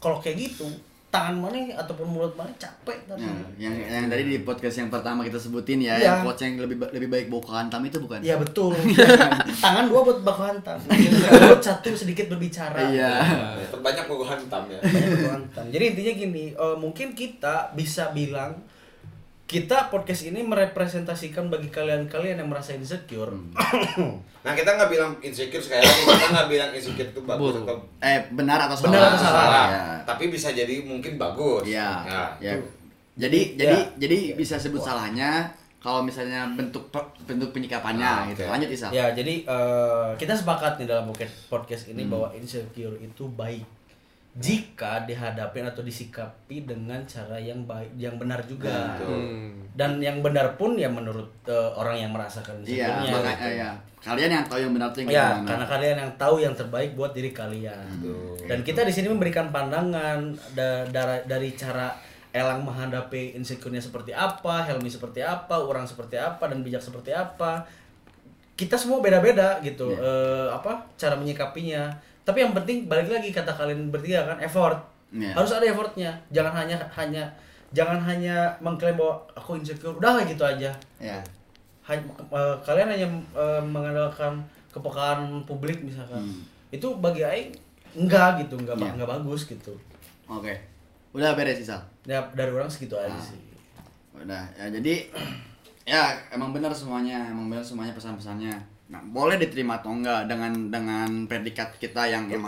[SPEAKER 3] kalau kayak gitu tangan mana ataupun mulut mana capek tadi.
[SPEAKER 2] Nah, yang yang tadi di podcast yang pertama kita sebutin ya,
[SPEAKER 3] Iya.
[SPEAKER 2] yang quotes yang lebih ba- lebih baik bawa ke hantam itu bukan?
[SPEAKER 3] Iya betul. Tangan dua buat baku hantam. Mulut satu sedikit berbicara.
[SPEAKER 2] Iya.
[SPEAKER 4] Terbanyak gue hantam ya.
[SPEAKER 3] Banyak baku hantam. Jadi intinya gini, eh, mungkin kita bisa bilang kita podcast ini merepresentasikan bagi kalian-kalian yang merasa insecure.
[SPEAKER 2] Hmm.
[SPEAKER 4] Nah kita nggak bilang insecure sekarang, kita nggak bilang insecure itu bagus
[SPEAKER 5] Buruk.
[SPEAKER 4] atau
[SPEAKER 2] Eh benar atau salah?
[SPEAKER 3] Benar atau salah?
[SPEAKER 2] Iya.
[SPEAKER 4] tapi bisa jadi mungkin bagus.
[SPEAKER 2] Iya.
[SPEAKER 4] Nah,
[SPEAKER 2] Ya. Jadi
[SPEAKER 3] Iya.
[SPEAKER 2] jadi jadi bisa sebut salahnya kalau misalnya bentuk pe- bentuk
[SPEAKER 4] Ah,
[SPEAKER 2] penyikapannya gitu.
[SPEAKER 4] oke.
[SPEAKER 2] Lanjut Isa.
[SPEAKER 3] Ya, jadi eh, kita sepakat nih dalam podcast podcast
[SPEAKER 2] Hmm.
[SPEAKER 3] ini bahwa insecure itu baik jika dihadapi atau disikapi dengan cara yang baik, yang benar juga.
[SPEAKER 4] Hmm.
[SPEAKER 3] Dan yang benar pun ya menurut eh, orang yang merasakan
[SPEAKER 2] Iya,
[SPEAKER 3] insecure-nya.
[SPEAKER 2] makanya
[SPEAKER 3] gitu.
[SPEAKER 2] ya. Kalian yang tahu yang benar tuh yang
[SPEAKER 3] Ya,
[SPEAKER 2] gimana.
[SPEAKER 3] karena kalian yang tahu yang terbaik buat diri kalian. Dan kita di sini memberikan pandangan da- dara- dari cara Elang menghadapi insecure-nya seperti apa, Helmi seperti apa, orang seperti apa, dan bijak seperti apa. Kita semua beda-beda gitu. eh, apa cara menyikapinya? Tapi yang penting balik lagi kata kalian bertiga kan effort.
[SPEAKER 2] Iya.
[SPEAKER 3] Harus ada effortnya. Jangan hanya hanya jangan hanya mengklaim bahwa aku insecure. Udah gitu aja
[SPEAKER 2] Ya.
[SPEAKER 3] hanya, eh, kalian hanya eh, mengandalkan kepekaan publik misalkan itu bagi aing enggak gitu enggak ba-
[SPEAKER 2] Hmm. Iya.
[SPEAKER 3] enggak bagus gitu
[SPEAKER 2] Oke. Udah beres Isa.
[SPEAKER 3] ya dari orang segitu
[SPEAKER 2] Ah.
[SPEAKER 3] aja sih
[SPEAKER 2] Iya. Udah, ya jadi ya emang benar semuanya, emang benar semuanya pesan-pesannya. Nah, boleh diterima atau enggak dengan dengan predikat kita yang emang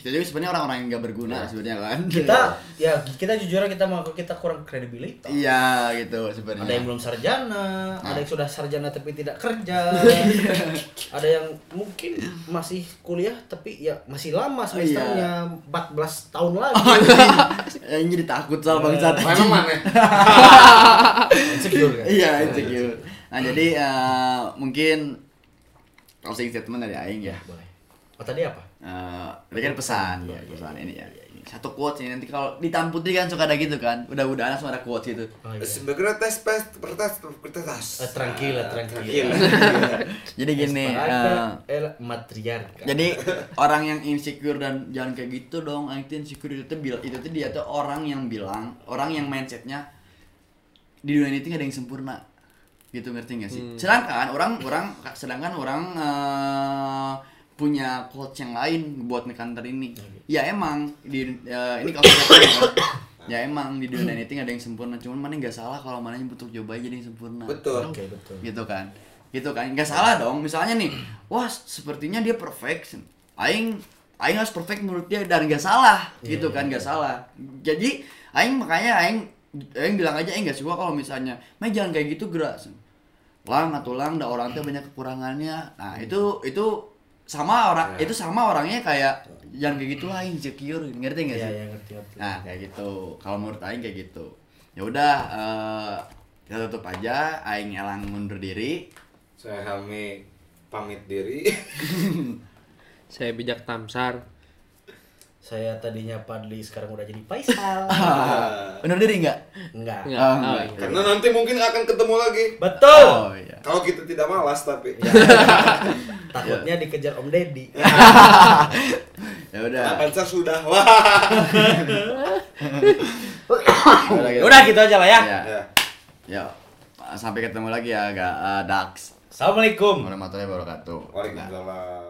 [SPEAKER 2] kita juga sebenarnya orang-orang yang enggak berguna sebenarnya kan.
[SPEAKER 3] kita ya kita jujur aja kita mengaku kita kurang kredibilitas
[SPEAKER 2] Iya, Ah. gitu sebenarnya.
[SPEAKER 3] ada yang belum sarjana ada yang sudah sarjana tapi tidak kerja
[SPEAKER 2] Iya.
[SPEAKER 3] ada yang mungkin masih kuliah tapi ya masih
[SPEAKER 2] Iya.
[SPEAKER 3] lama semesternya 14 tahun lagi
[SPEAKER 2] Oh, yang Ya, jadi takut soal bangsat.
[SPEAKER 4] Emang ya? mana?
[SPEAKER 3] insecure kan?
[SPEAKER 2] Iya, insecure. Nah, jadi eh, mungkin closing statement dari aing ya.
[SPEAKER 3] boleh oh tadi apa
[SPEAKER 2] Eh, Ini kan pesan, pesan ini ya. Satu quotes ini nanti kalau di Tam Putri kan suka ada gitu kan. Udah-udahan langsung ada quotes gitu.
[SPEAKER 3] oh, iya.
[SPEAKER 4] Sebagai tes pes pertas pertas.
[SPEAKER 3] Eh, tranquila, tranquila.
[SPEAKER 2] Jadi gini, eh,
[SPEAKER 3] Esparada el matriarca.
[SPEAKER 2] Jadi orang yang insecure dan jangan kayak gitu dong. Anti insecure itu tuh bil- itu tuh dia tuh orang yang bilang, orang yang mindsetnya di dunia ini tuh gak ada yang sempurna. Gitu ngerti gak sih? Sedangkan orang orang sedangkan orang eh, punya quotes yang lain buat ngekanter ini. Ya emang di eh, ini kalau kita- ya emang di dunia ini tuh gak ada yang sempurna. Cuman mana nggak salah kalau mana yang butuh coba aja jadi yang sempurna
[SPEAKER 4] Betul.
[SPEAKER 3] Oke, betul.
[SPEAKER 2] gitu kan gitu kan nggak salah dong misalnya nih wah sepertinya dia perfect aing aing harus perfect menurut dia dan nggak salah
[SPEAKER 3] Iya,
[SPEAKER 2] gitu kan nggak salah jadi aing makanya aing aing bilang aja aing nggak suka kalau misalnya mah jangan kayak gitu gerak lang atau lang da orang teh banyak kekurangannya nah
[SPEAKER 3] Iya.
[SPEAKER 2] itu itu sama orang itu sama orangnya kayak jangan kayak gitu lah insecure ngerti nggak
[SPEAKER 3] Iya,
[SPEAKER 2] sih
[SPEAKER 3] ya ngerti ngerti.
[SPEAKER 2] Nah, kayak gitu. Kalau menurut aing kayak gitu. Ya udah eh, kita tutup aja, aing elang mundur diri.
[SPEAKER 4] Saya Helmi pamit diri.
[SPEAKER 5] Saya bijak Tamsar.
[SPEAKER 3] Saya tadinya Padli sekarang udah jadi Faisal.
[SPEAKER 2] Mundur diri enggak?
[SPEAKER 3] Enggak.
[SPEAKER 5] Enggak.
[SPEAKER 2] Oh,
[SPEAKER 5] Oh,
[SPEAKER 2] iya.
[SPEAKER 4] Karena nanti mungkin akan ketemu lagi.
[SPEAKER 3] Betul.
[SPEAKER 2] Oh iya.
[SPEAKER 4] Kalau kita tidak malas tapi.
[SPEAKER 3] Takutnya dikejar Om Deddy.
[SPEAKER 2] Ya udah.
[SPEAKER 4] Nah, Pansar sudah. Wah.
[SPEAKER 2] Udah gitu.
[SPEAKER 3] Udah gitu aja lah ya.
[SPEAKER 2] Ya.
[SPEAKER 4] Ya.
[SPEAKER 2] Yo. Sampai ketemu lagi ya, agak Dax.
[SPEAKER 3] Assalamualaikum.
[SPEAKER 2] Warahmatullahi wabarakatuh.
[SPEAKER 4] Waalaikumsalam.